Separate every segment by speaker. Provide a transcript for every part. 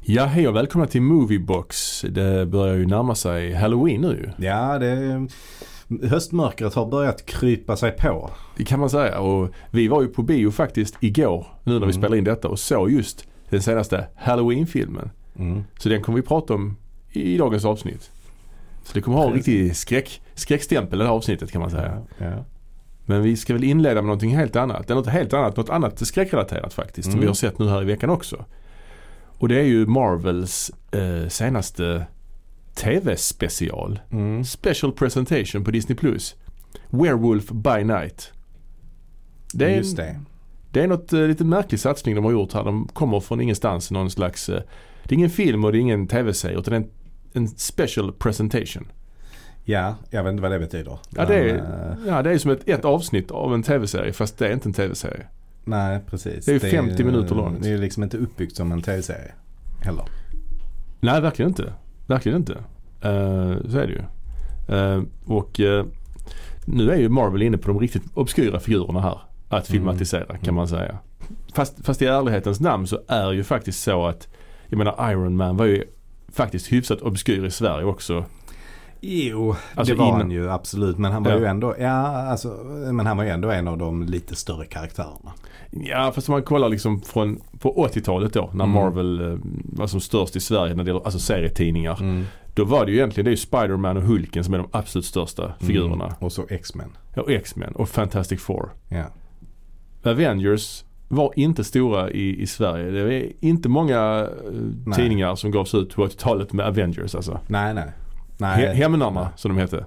Speaker 1: Ja, hej och välkomna till Moviebox. Det börjar ju närma sig Halloween nu ju.
Speaker 2: Ja, det, höstmörkret har börjat krypa sig på.
Speaker 1: Det kan man säga. Och vi var ju på bio faktiskt igår, nu när vi spelar in detta, och såg just den senaste Halloween-filmen. Så den kommer vi prata om i dagens avsnitt. Så det kommer ha en riktig skräck, skräckstämpel det här avsnittet kan man säga.
Speaker 2: Ja, ja.
Speaker 1: Men vi ska väl inleda med någonting helt annat. Eller något helt annat, något annat skräckrelaterat faktiskt. Som
Speaker 2: Mm.
Speaker 1: vi har sett nu här i veckan också. Och det är ju Marvels eh, senaste TV-special.
Speaker 2: Mm.
Speaker 1: Special presentation på Disney+. Plus. Werewolf by night. Det är,
Speaker 2: Just det.
Speaker 1: det är något eh, lite märklig satsning de har gjort här. De kommer från ingenstans. Någon slags, eh, det är ingen film och det är ingen TV-serie utan det är en, en special presentation.
Speaker 2: Ja, jag vet inte vad det betyder.
Speaker 1: Ja det är,
Speaker 2: Men, eh,
Speaker 1: ja, det är som ett, ett avsnitt av en TV-serie fast det är inte en TV-serie.
Speaker 2: nej, precis.
Speaker 1: Det är ju 50 minuter långt.
Speaker 2: Det är ju liksom inte uppbyggt som en tv-serie heller.
Speaker 1: Nej, verkligen inte. Verkligen inte. Eh, så är det ju. Eh, och eh, nu är ju Marvel inne på de riktigt obskyra figurerna här. Att
Speaker 2: Mm.
Speaker 1: filmatisera kan man säga. Fast, fast i ärlighetens namn så är ju faktiskt så att jag menar Iron Man var ju faktiskt hyfsat obskyr i Sverige också.
Speaker 2: Jo,
Speaker 1: Alltså
Speaker 2: det var
Speaker 1: innan-
Speaker 2: han ju absolut. Men han var
Speaker 1: Ja.
Speaker 2: ju ändå, ja, alltså, men han var ju ändå en av de lite större karaktärerna.
Speaker 1: Ja fast om man kollar liksom från på 80-talet då när
Speaker 2: Mm.
Speaker 1: Marvel eh, var som störst i Sverige när det gäller alltså serietidningar. Då var det ju egentligen det är ju Spider-Man och Hulken som är de absolut största figurerna.
Speaker 2: Mm. Och så X-Men.
Speaker 1: Och X-Men och Fantastic Four.
Speaker 2: Ja.
Speaker 1: Avengers var inte stora i, i Sverige. Det är inte många eh,
Speaker 2: Nej.
Speaker 1: tidningar som gavs ut på 80-talet med Avengers alltså.
Speaker 2: Nej, nej. nej.
Speaker 1: He- Hemnarna som de hette.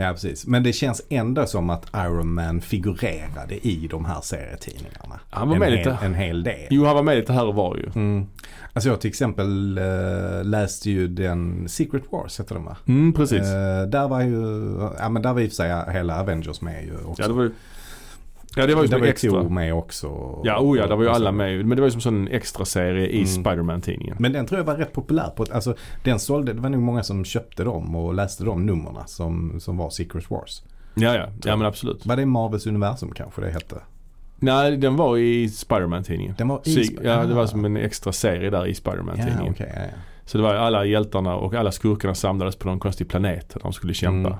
Speaker 2: Ja, precis. Men det känns ändå som att Iron Man figurerade i de här serietidningarna.
Speaker 1: Han var
Speaker 2: en,
Speaker 1: med
Speaker 2: hel,
Speaker 1: lite.
Speaker 2: en hel del.
Speaker 1: Jo, han var med lite här och var ju.
Speaker 2: Mm. Alltså jag till exempel eh, läste ju den Secret Wars hette den va?
Speaker 1: Mm, precis.
Speaker 2: Eh, där var ju, ja men där var i och för sig hela Avengers med ju också.
Speaker 1: Ja, det var ju, ja, det var ju som
Speaker 2: där
Speaker 1: en
Speaker 2: var
Speaker 1: extra.
Speaker 2: Thor med också.
Speaker 1: Ja, oh ja, där var ju alla med. ju. Men det var ju som en sån extra serie i
Speaker 2: Mm.
Speaker 1: Spiderman-tidningen.
Speaker 2: Men den tror jag var rätt populär. På, alltså, den sålde, det var nog många som köpte dem och läste de nummerna som, som var Secret Wars.
Speaker 1: Ja, ja. Ja, men absolut.
Speaker 2: Var det Marvels universum kanske det hette?
Speaker 1: Nej, den var i Spiderman-tidningen.
Speaker 2: Den var i
Speaker 1: Så-
Speaker 2: Sp-
Speaker 1: Ja, det var
Speaker 2: Ah.
Speaker 1: som en extra serie där i Spiderman-tidningen.
Speaker 2: Ja, okej. ja, ja.
Speaker 1: Så det var ju alla hjältarna och alla skurkarna samlades på någon konstig planet där de skulle kämpa.
Speaker 2: Mm.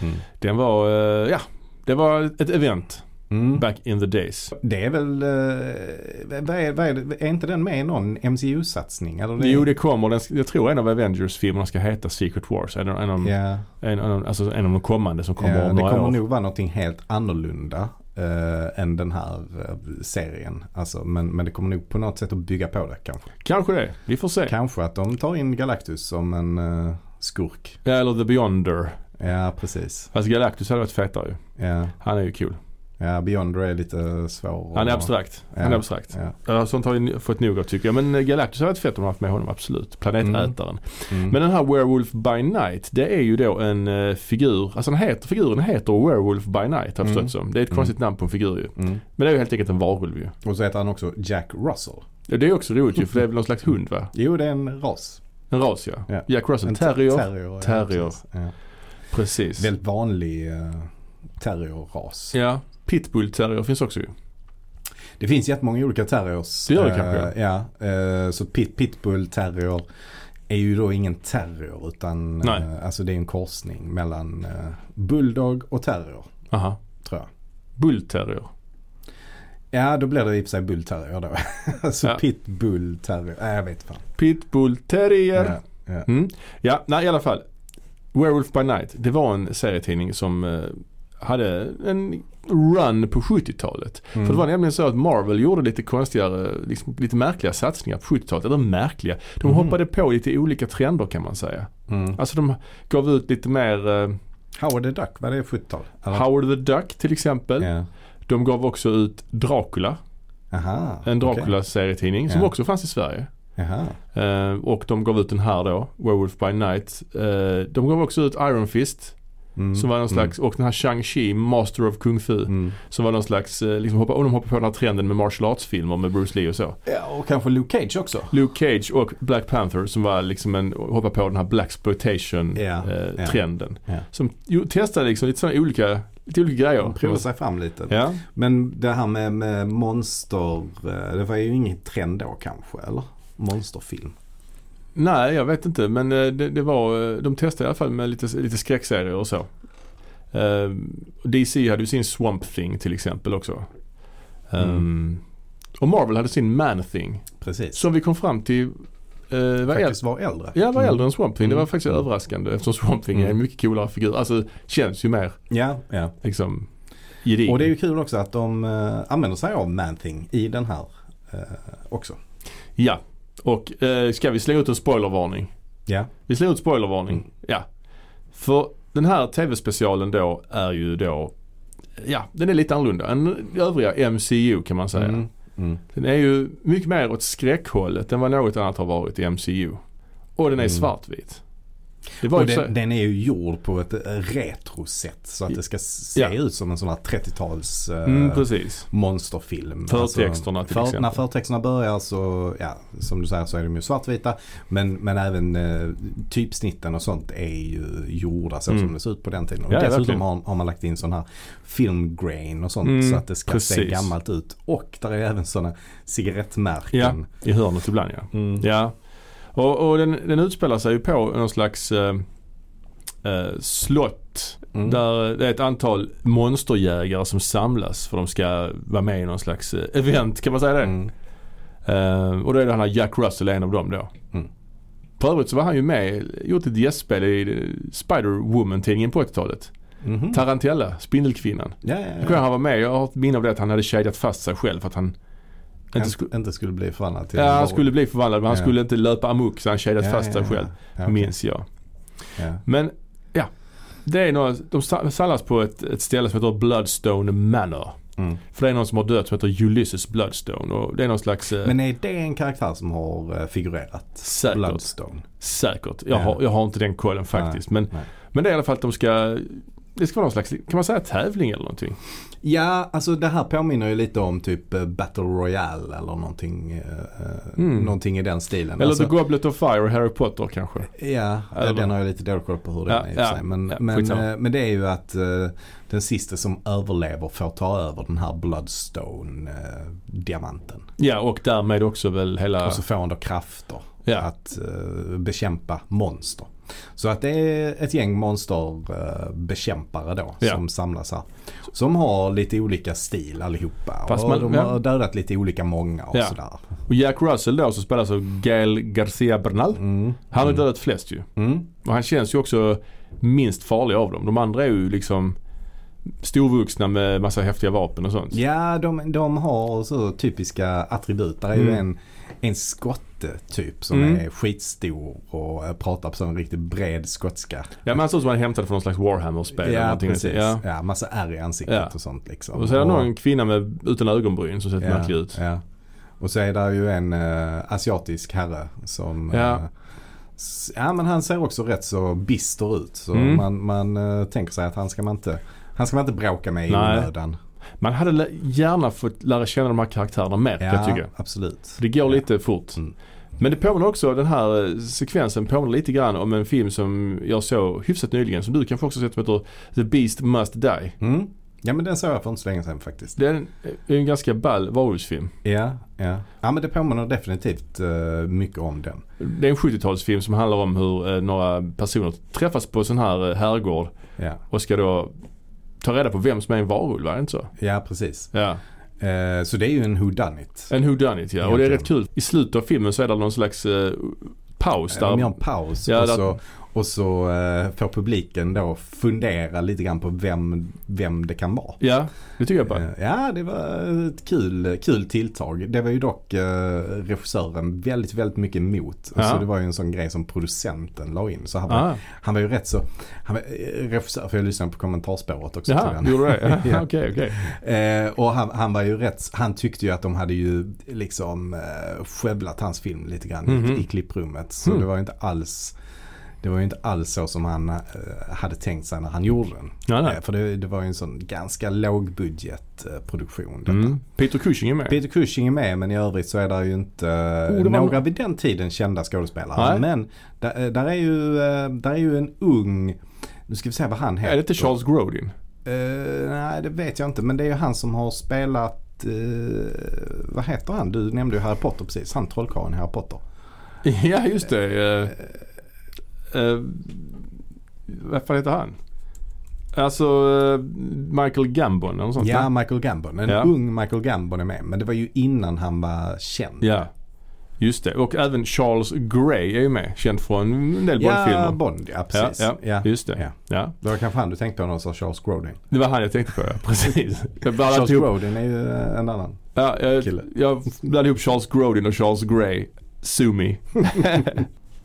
Speaker 2: Mm.
Speaker 1: Den var, eh, ja, det var ett event
Speaker 2: Mm.
Speaker 1: back in the days.
Speaker 2: Det är väl, eh, vad är, vad är, det- är inte den med i någon MCU-satsning? Eller
Speaker 1: Jo det kommer, den, ska- jag tror en av Avengers-filmerna ska heta Secret Wars. En, av- en, av-
Speaker 2: Ja,
Speaker 1: en, en, av- alltså en av de kommande som kommer
Speaker 2: ja
Speaker 1: om
Speaker 2: det
Speaker 1: några
Speaker 2: kommer
Speaker 1: år.
Speaker 2: nog vara någonting helt annorlunda eh, än den här eh, serien. Alltså, men, men det kommer nog på något sätt att bygga på det kanske.
Speaker 1: Kanske det, vi får se.
Speaker 2: Kanske att de tar in Galactus som en eh, skurk.
Speaker 1: Ja, Eller The Beyonder.
Speaker 2: Ja, precis.
Speaker 1: Fast Galactus hade varit fetare ju.
Speaker 2: Ja,
Speaker 1: Han är ju cool.
Speaker 2: ja Beyonder är lite svår.
Speaker 1: Han är
Speaker 2: att-
Speaker 1: abstrakt. Han är
Speaker 2: Ja.
Speaker 1: abstrakt.
Speaker 2: Ja.
Speaker 1: Ja, Sånt har jag fått nog av tycker jag. Men eh, Galactus hade varit fett om de haft med honom, absolut. Planetätaren.
Speaker 2: Mm.
Speaker 1: Men den här Werewolf by Night det är ju då en eh, figur, alltså den heter, figuren heter Werewolf by Night har jag förstått
Speaker 2: Mm.
Speaker 1: som. Det är ett
Speaker 2: Mm.
Speaker 1: konstigt namn på en figur ju.
Speaker 2: Mm.
Speaker 1: Men det är ju helt enkelt en varulv ju.
Speaker 2: Och så heter han också Jack Russell.
Speaker 1: Ja, Det är också roligt ju för det är väl någon slags hund va?
Speaker 2: Jo, det är en ras.
Speaker 1: En ras ja.
Speaker 2: Ja.
Speaker 1: Jack Russell.
Speaker 2: En
Speaker 1: Terrier.
Speaker 2: Terrier.
Speaker 1: Terrier.
Speaker 2: Ja, precis. ja.
Speaker 1: Precis.
Speaker 2: Väldigt vanlig uh, terriorras.
Speaker 1: Ja. Pitbull terrier finns också ju.
Speaker 2: Det finns jättemånga olika terriers.
Speaker 1: Det gör det
Speaker 2: Eh,
Speaker 1: kanske,
Speaker 2: Ja, eh, så pit, pitbull terrier är ju då ingen terrier utan eh,
Speaker 1: Nej.
Speaker 2: alltså det är en korsning mellan eh, bulldog och terrier
Speaker 1: Aha.
Speaker 2: tror jag.
Speaker 1: Bullterrier.
Speaker 2: Ja, då blir det i och för sig bullterrier då. alltså
Speaker 1: Ja.
Speaker 2: pitbull terrier. Nej, jag vet fan.
Speaker 1: Pitbull terrier.
Speaker 2: Ja, ja.
Speaker 1: Mm. Ja, nej i alla fall. Werewolf by Night. Det var en serietidning som eh, hade en run på 70-talet.
Speaker 2: Mm.
Speaker 1: För det var nämligen så att Marvel gjorde lite konstigare, liksom, lite märkliga satsningar på 70-talet. Eller märkliga. De
Speaker 2: Mhm.
Speaker 1: hoppade på lite olika trender kan man säga.
Speaker 2: Mm.
Speaker 1: Alltså de gav ut lite mer eh,
Speaker 2: Howard the Duck, var det 70-tal? Eller?
Speaker 1: Howard the Duck till exempel.
Speaker 2: Ja.
Speaker 1: De gav också ut Dracula.
Speaker 2: Aha,
Speaker 1: En
Speaker 2: okej.
Speaker 1: Dracula-serietidning som
Speaker 2: Ja.
Speaker 1: också fanns i Sverige.
Speaker 2: Jaha.
Speaker 1: Eh, och de gav ut den här då, Werewolf by Night. Eh, de gav också ut Iron Fist
Speaker 2: Mm.
Speaker 1: som var någon slags, och den här Shang-Chi, Master of Kung Fu.
Speaker 2: Mm. Mm.
Speaker 1: Som var någon slags, eh, liksom hoppa, och de hoppade på den här trenden med martial arts-filmer med Bruce Lee och så.
Speaker 2: Ja, och kanske Luke Cage också.
Speaker 1: Luke Cage och Black Panther som var liksom en, hoppa på den här Black exploitation eh,
Speaker 2: Ja, ja.
Speaker 1: trenden.
Speaker 2: Ja. Mm,
Speaker 1: Som ju, testade liksom lite sådana olika, lite olika grejer.
Speaker 2: Prova sig fram lite.
Speaker 1: Ja.
Speaker 2: Men det här med, med monster, eh, det var ju ingen trend då kanske eller? Monsterfilm.
Speaker 1: Nej, jag vet inte. Men eh, det, det var, eh, de testade i alla fall med lite, lite skräckserier och så. Eh, DC hade ju sin Swamp Thing till exempel också.
Speaker 2: Mm.
Speaker 1: Ehm, och Marvel hade sin Man Thing.
Speaker 2: Precis.
Speaker 1: Som vi kom fram till eh, var, äldre,
Speaker 2: Faktiskt var äldre.
Speaker 1: ja, var äldre än Swamp Thing. Det var
Speaker 2: Mm.
Speaker 1: faktiskt överraskande eftersom Swamp Thing är en
Speaker 2: Mm.
Speaker 1: mycket coolare figur. Alltså känns ju mer
Speaker 2: Ja, ja.
Speaker 1: liksom gedigen.
Speaker 2: Och det är ju kul också att de eh, använder sig av Man-Thing i den här eh, också.
Speaker 1: Ja, och eh, ska vi slå ut en spoilervarning?
Speaker 2: Ja.
Speaker 1: Vi slår ut spoilervarning.
Speaker 2: Mm.
Speaker 1: Ja. För den här tv-specialen då är ju då Ja, den är lite annorlunda än övriga MCU kan man säga.
Speaker 2: Mm. Mm.
Speaker 1: Den är ju mycket mer åt skräckhållet än vad något annat har varit i MCU. Och den är
Speaker 2: Mm.
Speaker 1: svartvit. Det var
Speaker 2: Och
Speaker 1: ju så-
Speaker 2: den, den är ju gjord på ett eh, retro-sätt så att det ska se
Speaker 1: Ja.
Speaker 2: ut som en sån här 30-tals eh,
Speaker 1: mm, precis.
Speaker 2: monsterfilm.
Speaker 1: Förtexterna till exempel.
Speaker 2: Alltså, När förtexterna börjar så, ja, som du säger så är de ju svartvita. Men, men även eh, typsnitten och sånt är ju gjorda så
Speaker 1: Mm.
Speaker 2: som det ser ut på den tiden. Och
Speaker 1: Ja, ja, verkligen.
Speaker 2: dessutom har, har man lagt in sån här filmgrain och sånt
Speaker 1: Mm,
Speaker 2: så att det ska se
Speaker 1: precis.
Speaker 2: gammalt ut. Och där är även såna
Speaker 1: Ja,
Speaker 2: cigarettmärken.
Speaker 1: i hörnet ibland ja.
Speaker 2: Ja. Mm.
Speaker 1: Ja. Och, och den, den utspelar sig ju på någon slags eh, eh, slott
Speaker 2: Mm.
Speaker 1: Där det är ett antal monsterjägare som samlas för de ska vara med i någon slags eh, event kan man säga det.
Speaker 2: Mm.
Speaker 1: Eh, och då är det han här Jack Russell en av dem då.
Speaker 2: Mm.
Speaker 1: För övrigt så var han ju med, gjort ett gästspel i eh, Spider-Woman-tidningen på 80-talet.
Speaker 2: Mhm.
Speaker 1: Tarantella, Spindelkvinnan.
Speaker 2: Ja, ja,
Speaker 1: Jag
Speaker 2: ja.
Speaker 1: tror han var med, jag har ett minne av det att han hade kedjat fast sig själv för att han inte skulle,
Speaker 2: Inte, inte skulle bli förvandlad till
Speaker 1: ja,
Speaker 2: en varulv.
Speaker 1: han skulle bli förvandlad men han
Speaker 2: Ja.
Speaker 1: skulle inte löpa amok så han kedjat
Speaker 2: Ja,
Speaker 1: fast sig
Speaker 2: ja, ja.
Speaker 1: själv.
Speaker 2: Ja, okej.
Speaker 1: Minns jag.
Speaker 2: Ja.
Speaker 1: Men ja, det är några, de sa- samlas på ett, ett ställe som heter Bloodstone Manor.
Speaker 2: Mm.
Speaker 1: För det är någon som har dött som heter Ulysses Bloodstone och det är någon slags eh,
Speaker 2: Men är det en karaktär som har eh, figurerat?
Speaker 1: säkert.
Speaker 2: Bloodstone.
Speaker 1: Säkert. Jag,
Speaker 2: Ja.
Speaker 1: har, jag har inte den kollen faktiskt. Men,
Speaker 2: nej.
Speaker 1: men det är i alla fall att de ska, det ska vara någon slags, kan man säga tävling eller någonting?
Speaker 2: Ja, alltså det här påminner ju lite om typ eh, Battle Royale eller någonting, eh,
Speaker 1: Mm.
Speaker 2: någonting i den stilen.
Speaker 1: Eller
Speaker 2: alltså,
Speaker 1: The Goblet of Fire och Harry Potter kanske?
Speaker 2: Ja,
Speaker 1: Eller-
Speaker 2: eller, den har jag lite dålig koll på hur den
Speaker 1: Ja,
Speaker 2: är i och
Speaker 1: ja,
Speaker 2: för sig. Men,
Speaker 1: ja,
Speaker 2: men,
Speaker 1: skitsamma.
Speaker 2: eh, men det är ju att eh, den sista som överlever får ta över den här Bloodstone-diamanten.
Speaker 1: Ja och därmed också väl hela,
Speaker 2: Och så får han då krafter
Speaker 1: ja.
Speaker 2: att eh, bekämpa monster. Så att det är ett gäng monsterbekämpare då
Speaker 1: Ja.
Speaker 2: som samlas här. Som har lite olika stil allihopa.
Speaker 1: Fast
Speaker 2: och
Speaker 1: man-
Speaker 2: de
Speaker 1: ja.
Speaker 2: har dödat lite olika många och
Speaker 1: Ja.
Speaker 2: sådär.
Speaker 1: Och Jack Russell då som spelas av Gael Garcia Bernal.
Speaker 2: Mm.
Speaker 1: Han har ju
Speaker 2: mm.
Speaker 1: dödat flest ju.
Speaker 2: Mm.
Speaker 1: Och han känns ju också minst farlig av dem. De andra är ju liksom storvuxna med massa häftiga vapen och sånt.
Speaker 2: Ja, de, de har så typiska attribut. Där är ju
Speaker 1: Mm.
Speaker 2: en, en skotte typ som
Speaker 1: Mm.
Speaker 2: är skitstor och eh, pratar på sån riktigt bred skotska.
Speaker 1: Ja men han såg ut som han hämtade från någon slags Warhammer-spel. eller
Speaker 2: ja,
Speaker 1: någonting.
Speaker 2: precis.
Speaker 1: Ja.
Speaker 2: Ja. massa ärr i ansiktet
Speaker 1: Ja.
Speaker 2: och sånt liksom.
Speaker 1: Och så är det
Speaker 2: Och-
Speaker 1: någon kvinna med, utan ögonbryn som ser
Speaker 2: Ja,
Speaker 1: märklig ut.
Speaker 2: Ja. Och så är där ju en eh, asiatisk herre som...
Speaker 1: Ja.
Speaker 2: eh, s- ja men han ser också rätt så bister ut. Så
Speaker 1: Mm.
Speaker 2: man, man eh, tänker sig att han ska man inte, han ska man inte bråka med i
Speaker 1: Nej.
Speaker 2: onödan.
Speaker 1: Man hade lä- gärna fått lära känna de här karaktärerna mer kan jag tycka.
Speaker 2: absolut.
Speaker 1: För det går
Speaker 2: Ja.
Speaker 1: lite fort.
Speaker 2: Mm.
Speaker 1: Men det påminner också, den här eh, sekvensen påminner lite grann om en film som jag såg hyfsat nyligen. Som du kanske också sett som heter The Beast Must Die.
Speaker 2: Mm. Ja men den såg jag för inte så länge sedan faktiskt.
Speaker 1: Det är en, är en ganska ball varulvsfilm.
Speaker 2: Ja, ja. ja men det påminner definitivt eh, mycket om den.
Speaker 1: Det är en 70-talsfilm som handlar om hur eh, några personer träffas på en sån här eh, herrgård
Speaker 2: Ja,
Speaker 1: och ska då ta reda på vem som är en varulv, är det inte så?
Speaker 2: ja precis.
Speaker 1: Ja.
Speaker 2: Eh, så det är ju en who done it.
Speaker 1: En who done it, ja. Och det är
Speaker 2: Egentligen.
Speaker 1: rätt kul. I slutet av filmen så är det någon slags eh, paus där.
Speaker 2: De gör en paus
Speaker 1: Ja,
Speaker 2: och
Speaker 1: där-
Speaker 2: så, och så eh, får publiken då fundera lite grann på vem, vem det kan vara.
Speaker 1: Ja, det tycker jag på.
Speaker 2: Eh, Ja, det var ett kul, kul tilltag. Det var ju dock eh, regissören väldigt, väldigt mycket emot.
Speaker 1: Ja.
Speaker 2: Så det var ju en sån grej som producenten la in. Så han, var,
Speaker 1: Ah,
Speaker 2: han var ju rätt så, han var, eh, regissör, för jag lyssnade på kommentarspåret också till
Speaker 1: jaha,
Speaker 2: den.
Speaker 1: gjorde du det? Ja,
Speaker 2: Ja.
Speaker 1: Okej, okej.
Speaker 2: Eh, och han, han var ju rätt, han tyckte ju att de hade ju liksom eh, skövlat hans film lite grann
Speaker 1: Mhm.
Speaker 2: i, i klipprummet. Så
Speaker 1: Mm.
Speaker 2: det var ju inte alls det var ju inte alls så som han eh, hade tänkt sig när han gjorde den.
Speaker 1: Ja, nej.
Speaker 2: Eh, för det, det var ju en sån ganska lågbudgetproduktion. detta.
Speaker 1: Mm. Peter Cushing är med.
Speaker 2: Peter Cushing är med men i övrigt så är det ju inte eh,
Speaker 1: Oh, det var-
Speaker 2: några vid den tiden kända skådespelare.
Speaker 1: Nej.
Speaker 2: Men där, eh, där, är ju, eh, där är ju en ung, nu ska vi se vad han heter.
Speaker 1: Är det inte Charles Grodin?
Speaker 2: Eh, nej, det vet jag inte. Men det är ju han som har
Speaker 1: Mm.
Speaker 2: spelat... eh, vad heter han? Du nämnde ju Harry Potter precis. Han trollkarlen i Harry Potter.
Speaker 1: Ja, just det.
Speaker 2: Eh,
Speaker 1: Uh, uh, vad fan heter han? Alltså eh, Michael Gambon eller något sånt?
Speaker 2: Ja,
Speaker 1: va?
Speaker 2: Michael Gambon. En
Speaker 1: Ja.
Speaker 2: ung Michael Gambon är med. Men det var ju innan han var känd.
Speaker 1: ja. Just det. Och även Charles Gray är ju med. Känd från en del
Speaker 2: ja
Speaker 1: Bondfilmer.
Speaker 2: Bond. Ja, precis.
Speaker 1: Ja, Just det.
Speaker 2: Ja.
Speaker 1: Ja.
Speaker 2: Det var kanske han du tänkte på när du sa Charles Grodin.
Speaker 1: Det var han jag tänkte på ja. Precis. Jag blandade
Speaker 2: Charles
Speaker 1: ihop
Speaker 2: Grodin är ju eh, en annan.
Speaker 1: Ja, jag,
Speaker 2: Kille.
Speaker 1: jag blandade ihop Charles Grodin och Charles Gray. Sue me.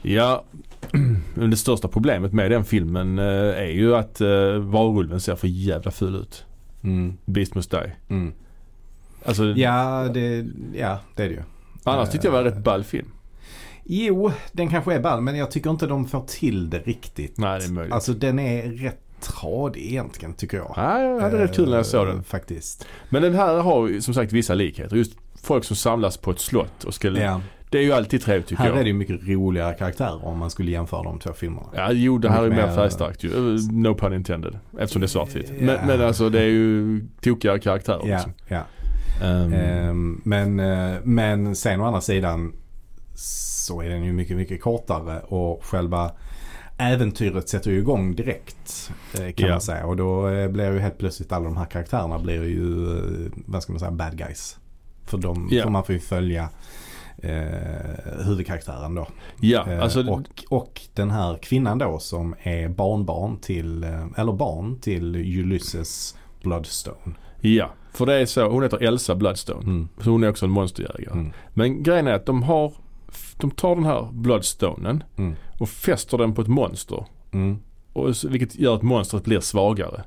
Speaker 1: ja, men det största problemet med den filmen eh, är ju att eh, varulven ser för jävla ful ut. Beast Must Die.
Speaker 2: Mm.
Speaker 1: Alltså,
Speaker 2: Ja, det, ja, det är det ju.
Speaker 1: annars tyckte jag var en rätt ball film.
Speaker 2: Jo, den kanske är ball men jag tycker inte de får till det riktigt.
Speaker 1: Nej, det är möjligt.
Speaker 2: Alltså den är rätt tradig egentligen tycker jag.
Speaker 1: Nej, jag hade rätt kul när jag såg
Speaker 2: Eh,
Speaker 1: den.
Speaker 2: Faktiskt.
Speaker 1: Men den här har ju som sagt vissa likheter. Just folk som samlas på ett slott och ska...
Speaker 2: Ja.
Speaker 1: Det är ju alltid trevligt tycker
Speaker 2: Här
Speaker 1: jag.
Speaker 2: är det ju mycket roligare karaktärer om man skulle jämföra de två filmerna.
Speaker 1: Ja, jo det här är ju mer
Speaker 2: Mycket mer-
Speaker 1: färgstarkt ju. Eh, No pun intended. Eftersom det är svartvitt.
Speaker 2: Ja.
Speaker 1: Men, men alltså det är ju tokigare karaktärer
Speaker 2: Ja,
Speaker 1: liksom.
Speaker 2: ja.
Speaker 1: Ehm,
Speaker 2: Ehm, men, eh, men sen å andra sidan så är den ju mycket, mycket kortare och själva äventyret sätter ju igång direkt eh, kan
Speaker 1: Ja.
Speaker 2: man säga. Och då eh, blir ju helt plötsligt alla de här karaktärerna blir ju, eh, vad ska man säga, bad guys. För, de,
Speaker 1: Ja.
Speaker 2: för man får ju följa eh, huvudkaraktären då.
Speaker 1: ja,
Speaker 2: Eh,
Speaker 1: alltså
Speaker 2: och, och den här kvinnan då som är barnbarn till, eh, eller barn till Ulysses Bloodstone.
Speaker 1: ja. För det är så, hon heter Elsa Bloodstone.
Speaker 2: Mm.
Speaker 1: Så hon är också en monsterjägare.
Speaker 2: Mm.
Speaker 1: Men grejen är att de har, de tar den här Bloodstonen
Speaker 2: Mm.
Speaker 1: och fäster den på ett monster.
Speaker 2: Mm.
Speaker 1: Och, så- vilket gör att monstret blir svagare.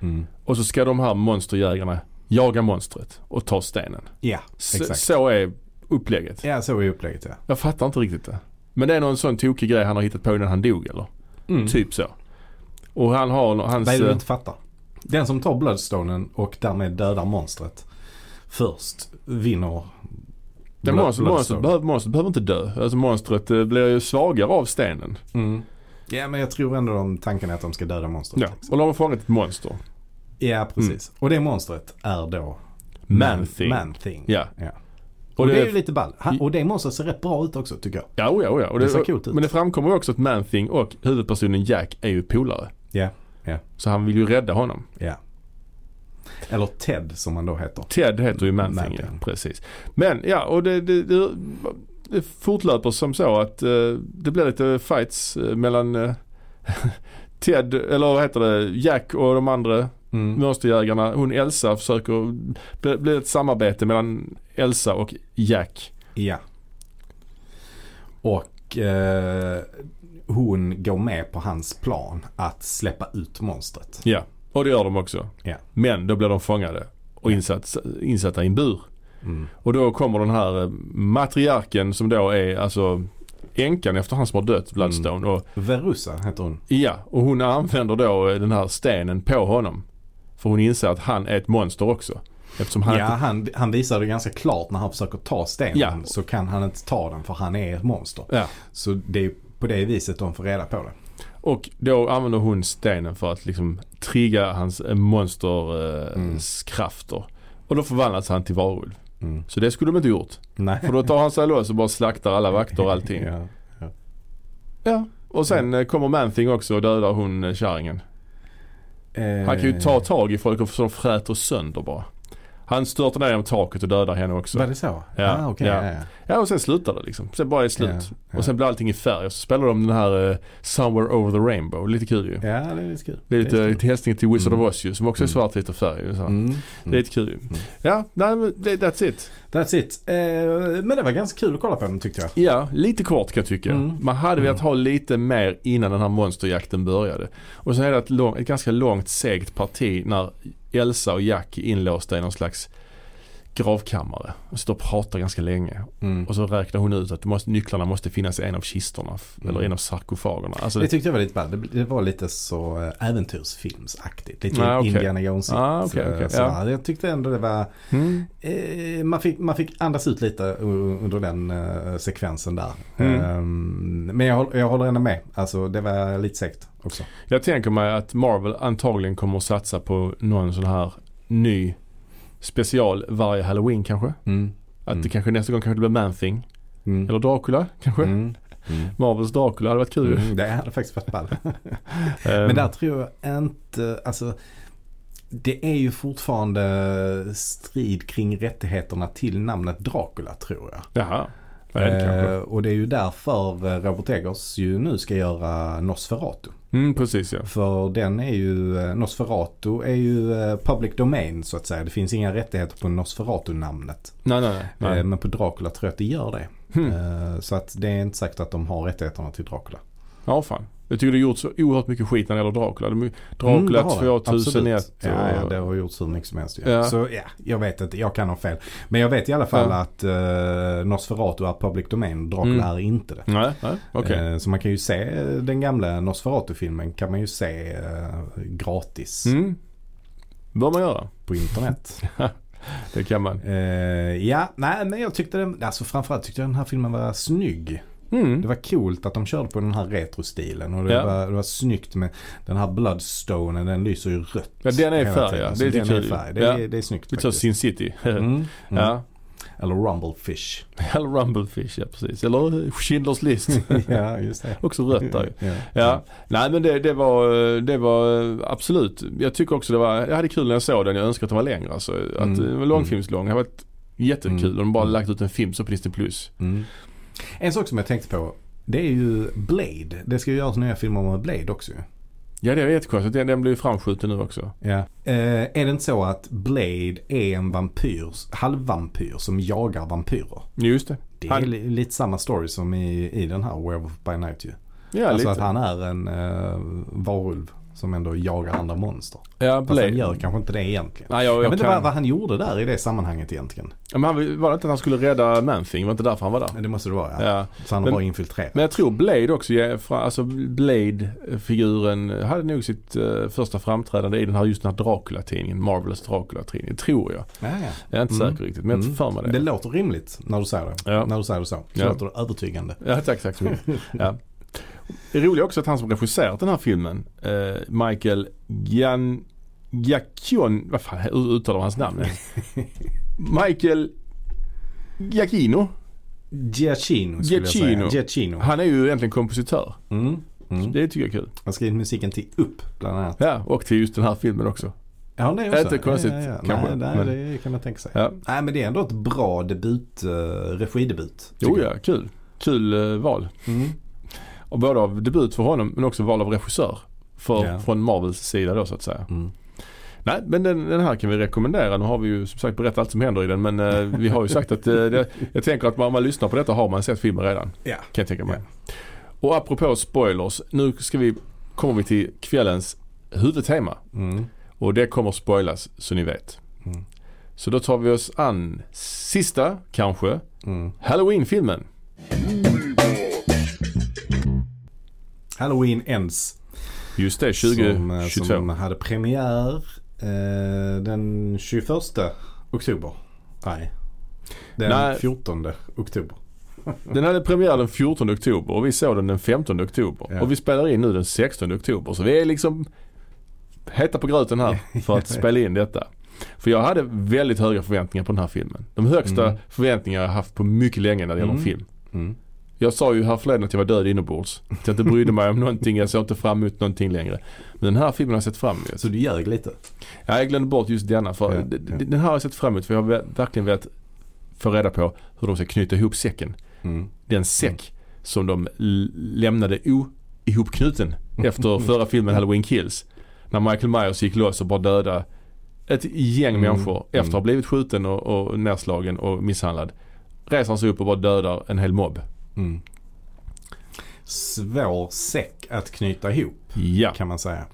Speaker 2: Mm.
Speaker 1: Och så ska de här monsterjägarna jaga monstret och ta stenen.
Speaker 2: Ja,
Speaker 1: Så,
Speaker 2: exakt.
Speaker 1: så är upplägget.
Speaker 2: Ja, så är upplägget ja.
Speaker 1: Jag fattar inte riktigt det. Men det är någon sån tokig grej han har hittat på innan han dog eller? Typ så. Och han har nå- hans...
Speaker 2: Vad är Mm. det du
Speaker 1: eh,
Speaker 2: inte fattar? Den som tar Bloodstonen och därmed dödar monstret först vinner
Speaker 1: Det
Speaker 2: Blood-
Speaker 1: monstret, monstret, behöver, monstret behöver inte dö. Alltså monstret eh, blir ju svagare av stenen.
Speaker 2: Mm. Ja, men jag tror ändå de tanken är att de ska döda monstret.
Speaker 1: Ja. Mm. Och då har man fångat ett monster.
Speaker 2: ja precis. Och det monstret är då
Speaker 1: Man-thing.
Speaker 2: Man-thing.
Speaker 1: Ja.
Speaker 2: Ja.
Speaker 1: Och
Speaker 2: Och, det, är ju
Speaker 1: det,
Speaker 2: lite ball. Han, och det monstret ser rätt bra ut också tycker jag.
Speaker 1: ja, oja, oja. Och
Speaker 2: Det
Speaker 1: det,
Speaker 2: ser coolt ut.
Speaker 1: men det framkommer ju också att Man-Thing och huvudpersonen Jack är ju polare.
Speaker 2: Ja. ja.
Speaker 1: Så han vill ju rädda honom.
Speaker 2: ja. Eller Ted som han då heter.
Speaker 1: Ted heter ju Man-Thing,
Speaker 2: Man-Thing.
Speaker 1: ja, precis. Men ja, och det, det, det, det fortlöper som så att eh, det blir lite fights eh, mellan eh, Ted, eller vad heter det, Jack och de andra
Speaker 2: Mm.
Speaker 1: mönsterjägarna. Hon Elsa försöker, bli- blir ett samarbete mellan Elsa och Jack.
Speaker 2: Ja. Och eh, hon går med på hans plan att släppa ut monstret.
Speaker 1: Ja, och det gör de också.
Speaker 2: Ja.
Speaker 1: Men då blir de fångade och insatt, insatta i en bur.
Speaker 2: Mm.
Speaker 1: Och då kommer den här eh, matriarken som då är alltså änkan efter han som har dött, Bloodstone. Och,
Speaker 2: Verusa heter hon.
Speaker 1: ja, och hon använder då eh, den här stenen på honom. För hon inser att han är ett monster också. Eftersom han
Speaker 2: ja,
Speaker 1: inte,
Speaker 2: han, han visar det ganska klart när han försöker ta stenen
Speaker 1: Ja.
Speaker 2: så kan han inte ta den för han är ett monster.
Speaker 1: ja.
Speaker 2: Så det är på det viset de får reda på det.
Speaker 1: Och då använder hon stenen för att liksom trigga hans monsterkrafter. Eh,
Speaker 2: Mm.
Speaker 1: krafter. Och då förvandlas han till varulv.
Speaker 2: Mm.
Speaker 1: Så det skulle de inte gjort.
Speaker 2: Nej.
Speaker 1: För då tar han sig loss och bara slaktar alla vakter och allting.
Speaker 2: Ja.
Speaker 1: Ja, och sen eh, kommer Manthing också och dödar hon eh, kärringen.
Speaker 2: Eh,
Speaker 1: Han kan ju ta tag i folk och så de fräter sönder bara. Han störtar ner genom taket och dödar henne också.
Speaker 2: Var det så?
Speaker 1: Ja,
Speaker 2: ah, okej,
Speaker 1: ja.
Speaker 2: ja. ja.
Speaker 1: Ja och sen slutar det liksom. Sen bara är det slut.
Speaker 2: Ja, ja.
Speaker 1: Och sen blir allting i färg och så spelar de den här eh, Somewhere Over the Rainbow. Lite kul ju.
Speaker 2: Ja, det är lite kul.
Speaker 1: Det är
Speaker 2: Det är
Speaker 1: lite
Speaker 2: kul.
Speaker 1: till hästning till Wizard
Speaker 2: Mm.
Speaker 1: of Oz ju som också är
Speaker 2: Mm.
Speaker 1: svartvitt och färg. ju, Så. här.
Speaker 2: Mm. Mm.
Speaker 1: Det är lite kul ju. Ja, nej, men det, that's it.
Speaker 2: That's it. Eh, men det var ganska kul att kolla på den tyckte jag.
Speaker 1: Ja, lite kort kan jag tycka.
Speaker 2: Mm.
Speaker 1: Man hade velat ha lite mer innan den här monsterjakten började. Och sen är det ett, lång, ett ganska långt segt parti när Elsa och Jack är inlåsta i någon slags gravkammare. Och sitter och pratar ganska länge.
Speaker 2: Mm.
Speaker 1: Och så räknar hon ut att det måste, nycklarna måste finnas i en av kistorna. f-
Speaker 2: Mm.
Speaker 1: Eller en av sarkofagerna. Alltså,
Speaker 2: Det tyckte jag var lite ball. Det, det var lite så eh, äventyrsfilmsaktigt. Lite
Speaker 1: Ah, okej.
Speaker 2: Indiana Jones
Speaker 1: Ah, okej,
Speaker 2: eh,
Speaker 1: okej.
Speaker 2: så
Speaker 1: Ja.
Speaker 2: här. Jag tyckte ändå det var...
Speaker 1: mm.
Speaker 2: Eh, man, fick, man fick andas ut lite u- under den eh, sekvensen där.
Speaker 1: Mm.
Speaker 2: Ehm, men jag, håll- jag håller ändå med. Alltså det var lite segt också.
Speaker 1: Jag tänker mig att Marvel antagligen kommer att satsa på någon sån här ny special varje halloween kanske. Att
Speaker 2: Mm.
Speaker 1: det kanske nästa gång kanske det blir Man-Thing.
Speaker 2: Mm.
Speaker 1: Eller Dracula kanske.
Speaker 2: Mm. Mm.
Speaker 1: Marvels Dracula hade varit kul.
Speaker 2: Mm, det hade faktiskt varit ball.
Speaker 1: Eh,
Speaker 2: Men där tror jag inte, alltså det är ju fortfarande strid kring rättigheterna till namnet Dracula tror jag.
Speaker 1: Jaha. Ja, det kanske.
Speaker 2: Eh, och det är ju därför eh, Robert Eggers ju nu ska göra Nosferatu.
Speaker 1: Mm, precis ja.
Speaker 2: För den är ju, eh, Nosferatu är ju eh, public domain så att säga. Det finns inga rättigheter på Nosferatu-namnet.
Speaker 1: Nej, nej, nej. nej.
Speaker 2: Eh, Men på Dracula tror jag att det gör det.
Speaker 1: Hmm.
Speaker 2: Eh, Så att det är inte säkert att de har rättigheterna till Dracula.
Speaker 1: Ja, fan. Jag tycker det gjort så oerhört mycket skit när det gäller Dracula. De-
Speaker 2: Mm, det
Speaker 1: Dracula
Speaker 2: har det.
Speaker 1: 2001
Speaker 2: Absolut. Ja, ja,
Speaker 1: och-
Speaker 2: det har gjorts hur mycket som helst. ju.
Speaker 1: Ja.
Speaker 2: Så ja, jag vet inte, jag kan ha fel. Men jag vet i alla fall
Speaker 1: Ja.
Speaker 2: att eh, Nosferatu är public domain och Dracula
Speaker 1: Mm.
Speaker 2: är inte det.
Speaker 1: Nej, nej, okej.
Speaker 2: Eh, Så man kan ju se eh, den gamla Nosferatu-filmen kan man ju se eh, gratis
Speaker 1: Mm. Bör man göra.
Speaker 2: på internet.
Speaker 1: Det kan man.
Speaker 2: Eh, ja, nej men jag tyckte den, alltså framförallt tyckte jag den här filmen var snygg.
Speaker 1: Mm.
Speaker 2: Det var coolt att de körde på den här retrostilen och det,
Speaker 1: Ja.
Speaker 2: var, det var snyggt med den här Bloodstone, den lyser ju rött.
Speaker 1: Ja, den är i
Speaker 2: hela
Speaker 1: färg,
Speaker 2: tiden.
Speaker 1: ja.
Speaker 2: Så
Speaker 1: Det är
Speaker 2: den
Speaker 1: lite
Speaker 2: är i
Speaker 1: kul.
Speaker 2: färg. Det,
Speaker 1: Ja.
Speaker 2: är, det är snyggt
Speaker 1: Lite så
Speaker 2: faktiskt.
Speaker 1: Sin City.
Speaker 2: Mm, mm.
Speaker 1: Ja,
Speaker 2: Eller Rumblefish.
Speaker 1: eller Rumblefish, ja precis. Eller eh, Schindler's List.
Speaker 2: ja, just det.
Speaker 1: Också rött där ju.
Speaker 2: Ja.
Speaker 1: Ja, nej men det, det, var, eh, det var eh, absolut. Jag tycker också det var, jag hade kul när jag såg den. Jag önskar att den var längre alltså. Att
Speaker 2: Mm.
Speaker 1: det var långfilmslång. Det hade varit jättekul
Speaker 2: Mm.
Speaker 1: om de bara
Speaker 2: Mm.
Speaker 1: lagt ut en film så på Disney Plus.
Speaker 2: Mm. En sak som jag tänkte på. Det är ju Blade. Det ska ju göras nya filmer med Blade också ju.
Speaker 1: Ja det är jättekonstigt. Den, den blev ju framskjuten nu också.
Speaker 2: Ja. Eh, är det inte så att Blade är en vampyr, halvvampyr som jagar vampyrer?
Speaker 1: Just det.
Speaker 2: Det är
Speaker 1: Han-
Speaker 2: li- lite samma story som i, i den här Werewolf by Night ju.
Speaker 1: Ja,
Speaker 2: alltså att
Speaker 1: lite.
Speaker 2: han är en uh, varulv som ändå jagar andra monster.
Speaker 1: ja,
Speaker 2: Fast
Speaker 1: Blade.
Speaker 2: han gör kanske inte det egentligen.
Speaker 1: Nej, jag, jag,
Speaker 2: Jag vet inte
Speaker 1: kan...
Speaker 2: vad, vad han gjorde där i det sammanhanget egentligen.
Speaker 1: Men han, var det inte att han skulle rädda Manfing? Var det inte därför han var där?
Speaker 2: Men Det måste det vara ja.
Speaker 1: Ja.
Speaker 2: Så han har
Speaker 1: Men-
Speaker 2: bara infiltrerat.
Speaker 1: Men jag tror Blade också, ja, fra- alltså Blade-figuren hade nog sitt eh, första framträdande i den här just den här Dracula-tidningen, Marvelous Dracula-tidningen, tror jag.
Speaker 2: Ja, ja.
Speaker 1: Jag är inte
Speaker 2: Mm.
Speaker 1: säker riktigt, men jag
Speaker 2: Mm.
Speaker 1: har för mig det.
Speaker 2: Det låter rimligt när du säger det.
Speaker 1: Ja.
Speaker 2: När du säger det så. Så
Speaker 1: Ja.
Speaker 2: låter det övertygande.
Speaker 1: Ja, tack, tack så mycket. Ja. Det roliga också att han som regisserat den här filmen, eh, Michael Gian... Giacchion... Vad fan hur uttalar man hans namn? Michael Giacchino.
Speaker 2: Giacchino skulle
Speaker 1: Giacchino.
Speaker 2: jag säga. Giacchino.
Speaker 1: Han är ju egentligen kompositör.
Speaker 2: Mm. Mm.
Speaker 1: Det tycker jag är kul.
Speaker 2: Han skrev musiken till Upp bland annat.
Speaker 1: Ja, och till just den här filmen också.
Speaker 2: Ja, det
Speaker 1: Inte konstigt,
Speaker 2: ja, ja.
Speaker 1: kanske,
Speaker 2: Nej, nej
Speaker 1: men-
Speaker 2: det kan man tänka sig.
Speaker 1: Ja.
Speaker 2: Nej, men det är ändå ett bra debut, eh, regidebut. tycker
Speaker 1: Jo
Speaker 2: jag.
Speaker 1: ja, kul. Kul eh, val.
Speaker 2: Mm.
Speaker 1: Och både av debut för honom men också val av regissör. För,
Speaker 2: Ja.
Speaker 1: Från Marvels sida då så att säga.
Speaker 2: Mm.
Speaker 1: Nej men den, den här kan vi rekommendera. Nu har vi ju som sagt berättat allt som händer i den men eh, vi har ju sagt att eh, det, jag tänker att man- om man lyssnar på detta har man sett filmen redan.
Speaker 2: Ja.
Speaker 1: Kan jag tänka mig. Och apropå spoilers. Nu ska vi, kommer vi till kvällens huvudtema.
Speaker 2: Mm.
Speaker 1: Och det kommer spoilas så ni vet.
Speaker 2: Mm.
Speaker 1: Så då tar vi oss an sista kanske
Speaker 2: Mm.
Speaker 1: Halloween-filmen.
Speaker 2: Halloween Ends.
Speaker 1: Just det,
Speaker 2: Som, eh,
Speaker 1: 2022.
Speaker 2: som hade premiär eh, den 21 oktober. Nej. Den
Speaker 1: Nej.
Speaker 2: 14 oktober.
Speaker 1: Den hade premiär den 14 oktober och vi såg den den 15 oktober.
Speaker 2: Ja.
Speaker 1: Och vi spelar in nu den 16 oktober. Så vi är liksom heta på gröten här för att spela in detta. För jag hade väldigt höga förväntningar på den här filmen. De högsta
Speaker 2: Mm.
Speaker 1: förväntningar jag haft på mycket länge när det gäller
Speaker 2: Mm.
Speaker 1: film.
Speaker 2: Mm.
Speaker 1: Jag sa ju härförleden att jag var död inombords. Att jag inte brydde mig om någonting. Jag såg inte fram emot någonting längre. Men den här filmen har jag sett fram emot.
Speaker 2: Så du ljög lite?
Speaker 1: Ja, jag glömde bort just denna. För
Speaker 2: Ja,
Speaker 1: d- d-
Speaker 2: ja.
Speaker 1: Den här har jag sett fram emot. För jag har ver- verkligen velat få reda på hur de ska knyta ihop säcken.
Speaker 2: Mm.
Speaker 1: den säck som de l- lämnade ihopknuten
Speaker 2: Mm.
Speaker 1: efter förra filmen Halloween Kills. När Michael Myers gick loss och bara dödade ett gäng
Speaker 2: Mm.
Speaker 1: människor efter att ha
Speaker 2: Mm.
Speaker 1: blivit skjuten och, och nedslagen och misshandlad. Reser han sig upp och bara dödar en hel mobb.
Speaker 2: Mm. Svår säck att knyta ihop
Speaker 1: Ja.
Speaker 2: kan man säga.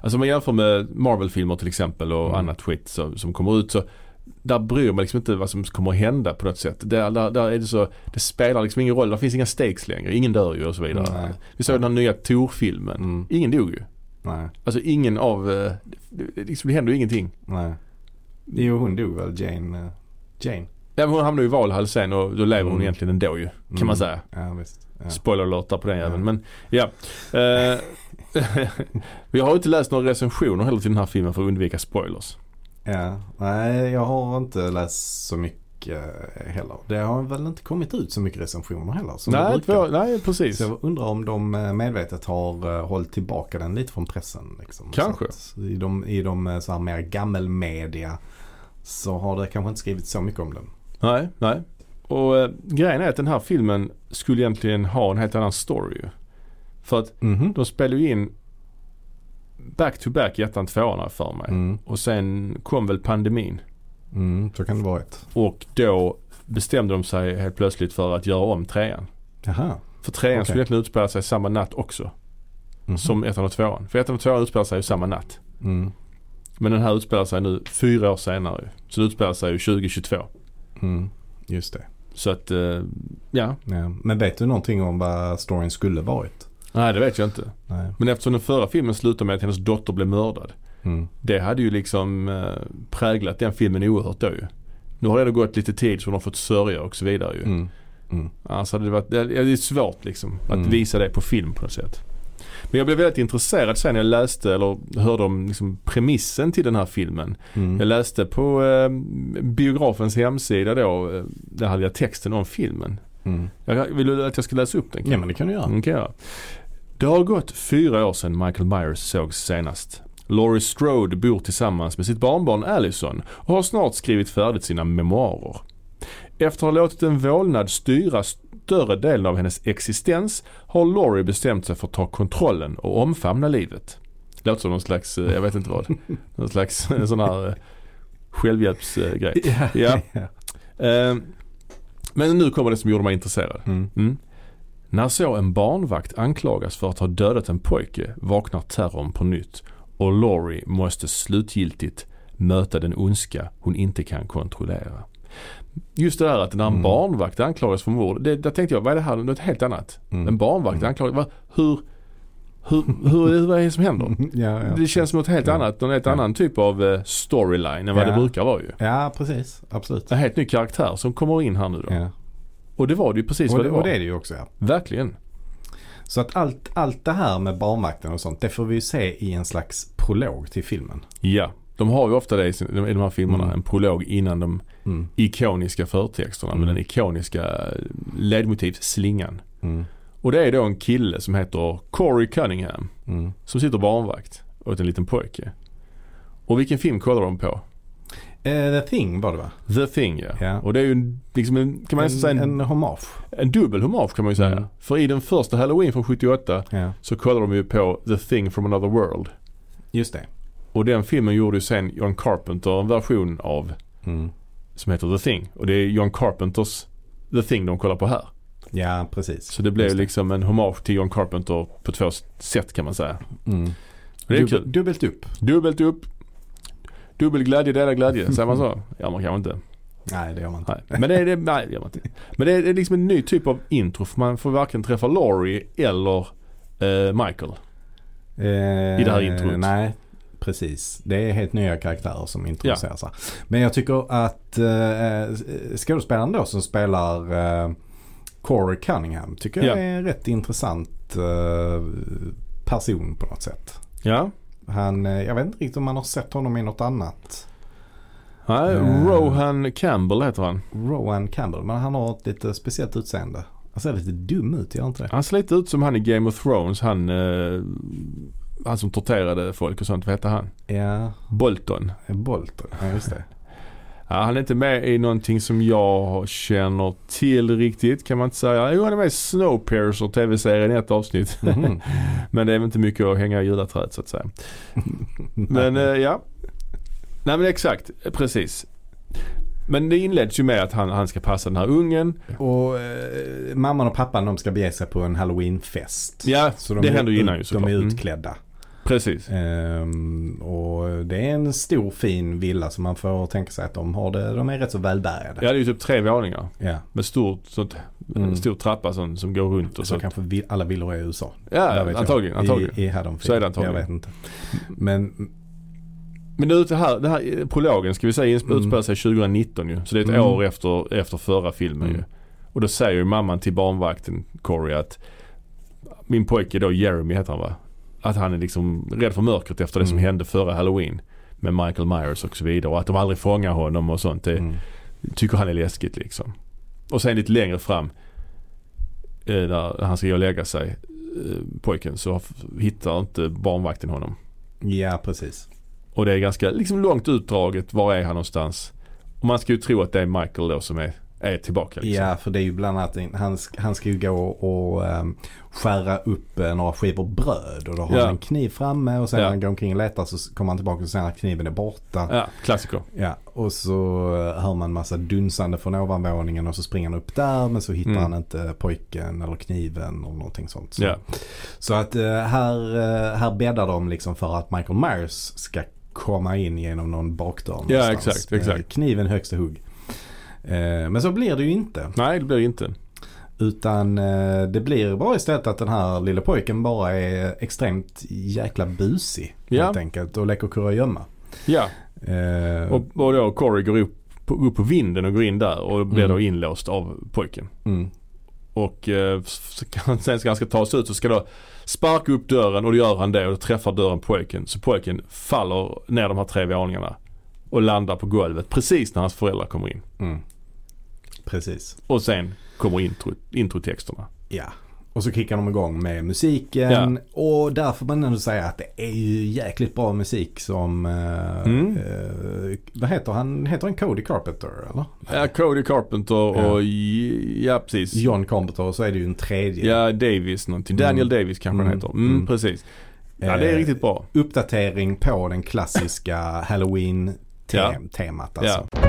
Speaker 1: Alltså om man jämför med Marvel-filmer till exempel och
Speaker 2: Mm.
Speaker 1: annat skit som, som kommer ut så där bryr man liksom inte vad som kommer att hända på något sätt. Där, där, där är det så, det spelar liksom ingen roll. Där finns inga stakes längre. Ingen dör ju och så vidare.
Speaker 2: Nej.
Speaker 1: Vi såg den här nya Tor-filmen.
Speaker 2: Mm.
Speaker 1: Ingen dog ju.
Speaker 2: Nej,
Speaker 1: Alltså ingen av, eh, det, det, liksom, det händer ju ingenting.
Speaker 2: nej. Jo, hon dog väl, Jane. eh, Jane.
Speaker 1: Ja, men hon hamnar ju i Valhall sen och då lever hon
Speaker 2: Mm.
Speaker 1: egentligen ändå ju. Kan man säga.
Speaker 2: Ja, visst. Ja.
Speaker 1: Spoiler alert där på den jäveln.
Speaker 2: Ja.
Speaker 1: Men ja. Eh, jag har ju inte läst några recensioner heller till den här filmen för att undvika spoilers.
Speaker 2: ja. Nej, jag har inte läst så mycket Trek eh, heller. Det har väl inte kommit ut så mycket recensioner heller som det
Speaker 1: Nej,
Speaker 2: brukar.
Speaker 1: två, nej, precis.
Speaker 2: Så jag undrar om de eh, medvetet har eh, hållit tillbaka den lite från pressen. Liksom.
Speaker 1: Kanske.
Speaker 2: Så att I de, i de eh, så här mer gammelmedia så har det kanske inte skrivits så mycket om den.
Speaker 1: Nej, nej. Och eh, grejen är att den här filmen skulle egentligen ha en helt annan story ju. För att
Speaker 2: Mhm.
Speaker 1: de spelar ju in back to back i ettan tvåan har jag för mig.
Speaker 2: Mm.
Speaker 1: Och sen kom väl pandemin.
Speaker 2: Mm, så kan det vara ett.
Speaker 1: Och då bestämde de sig helt plötsligt för att göra om trean.
Speaker 2: Jaha.
Speaker 1: För trean
Speaker 2: Okej.
Speaker 1: skulle egentligen utspela sig samma natt också.
Speaker 2: Mhm.
Speaker 1: Som ettan och tvåan. För ettan och tvåan utspelar sig ju samma natt.
Speaker 2: Mm.
Speaker 1: Men den här utspelar sig nu fyra år senare. ju. Så det utspelar sig ju 2022.
Speaker 2: Mm. Just det.
Speaker 1: Så att, eh, ja.
Speaker 2: Ja. Men vet du någonting om vad storyn skulle varit?
Speaker 1: Nej det vet jag inte.
Speaker 2: Nej.
Speaker 1: Men eftersom den förra filmen slutade med att hennes dotter blev mördad.
Speaker 2: Mm.
Speaker 1: Det hade ju liksom eh, präglat den filmen oerhört då ju. Nu har det ändå gått lite tid så hon har fått sörja och så vidare ju.
Speaker 2: Mm.
Speaker 1: Annars hade Alltså, det varit, det det är svårt liksom att
Speaker 2: Mm.
Speaker 1: visa det på film på något sätt. Men jag blev väldigt intresserad sen när jag läste eller hörde om liksom premissen till den här filmen.
Speaker 2: Mm.
Speaker 1: Jag läste på eh, biografens hemsida då, eh, där hade jag texten om filmen.
Speaker 2: Mm.
Speaker 1: Jag, vill du att jag ska läsa upp den?
Speaker 2: Ja men det kan du göra.
Speaker 1: Mm, kan jag göra. Det har gått fyra år sedan Michael Myers sågs senast. Laurie Strode bor tillsammans med sitt barnbarn Allison och har snart skrivit färdigt sina memoarer. Efter att ha låtit en vålnad styra större delen av hennes existens har Laurie bestämt sig för att ta kontrollen och omfamna livet. Det låter som någon slags, eh, jag vet inte vad, någon slags eh, sån här eh, självhjälpsgrej. Ja. Eh, Men nu kommer det som gjorde mig intresserad.
Speaker 2: Mm.
Speaker 1: Mm. När så en barnvakt anklagas för att ha dödat en pojke vaknar terrorn på nytt och Laurie måste slutgiltigt möta den ondska hon inte kan kontrollera. Just det där att när en
Speaker 2: Mm.
Speaker 1: barnvakt anklagas för mord, det, där tänkte jag vad är det här, något helt annat.
Speaker 2: Mm.
Speaker 1: En barnvakt
Speaker 2: Mm.
Speaker 1: anklagas, vad, hur, hur, hur, vad är det som händer?
Speaker 2: Mm. Ja, ja.
Speaker 1: Det känns som något helt
Speaker 2: Ja.
Speaker 1: annat, någon helt
Speaker 2: Ja.
Speaker 1: annan typ av eh, storyline än vad
Speaker 2: Ja.
Speaker 1: det brukar vara ju.
Speaker 2: ja precis. Absolut.
Speaker 1: En helt ny karaktär som kommer in här nu då.
Speaker 2: Ja.
Speaker 1: Och det var det ju precis
Speaker 2: Och,
Speaker 1: vad
Speaker 2: det,
Speaker 1: det var.
Speaker 2: och det är det ju också ja.
Speaker 1: Verkligen.
Speaker 2: Så att allt, allt det här med barnvakten och sånt det får vi ju se i en slags prolog till filmen.
Speaker 1: Ja, de har ju ofta det i sin- i de här filmerna.
Speaker 2: Mm.
Speaker 1: En prolog innan de
Speaker 2: Mm.
Speaker 1: ikoniska förtexterna
Speaker 2: Mm.
Speaker 1: med den ikoniska ledmotivsslingan.
Speaker 2: Mm.
Speaker 1: Och det är då en kille som heter Corey Cunningham
Speaker 2: Mm.
Speaker 1: som sitter barnvakt åt en liten pojke. Och vilken film kollar de på?
Speaker 2: Eh, The Thing var det va?
Speaker 1: The Thing ja.
Speaker 2: Ja.
Speaker 1: Och det är ju en, liksom en, kan man nästan säga,
Speaker 2: en,
Speaker 1: en,
Speaker 2: en hommage.
Speaker 1: en dubbel hommage kan man ju säga.
Speaker 2: Mm.
Speaker 1: För i den första Halloween från 78
Speaker 2: Ja.
Speaker 1: så kollar de ju på The Thing from Another World.
Speaker 2: Just det.
Speaker 1: Och den filmen gjorde ju sen John Carpenter en version av
Speaker 2: Mm.
Speaker 1: som heter The Thing. Och det är John Carpenters The Thing de kollar på här.
Speaker 2: Ja precis.
Speaker 1: Så det blev
Speaker 2: Just det.
Speaker 1: liksom en hommage till John Carpenter på två sätt kan man säga.
Speaker 2: Mm.
Speaker 1: Det är
Speaker 2: Dub-
Speaker 1: kul.
Speaker 2: Dubbelt upp.
Speaker 1: Dubbelt upp. Dubbel glädje, delad glädje. Säger man så? Ja, man kanske inte.
Speaker 2: Nej det gör man inte.
Speaker 1: Nej. Men det är, det, nej, det gör man inte. Men det är, det är liksom en ny typ av intro. För man får varken träffa Laurie eller eh, Michael.
Speaker 2: Eh,
Speaker 1: I det här introt.
Speaker 2: Nej, precis. Det är helt nya karaktärer som introduceras här. Men jag tycker att eh, skådespelaren då som spelar eh, Corey Cunningham tycker jag
Speaker 1: Ja.
Speaker 2: är en rätt intressant eh, person på något sätt.
Speaker 1: Ja.
Speaker 2: Han, eh, jag vet inte riktigt om man har sett honom i något annat.
Speaker 1: Nej,
Speaker 2: Eh.
Speaker 1: Rohan Campbell heter han.
Speaker 2: Rowan Campbell, men han har ett lite speciellt utseende. Han ser lite dum ut, gör han inte det?
Speaker 1: Han ser lite ut som han i Game of Thrones. Han, eh, han som torterade folk och sånt. Vad hette han?
Speaker 2: Ja,
Speaker 1: Bolton.
Speaker 2: Bolter. Ja, just det.
Speaker 1: Ja, han är inte med i någonting som jag känner till riktigt kan man inte säga. Jo han är med i Snowpiercer tv-serien i ett avsnitt.
Speaker 2: Mhm.
Speaker 1: Men det är väl inte mycket att hänga i julaträet så att säga. Men eh, ja. Nej men exakt, precis. Men det inleds ju med att han, han ska passa den här ungen.
Speaker 2: Och eh, mamman och pappan de ska bege sig på en halloweenfest.
Speaker 1: Ja,
Speaker 2: Så de
Speaker 1: det
Speaker 2: är
Speaker 1: händer ju
Speaker 2: ut-
Speaker 1: innan ju såklart.
Speaker 2: De är
Speaker 1: Mm.
Speaker 2: utklädda.
Speaker 1: precis.
Speaker 2: Ehm, och det är en stor fin villa som man får tänka sig att de har det. De är rätt så välbärgade.
Speaker 1: Ja det är ju typ tre våningar
Speaker 2: Ja.
Speaker 1: med stort, sånt,
Speaker 2: Mm.
Speaker 1: stor trappa som, som går runt och
Speaker 2: Så
Speaker 1: så.
Speaker 2: kanske vi, alla villor är i USA. Där
Speaker 1: Ja
Speaker 2: vet
Speaker 1: antagligen,
Speaker 2: jag.
Speaker 1: antagligen.
Speaker 2: I, i Haddonfield.
Speaker 1: Så är det antagligen.
Speaker 2: Jag vet inte. Men
Speaker 1: Men det, är ute här, det här prologen ska vi säga insp-
Speaker 2: Mm.
Speaker 1: utspelar sig 2019 ju. Så det är ett
Speaker 2: Mm.
Speaker 1: år efter, efter förra filmen
Speaker 2: Mm.
Speaker 1: ju. Och då säger ju mamman till barnvakten Corey att min pojke då Jeremy heter han va? Att han är liksom rädd för mörkret efter det som
Speaker 2: Mm.
Speaker 1: hände förra halloween. Med Michael Myers och så vidare. Och att de aldrig fångar honom och sånt. Det,
Speaker 2: mm.
Speaker 1: Tycker han är läskigt liksom. Och sen lite längre fram eh, där han ska gå och lägga sig, eh, pojken, så f- hittar inte barnvakten honom.
Speaker 2: Ja, precis.
Speaker 1: Och det är ganska liksom långt utdraget. Var är han någonstans? Och man ska ju tro att det är Michael då som är, är tillbaka. Liksom.
Speaker 2: Ja, för det är ju bland annat en- han, sk- han ska ju gå och ehm, skära upp eh, några skivor bröd och då har
Speaker 1: Ja.
Speaker 2: han en kniv framme och sen
Speaker 1: Ja.
Speaker 2: när han går omkring och letar så s- kommer han tillbaka och ser att kniven är borta.
Speaker 1: Ja, klassiker.
Speaker 2: Ja, och så eh, hör man massa dunsande från ovanvåningen och så springer han upp där men så hittar
Speaker 1: Mm.
Speaker 2: han inte pojken eller kniven eller någonting sånt. Så,
Speaker 1: Ja,
Speaker 2: så att eh, här, eh, här bäddar de liksom för att Michael Myers ska komma in genom någon bakdörr någonstans
Speaker 1: exakt,
Speaker 2: med
Speaker 1: exakt.
Speaker 2: Kniven högsta hugg. Eh, Men så blir det ju inte.
Speaker 1: nej det blir det inte.
Speaker 2: Utan eh, det blir bara istället att den här lille pojken bara är extremt jäkla busig.
Speaker 1: Ja.
Speaker 2: Helt enkelt och leker kurragömma.
Speaker 1: Ja,
Speaker 2: Eh,
Speaker 1: och, och då Corey går upp på, upp på vinden och går in där och blir
Speaker 2: Mm.
Speaker 1: då inlåst av pojken.
Speaker 2: mm.
Speaker 1: Och eh, så kan, han- sen ska han ska ta sig ut så ska då sparka upp dörren och då gör han det och då träffar dörren pojken. Så pojken faller ner de här tre våningarna och landar på golvet precis när hans föräldrar kommer in.
Speaker 2: Mm. Precis.
Speaker 1: Och sen kommer intro, introtexterna.
Speaker 2: Ja. Och så kickar de igång med musiken. Och där får man ändå säga att det är ju jäkligt bra musik som... Eh,
Speaker 1: Mm.
Speaker 2: eh, vad heter han? Heter han Cody Carpenter eller?
Speaker 1: Ja, Cody Carpenter och ja, precis.
Speaker 2: John Carpenter och så är det ju en tredje.
Speaker 1: Ja, Davis någonting. Daniel
Speaker 2: Mm.
Speaker 1: Davis kanske han
Speaker 2: Mm.
Speaker 1: heter. Mm,
Speaker 2: Mm.
Speaker 1: precis. Ja, det är
Speaker 2: Eh,
Speaker 1: riktigt bra.
Speaker 2: Uppdatering på den klassiska
Speaker 1: Ja.
Speaker 2: halloween-temat alltså.
Speaker 1: Ja.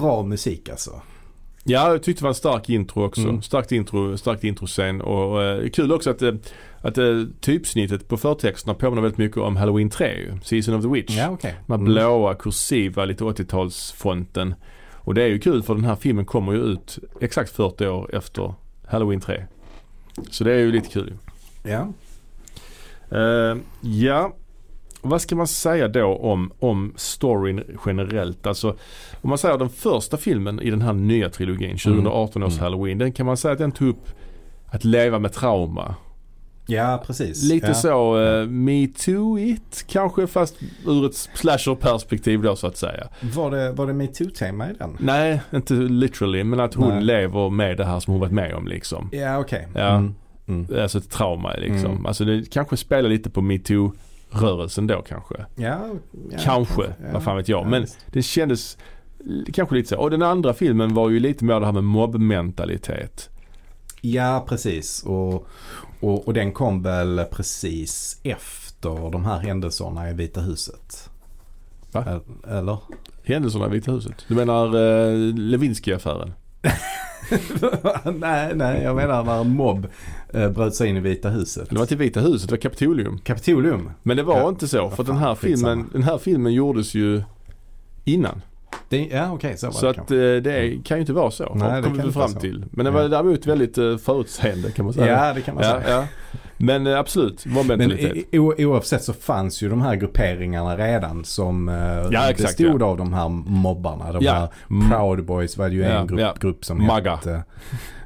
Speaker 2: Bra musik alltså.
Speaker 1: Ja, jag tyckte det var en stark intro också.
Speaker 2: Mm.
Speaker 1: Starkt intro, starkt introscen och eh, kul också att, eh, att eh, typsnittet på förtexterna påminner väldigt mycket om Halloween 3 ju. Season of the Witch.
Speaker 2: okej.
Speaker 1: De här blåa, kursiva, lite 80-talsfonten. Och det är ju kul för den här filmen kommer ju ut exakt 40 år efter Halloween 3. Så det är ju lite kul ju.
Speaker 2: Ja.
Speaker 1: Eh, ja, vad ska man säga då om, om storyn generellt? Alltså, om man säger den första filmen i den här nya trilogin, 2018 års
Speaker 2: Mm.
Speaker 1: halloween, den kan man säga att den tog upp att leva med trauma.
Speaker 2: ja, precis.
Speaker 1: Lite
Speaker 2: ja.
Speaker 1: så uh, me too it kanske fast ur ett slasher-perspektiv då så att säga.
Speaker 2: Var det, var det metoo-tema i den?
Speaker 1: Nej, inte literally men att hon
Speaker 2: Nej.
Speaker 1: lever med det här som hon varit med om liksom.
Speaker 2: Ja, okej.
Speaker 1: Ja.
Speaker 2: Mm. Mm.
Speaker 1: Alltså ett trauma liksom.
Speaker 2: Mm.
Speaker 1: Alltså det kanske spelar lite på metoo-rörelsen då kanske.
Speaker 2: Ja, ja,
Speaker 1: Kanske,
Speaker 2: Ja.
Speaker 1: vad fan vet jag.
Speaker 2: Ja,
Speaker 1: Men
Speaker 2: visst.
Speaker 1: det kändes l- kanske lite så. Och den andra filmen var ju lite mer det här med mobbmentalitet.
Speaker 2: Ja, precis. Och, och, och den kom väl precis efter de här händelserna i Vita huset?
Speaker 1: Va?
Speaker 2: Ä- Eller?
Speaker 1: Händelserna i Vita huset. Du menar eh, Lewinsky-affären?
Speaker 2: nej, nej, jag menar när en mobb eh, bröt sig in i Vita huset.
Speaker 1: Det var inte Vita huset, det var Kapitolium.
Speaker 2: Kapitolium.
Speaker 1: Men det var
Speaker 2: Ja,
Speaker 1: inte så. För
Speaker 2: vad
Speaker 1: den
Speaker 2: fan,
Speaker 1: här, filmen,
Speaker 2: skitsamma.
Speaker 1: den här filmen gjordes ju innan.
Speaker 2: Det, ja, okej, så var
Speaker 1: Så
Speaker 2: det
Speaker 1: att
Speaker 2: kanske.
Speaker 1: eh, det är- kan ju inte vara så.
Speaker 2: Nej,
Speaker 1: Nej,
Speaker 2: det
Speaker 1: det
Speaker 2: kan
Speaker 1: kommer vi
Speaker 2: inte
Speaker 1: fram
Speaker 2: vara så.
Speaker 1: till. Men det var
Speaker 2: Ja.
Speaker 1: däremot väldigt eh, förutseende kan man säga.
Speaker 2: Ja, det kan man
Speaker 1: ja,
Speaker 2: säga.
Speaker 1: ja. Men eh, absolut,
Speaker 2: Men
Speaker 1: mobbmentalitet.
Speaker 2: i- i- o- oavsett så fanns ju de här grupperingarna redan som eh,
Speaker 1: exakt,
Speaker 2: bestod av de här mobbarna. De
Speaker 1: Ja.
Speaker 2: här
Speaker 1: Mm.
Speaker 2: Proud Boys var det ju
Speaker 1: Ja,
Speaker 2: en grupp,
Speaker 1: ja.
Speaker 2: grupp som
Speaker 1: Magga.
Speaker 2: hette.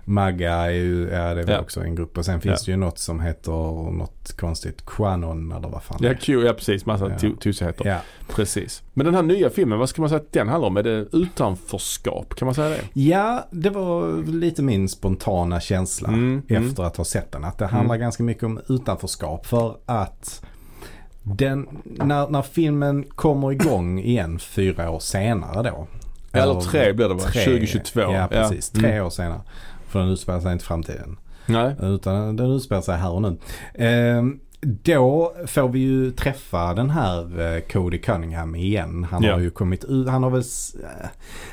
Speaker 2: Magga är ju, ja det är väl
Speaker 1: Ja.
Speaker 2: också en grupp. Och sen finns det ju något som heter något konstigt, Quanon eller vad fan det
Speaker 1: Ja,
Speaker 2: är.
Speaker 1: Q, ja precis. Massa
Speaker 2: Ja.
Speaker 1: ja. tusigheter.
Speaker 2: Ja.
Speaker 1: Precis. Men den här nya filmen, vad ska man säga att den handlar om? Är det utanförskap? Kan man säga det?
Speaker 2: ja, det var lite min spontana känsla.
Speaker 1: Mm, mm.
Speaker 2: efter att ha sett den. Att det handlar ganska mycket om utanförskap för att den, när, när filmen kommer igång igen fyra år senare då.
Speaker 1: Eller tre blir det va?
Speaker 2: tre-
Speaker 1: 2022.
Speaker 2: Ja, precis.
Speaker 1: Ja.
Speaker 2: Tre
Speaker 1: Mm.
Speaker 2: år senare. För den utspelar sig inte i framtiden.
Speaker 1: Nej.
Speaker 2: Utan den utspelar sig här och nu. Ehm, då får vi ju träffa den här eh, Cody Cunningham igen. Han
Speaker 1: Ja.
Speaker 2: har ju kommit ut, han har väl, s-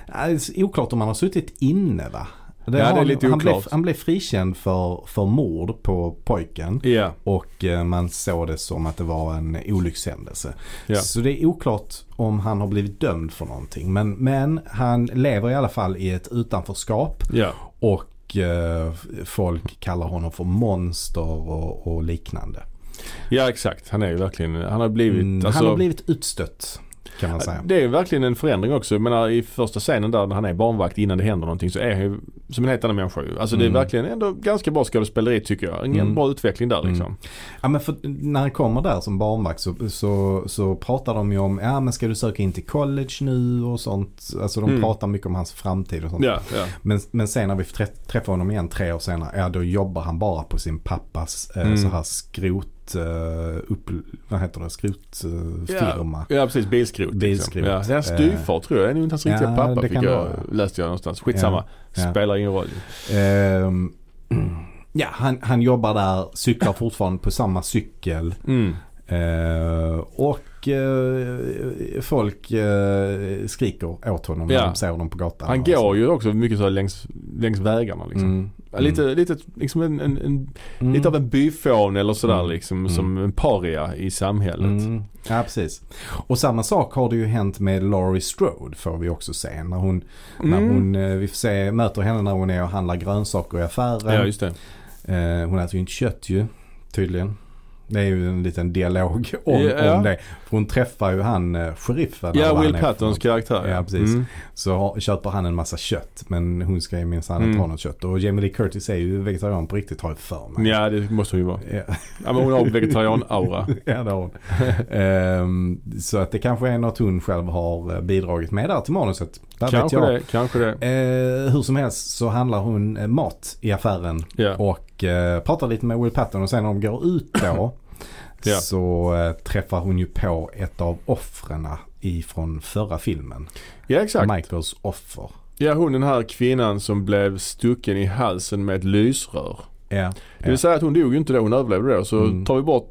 Speaker 2: eh, eh, oklart om han har suttit inne va?
Speaker 1: Ja, det är
Speaker 2: har han-
Speaker 1: lite
Speaker 2: han, blev,
Speaker 1: oklart.
Speaker 2: han blev frikänd för, för mord på pojken.
Speaker 1: Ja.
Speaker 2: Och eh, man såg det som att det var en olyckshändelse.
Speaker 1: Ja.
Speaker 2: Så det är oklart om han har blivit dömd för någonting. Men, men han lever i alla fall i ett utanförskap.
Speaker 1: Ja.
Speaker 2: Och eh, folk kallar honom för monster och, och liknande.
Speaker 1: ja, exakt. Han är ju verkligen, han har blivit,
Speaker 2: Mm,
Speaker 1: alltså,
Speaker 2: han har blivit utstött. kan man säga.
Speaker 1: Det är verkligen en förändring också. Jag menar, I första scenen där när han är barnvakt innan det händer någonting så är han ju som en helt annan människa. ju. Alltså det
Speaker 2: Mm.
Speaker 1: är verkligen ändå ganska bra skådespeleri tycker jag. En
Speaker 2: Mm.
Speaker 1: bra utveckling där liksom.
Speaker 2: Ja, men för när han kommer där som barnvakt så, så, så pratar de ju om, ja men ska du söka in till college nu och sånt. Alltså de
Speaker 1: Mm.
Speaker 2: pratar mycket om hans framtid och sånt.
Speaker 1: Ja, ja.
Speaker 2: Men, men sen när vi trä- träffar honom igen tre år senare, ja då jobbar han bara på sin pappas eh,
Speaker 1: Mm.
Speaker 2: så här skrot, eh, upp, vad heter det, skrotfirma.
Speaker 1: Ja precis, bilskrot.
Speaker 2: Bilskrot. Eh,
Speaker 1: Liksom. Ja. Det är hans styvfar tror jag. Det är nog inte hans riktiga
Speaker 2: Ja,
Speaker 1: pappa
Speaker 2: det
Speaker 1: fick
Speaker 2: kan
Speaker 1: jag,
Speaker 2: det vara.
Speaker 1: läste jag någonstans. Skitsamma.
Speaker 2: Ja, ja.
Speaker 1: Spelar ingen roll.
Speaker 2: Ehm, ja, han, han jobbar där, cyklar fortfarande på samma cykel.
Speaker 1: Mm.
Speaker 2: Eh, och eh, folk eh, skriker åt honom när
Speaker 1: Ja.
Speaker 2: de ser honom på gatan.
Speaker 1: Han
Speaker 2: och så.
Speaker 1: går ju också mycket så här längs, längs vägarna liksom.
Speaker 2: alltså. Mm.
Speaker 1: Ja, Lite, lite, liksom en, en, en,
Speaker 2: Mm.
Speaker 1: lite av en byfån eller sådär
Speaker 2: Mm.
Speaker 1: liksom.
Speaker 2: Mm.
Speaker 1: Som en paria i samhället.
Speaker 2: Mm. Ja, precis. Och samma sak har det ju hänt med Laurie Strode får vi också se. När hon, när
Speaker 1: Mm.
Speaker 2: hon eh, vi får se, möter henne när hon är och handlar grönsaker i affären.
Speaker 1: Ja just det.
Speaker 2: Eh, hon äter ju inte kött ju, tydligen. Det är ju en liten dialog om,
Speaker 1: Ja.
Speaker 2: om det. För hon träffar ju han eh, sheriffen. eller
Speaker 1: Ja,
Speaker 2: vad
Speaker 1: Will
Speaker 2: han är för
Speaker 1: Pattons
Speaker 2: något.
Speaker 1: karaktär.
Speaker 2: Ja, precis.
Speaker 1: Mm.
Speaker 2: Så har- köper han en massa kött. Men hon ska ju minsann inte
Speaker 1: Mm.
Speaker 2: ha något kött. Och Jamie Lee Curtis är ju vegetarian på riktigt har jag för mig.
Speaker 1: Ja, det måste hon ju vara.
Speaker 2: Ja.
Speaker 1: Ja, men hon har vegetarian-aura.
Speaker 2: Ja, det har hon. Ehm, så att det kanske är något hon själv har eh, bidragit med där till manuset. Där vet
Speaker 1: kanske
Speaker 2: jag.
Speaker 1: det, kanske det.
Speaker 2: Eh, hur som helst så handlar hon eh, mat i affären
Speaker 1: Ja.
Speaker 2: och eh, pratar lite med Will Patton och sen när de går ut då
Speaker 1: Ja.
Speaker 2: så eh, träffar hon ju på ett av offren ifrån förra filmen.
Speaker 1: ja, exakt.
Speaker 2: Michaels offer.
Speaker 1: Ja, hon den här kvinnan som blev stucken i halsen med ett lysrör.
Speaker 2: Ja,
Speaker 1: Det vill säga att hon dog ju inte då, hon överlevde då. Så
Speaker 2: Mm.
Speaker 1: tar vi bort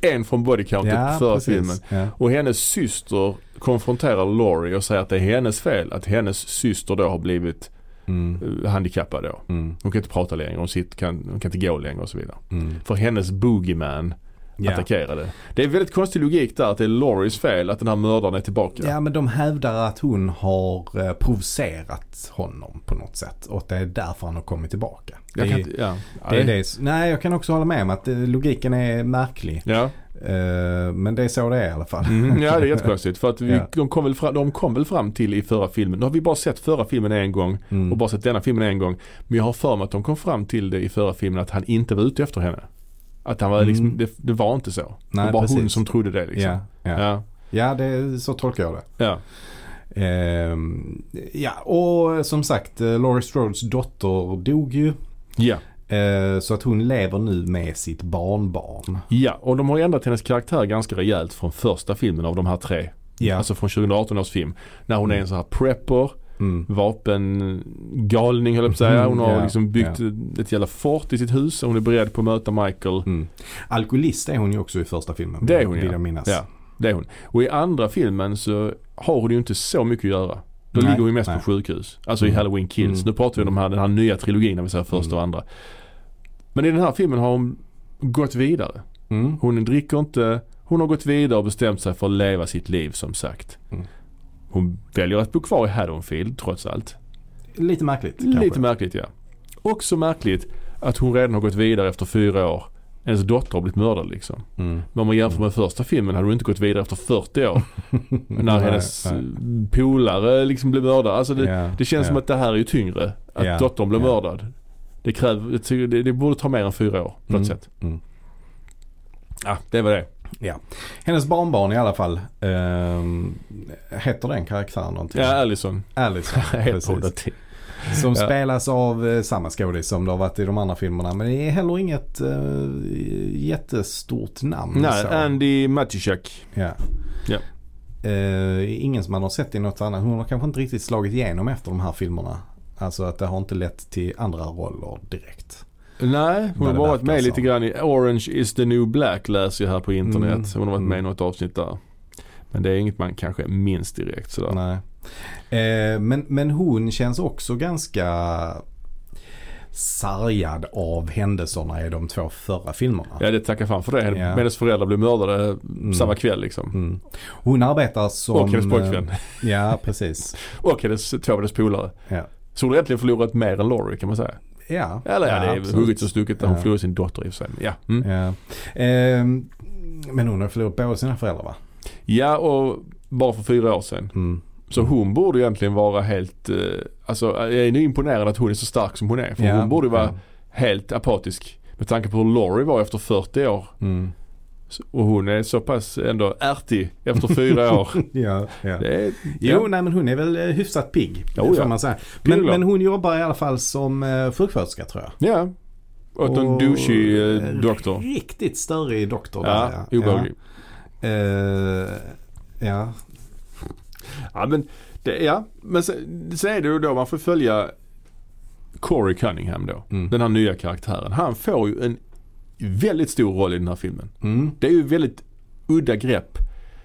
Speaker 1: en från bodycountet
Speaker 2: ja
Speaker 1: typ förra
Speaker 2: precis.
Speaker 1: filmen.
Speaker 2: Ja.
Speaker 1: Och hennes syster konfronterar Laurie och säger att det är hennes fel att hennes syster då har blivit
Speaker 2: Mm,
Speaker 1: eh, handikappad då.
Speaker 2: mm,
Speaker 1: Hon kan inte prata längre, hon, sitter, kan, hon kan inte gå längre och så vidare.
Speaker 2: mm.
Speaker 1: För hennes boogeyman
Speaker 2: Ja.
Speaker 1: attackerade. Det är väldigt konstig logik där att det är Lauries fel att den här mördaren är tillbaka.
Speaker 2: Ja men de hävdar att hon har eh, provocerat honom på något sätt. Och att det är därför han har kommit tillbaka. Det,
Speaker 1: Jag kan
Speaker 2: är-
Speaker 1: inte, ja. Ja,
Speaker 2: det är det. Nej jag kan också hålla med om att eh, logiken är märklig.
Speaker 1: Ja.
Speaker 2: Eh, Men det är så det är i alla fall.
Speaker 1: Mm, ja, det är jättekonstigt. För att vi,
Speaker 2: Ja.
Speaker 1: de, kom väl fram, de kom väl fram till i förra filmen, nu har vi bara sett förra filmen en gång
Speaker 2: Mm.
Speaker 1: och bara sett denna filmen en gång. Men jag har för mig att de kom fram till det i förra filmen att han inte var ute efter henne. Att han var
Speaker 2: Mm.
Speaker 1: liksom, det, det var inte så. det
Speaker 2: Nej,
Speaker 1: var bara hon
Speaker 2: precis.
Speaker 1: som trodde det liksom.
Speaker 2: Ja, ja.
Speaker 1: Ja.
Speaker 2: ja det, så tolkar jag det.
Speaker 1: Ja.
Speaker 2: Ehm, ja, och som sagt, eh, Laurie Strodes dotter dog ju.
Speaker 1: Ja.
Speaker 2: Eh, Så att hon lever nu med sitt barnbarn.
Speaker 1: ja, och de har ändrat hennes karaktär ganska rejält från första filmen av de här tre.
Speaker 2: Ja.
Speaker 1: Alltså från 2018 års film. När hon är en så här prepper,
Speaker 2: Mm.
Speaker 1: vapengalning höll jag på att säga. Hon har
Speaker 2: Ja,
Speaker 1: liksom byggt ett jävla fort i sitt hus och hon är beredd på att möta Michael.
Speaker 2: Mm. Alkoholist är hon ju också i första filmen.
Speaker 1: Det är hon,
Speaker 2: Vill
Speaker 1: ja.
Speaker 2: jag minnas.
Speaker 1: Ja, det är hon. Och i andra filmen så har hon ju inte så mycket att göra. Då
Speaker 2: Nej,
Speaker 1: ligger hon ju mest
Speaker 2: nej.
Speaker 1: på sjukhus. Alltså i
Speaker 2: Mm.
Speaker 1: Halloween Kills.
Speaker 2: Mm.
Speaker 1: Nu pratar vi om de här, den här nya trilogin när vi säger första
Speaker 2: Mm.
Speaker 1: och andra. Men i den här filmen har hon gått vidare.
Speaker 2: Mm.
Speaker 1: Hon dricker inte. Hon har gått vidare och bestämt sig för att leva sitt liv som sagt.
Speaker 2: Mm.
Speaker 1: Hon väljer att bo kvar i Haddonfield trots allt.
Speaker 2: Lite märkligt kanske.
Speaker 1: Lite märkligt ja. Också märkligt att hon redan har gått vidare efter fyra år. Ens dotter har blivit mördad liksom.
Speaker 2: Mm.
Speaker 1: Men om man jämför med första filmen hade hon inte gått vidare efter 40 år. när
Speaker 2: Nej,
Speaker 1: hennes
Speaker 2: nej.
Speaker 1: eh, polare liksom blev mördad. Alltså det,
Speaker 2: Ja,
Speaker 1: det känns
Speaker 2: ja.
Speaker 1: som att det här är ju tyngre. Att
Speaker 2: Ja,
Speaker 1: dottern blev
Speaker 2: ja.
Speaker 1: mördad. Det, kräver, jag tycker det, det borde ta mer än fyra år på något
Speaker 2: Mm,
Speaker 1: sätt.
Speaker 2: mm.
Speaker 1: Ja, det var det.
Speaker 2: Ja. Hennes barnbarn i alla fall. ehm, heter den karaktären någonting?
Speaker 1: Ja, Allison.
Speaker 2: Alice.
Speaker 1: Helt
Speaker 2: precis.
Speaker 1: poddat till.
Speaker 2: Som
Speaker 1: Ja.
Speaker 2: spelas av eh, samma skådis som det har varit i de andra filmerna. Men det är heller inget eh, jättestort namn.
Speaker 1: Nej,
Speaker 2: så.
Speaker 1: Andy Matichak.
Speaker 2: Ja.
Speaker 1: Ja.
Speaker 2: Eh, ingen som man har sett i något annat. Hon har kanske inte riktigt slagit igenom efter de här filmerna. Alltså att det har inte lett till andra roller direkt.
Speaker 1: Nej, hon
Speaker 2: Vad
Speaker 1: har
Speaker 2: det
Speaker 1: bara varit
Speaker 2: verkar
Speaker 1: med
Speaker 2: som.
Speaker 1: lite grann i Orange is the new black läser jag här på internet.
Speaker 2: Mm,
Speaker 1: Hon har varit med i
Speaker 2: mm.
Speaker 1: något avsnitt där. Men det är inget man kanske minns direkt sådär.
Speaker 2: Nej. Eh, men, men hon känns också ganska sargad av händelserna i de två förra filmerna.
Speaker 1: Ja, det tackar fan för det.
Speaker 2: Ja.
Speaker 1: Hennes föräldrar blev mördade samma kväll liksom.
Speaker 2: Mm. Hon arbetar som...
Speaker 1: Och hennes pojkvän.
Speaker 2: eh, Ja, precis.
Speaker 1: Och hennes, två av hennes polare.
Speaker 2: Ja.
Speaker 1: Så hon har egentligen förlorat mer än Laurie kan man säga.
Speaker 2: Ja,
Speaker 1: Eller ja, det är
Speaker 2: absolut.
Speaker 1: hugget och stucket där hon
Speaker 2: Ja.
Speaker 1: förlorade sin dotter i och för sig. Men Ja. Mm.
Speaker 2: Ja. Ehm, men hon har förlorat båda sina föräldrar va?
Speaker 1: ja och bara för fyra år sedan.
Speaker 2: Mm.
Speaker 1: Så hon borde ju egentligen vara helt, eh, alltså jag är nu imponerad att hon är så stark som hon är. För
Speaker 2: Ja.
Speaker 1: hon borde ju vara
Speaker 2: Ja.
Speaker 1: helt apatisk. Med tanke på hur Laurie var efter 40 år.
Speaker 2: Mm.
Speaker 1: Så- Och hon är så pass ändå ärtig efter fyra år.
Speaker 2: Ja, ja.
Speaker 1: Det är,
Speaker 2: Jo,
Speaker 1: ja.
Speaker 2: nej men hon är väl eh, hyfsat pigg.
Speaker 1: Jo,
Speaker 2: får
Speaker 1: ja.
Speaker 2: man säga.
Speaker 1: Pigg och
Speaker 2: Men,
Speaker 1: glad.
Speaker 2: men hon jobbar i alla fall som eh, sjuksköterska tror jag.
Speaker 1: ja. Åt en
Speaker 2: Och-
Speaker 1: douchig eh,
Speaker 2: eh,
Speaker 1: doktor.
Speaker 2: Riktigt störig doktor.
Speaker 1: Ja,
Speaker 2: där,
Speaker 1: obehaglig.
Speaker 2: Ja. Eh, ja.
Speaker 1: Ja men, det, ja. men så, så är det ju då man får följa Corey Cunningham då.
Speaker 2: Mm.
Speaker 1: Den här nya karaktären. Han får ju en väldigt stor roll i den här filmen.
Speaker 2: Mm.
Speaker 1: Det är ju väldigt udda grepp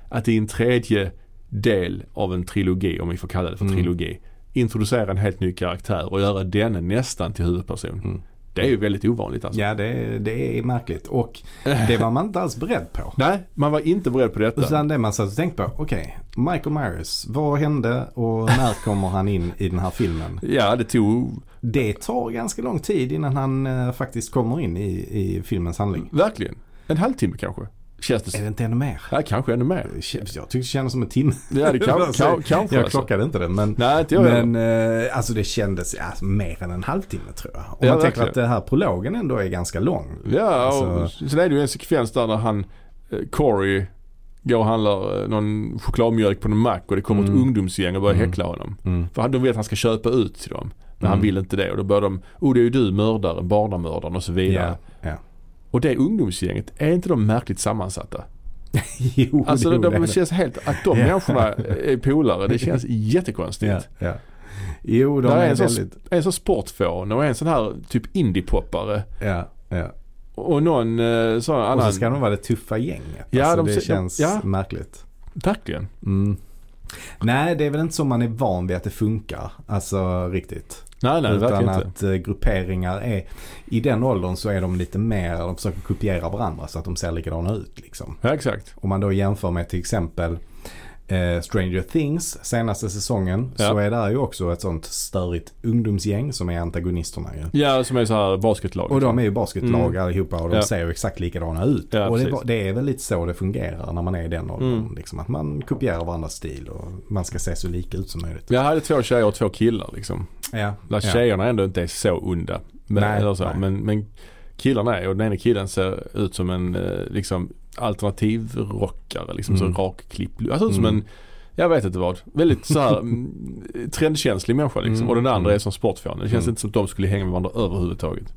Speaker 1: att i en tredje del av en trilogi, om vi får kalla det för
Speaker 2: Mm.
Speaker 1: trilogi, introducera en helt ny karaktär och göra denne nästan till huvudperson.
Speaker 2: Mm.
Speaker 1: Det är ju väldigt ovanligt alltså.
Speaker 2: Ja, det, är- det är märkligt. Och det var man inte alls beredd på.
Speaker 1: Nej, man var inte beredd på detta.
Speaker 2: Utan det man satt och tänkte på, okej, Michael Myers, vad hände och när kommer han in i den här filmen?
Speaker 1: Ja, det tog
Speaker 2: Det tar ganska lång tid innan han eh, faktiskt kommer in i, i filmens handling.
Speaker 1: verkligen en halvtimme kanske. Känns det
Speaker 2: Är
Speaker 1: som.
Speaker 2: det inte ännu mer?
Speaker 1: Ja, kanske ännu mer.
Speaker 2: Det känns- Jag tyckte det kändes som en timme.
Speaker 1: Ja, det kan, kan, kanske
Speaker 2: Jag
Speaker 1: alltså.
Speaker 2: klockade inte det men.
Speaker 1: Nej, inte jag heller.
Speaker 2: Men eh, alltså det kändes ja, mer än en halvtimme tror jag. Om
Speaker 1: Ja,
Speaker 2: man tänker
Speaker 1: verkligen.
Speaker 2: att det här prologen ändå är ganska lång.
Speaker 1: Ja, och
Speaker 2: Alltså-
Speaker 1: sen är det ju en sekvens där när han, eh, Corey, går och handlar eh, någon chokladmjölk på någon mack och det kommer
Speaker 2: Mm.
Speaker 1: ett ungdomsgäng och börjar
Speaker 2: Mm.
Speaker 1: häckla honom.
Speaker 2: Mm.
Speaker 1: För han, de vet att han ska köpa ut till dem. Men han
Speaker 2: Mm.
Speaker 1: vill inte det och då börjar de, oh det är ju du mördaren, barnamördaren och så vidare.
Speaker 2: Ja, ja.
Speaker 1: Och det ungdomsgänget, är inte de märkligt sammansatta?
Speaker 2: Jo,
Speaker 1: Alltså
Speaker 2: jo,
Speaker 1: de,
Speaker 2: det är
Speaker 1: de
Speaker 2: det.
Speaker 1: känns helt, att de
Speaker 2: Ja.
Speaker 1: människorna är polare, det känns jättekonstigt.
Speaker 2: Ja, ja. Jo, de
Speaker 1: Där är
Speaker 2: är
Speaker 1: en sån
Speaker 2: väldigt...
Speaker 1: En sån sportfån och en sån här typ indiepoppare.
Speaker 2: Ja, ja.
Speaker 1: Och någon eh, sån
Speaker 2: Och
Speaker 1: annan.
Speaker 2: så ska de vara det tuffa gänget.
Speaker 1: Ja,
Speaker 2: alltså,
Speaker 1: de ser-
Speaker 2: det
Speaker 1: de-
Speaker 2: känns
Speaker 1: ja.
Speaker 2: märkligt.
Speaker 1: Verkligen.
Speaker 2: Mm. Nej, det är väl inte så man är van vid att det funkar. Alltså riktigt.
Speaker 1: Nej nej,
Speaker 2: Utan
Speaker 1: verkligen inte.
Speaker 2: att eh, grupperingar är, i den åldern så är de lite mer, de försöker kopiera varandra så att de ser likadana ut liksom.
Speaker 1: Ja exakt.
Speaker 2: Om man då jämför med till exempel eh, Stranger Things senaste säsongen
Speaker 1: Ja.
Speaker 2: så är där ju också ett sånt störigt ungdomsgäng som är antagonisterna ju.
Speaker 1: Ja som är så här basketlag.
Speaker 2: Och de är ju basketlag
Speaker 1: Mm.
Speaker 2: allihopa och de
Speaker 1: Ja.
Speaker 2: ser ju exakt likadana ut.
Speaker 1: Ja,
Speaker 2: och det,
Speaker 1: precis.
Speaker 2: var- det är väl lite så det fungerar när man är i den åldern.
Speaker 1: Mm.
Speaker 2: Liksom, att man kopierar varandras stil och man ska se så lika ut som möjligt.
Speaker 1: Jag hade två tjejer och två killar liksom.
Speaker 2: Ja,
Speaker 1: Där tjejerna ändå inte är så onda. Men,
Speaker 2: Nej,
Speaker 1: eller så,
Speaker 2: nej.
Speaker 1: men, men killarna är och den ena killen ser ut som en eh, liksom alternativ rockare. Liksom
Speaker 2: Mm.
Speaker 1: så rak klipp. Alltså ut som
Speaker 2: Mm.
Speaker 1: en, jag vet inte vad. Väldigt så här mm, trendkänslig människa liksom.
Speaker 2: Mm.
Speaker 1: Och den andra
Speaker 2: Mm.
Speaker 1: är som sportfån. Det känns
Speaker 2: Mm.
Speaker 1: inte som att de skulle hänga med varandra överhuvudtaget.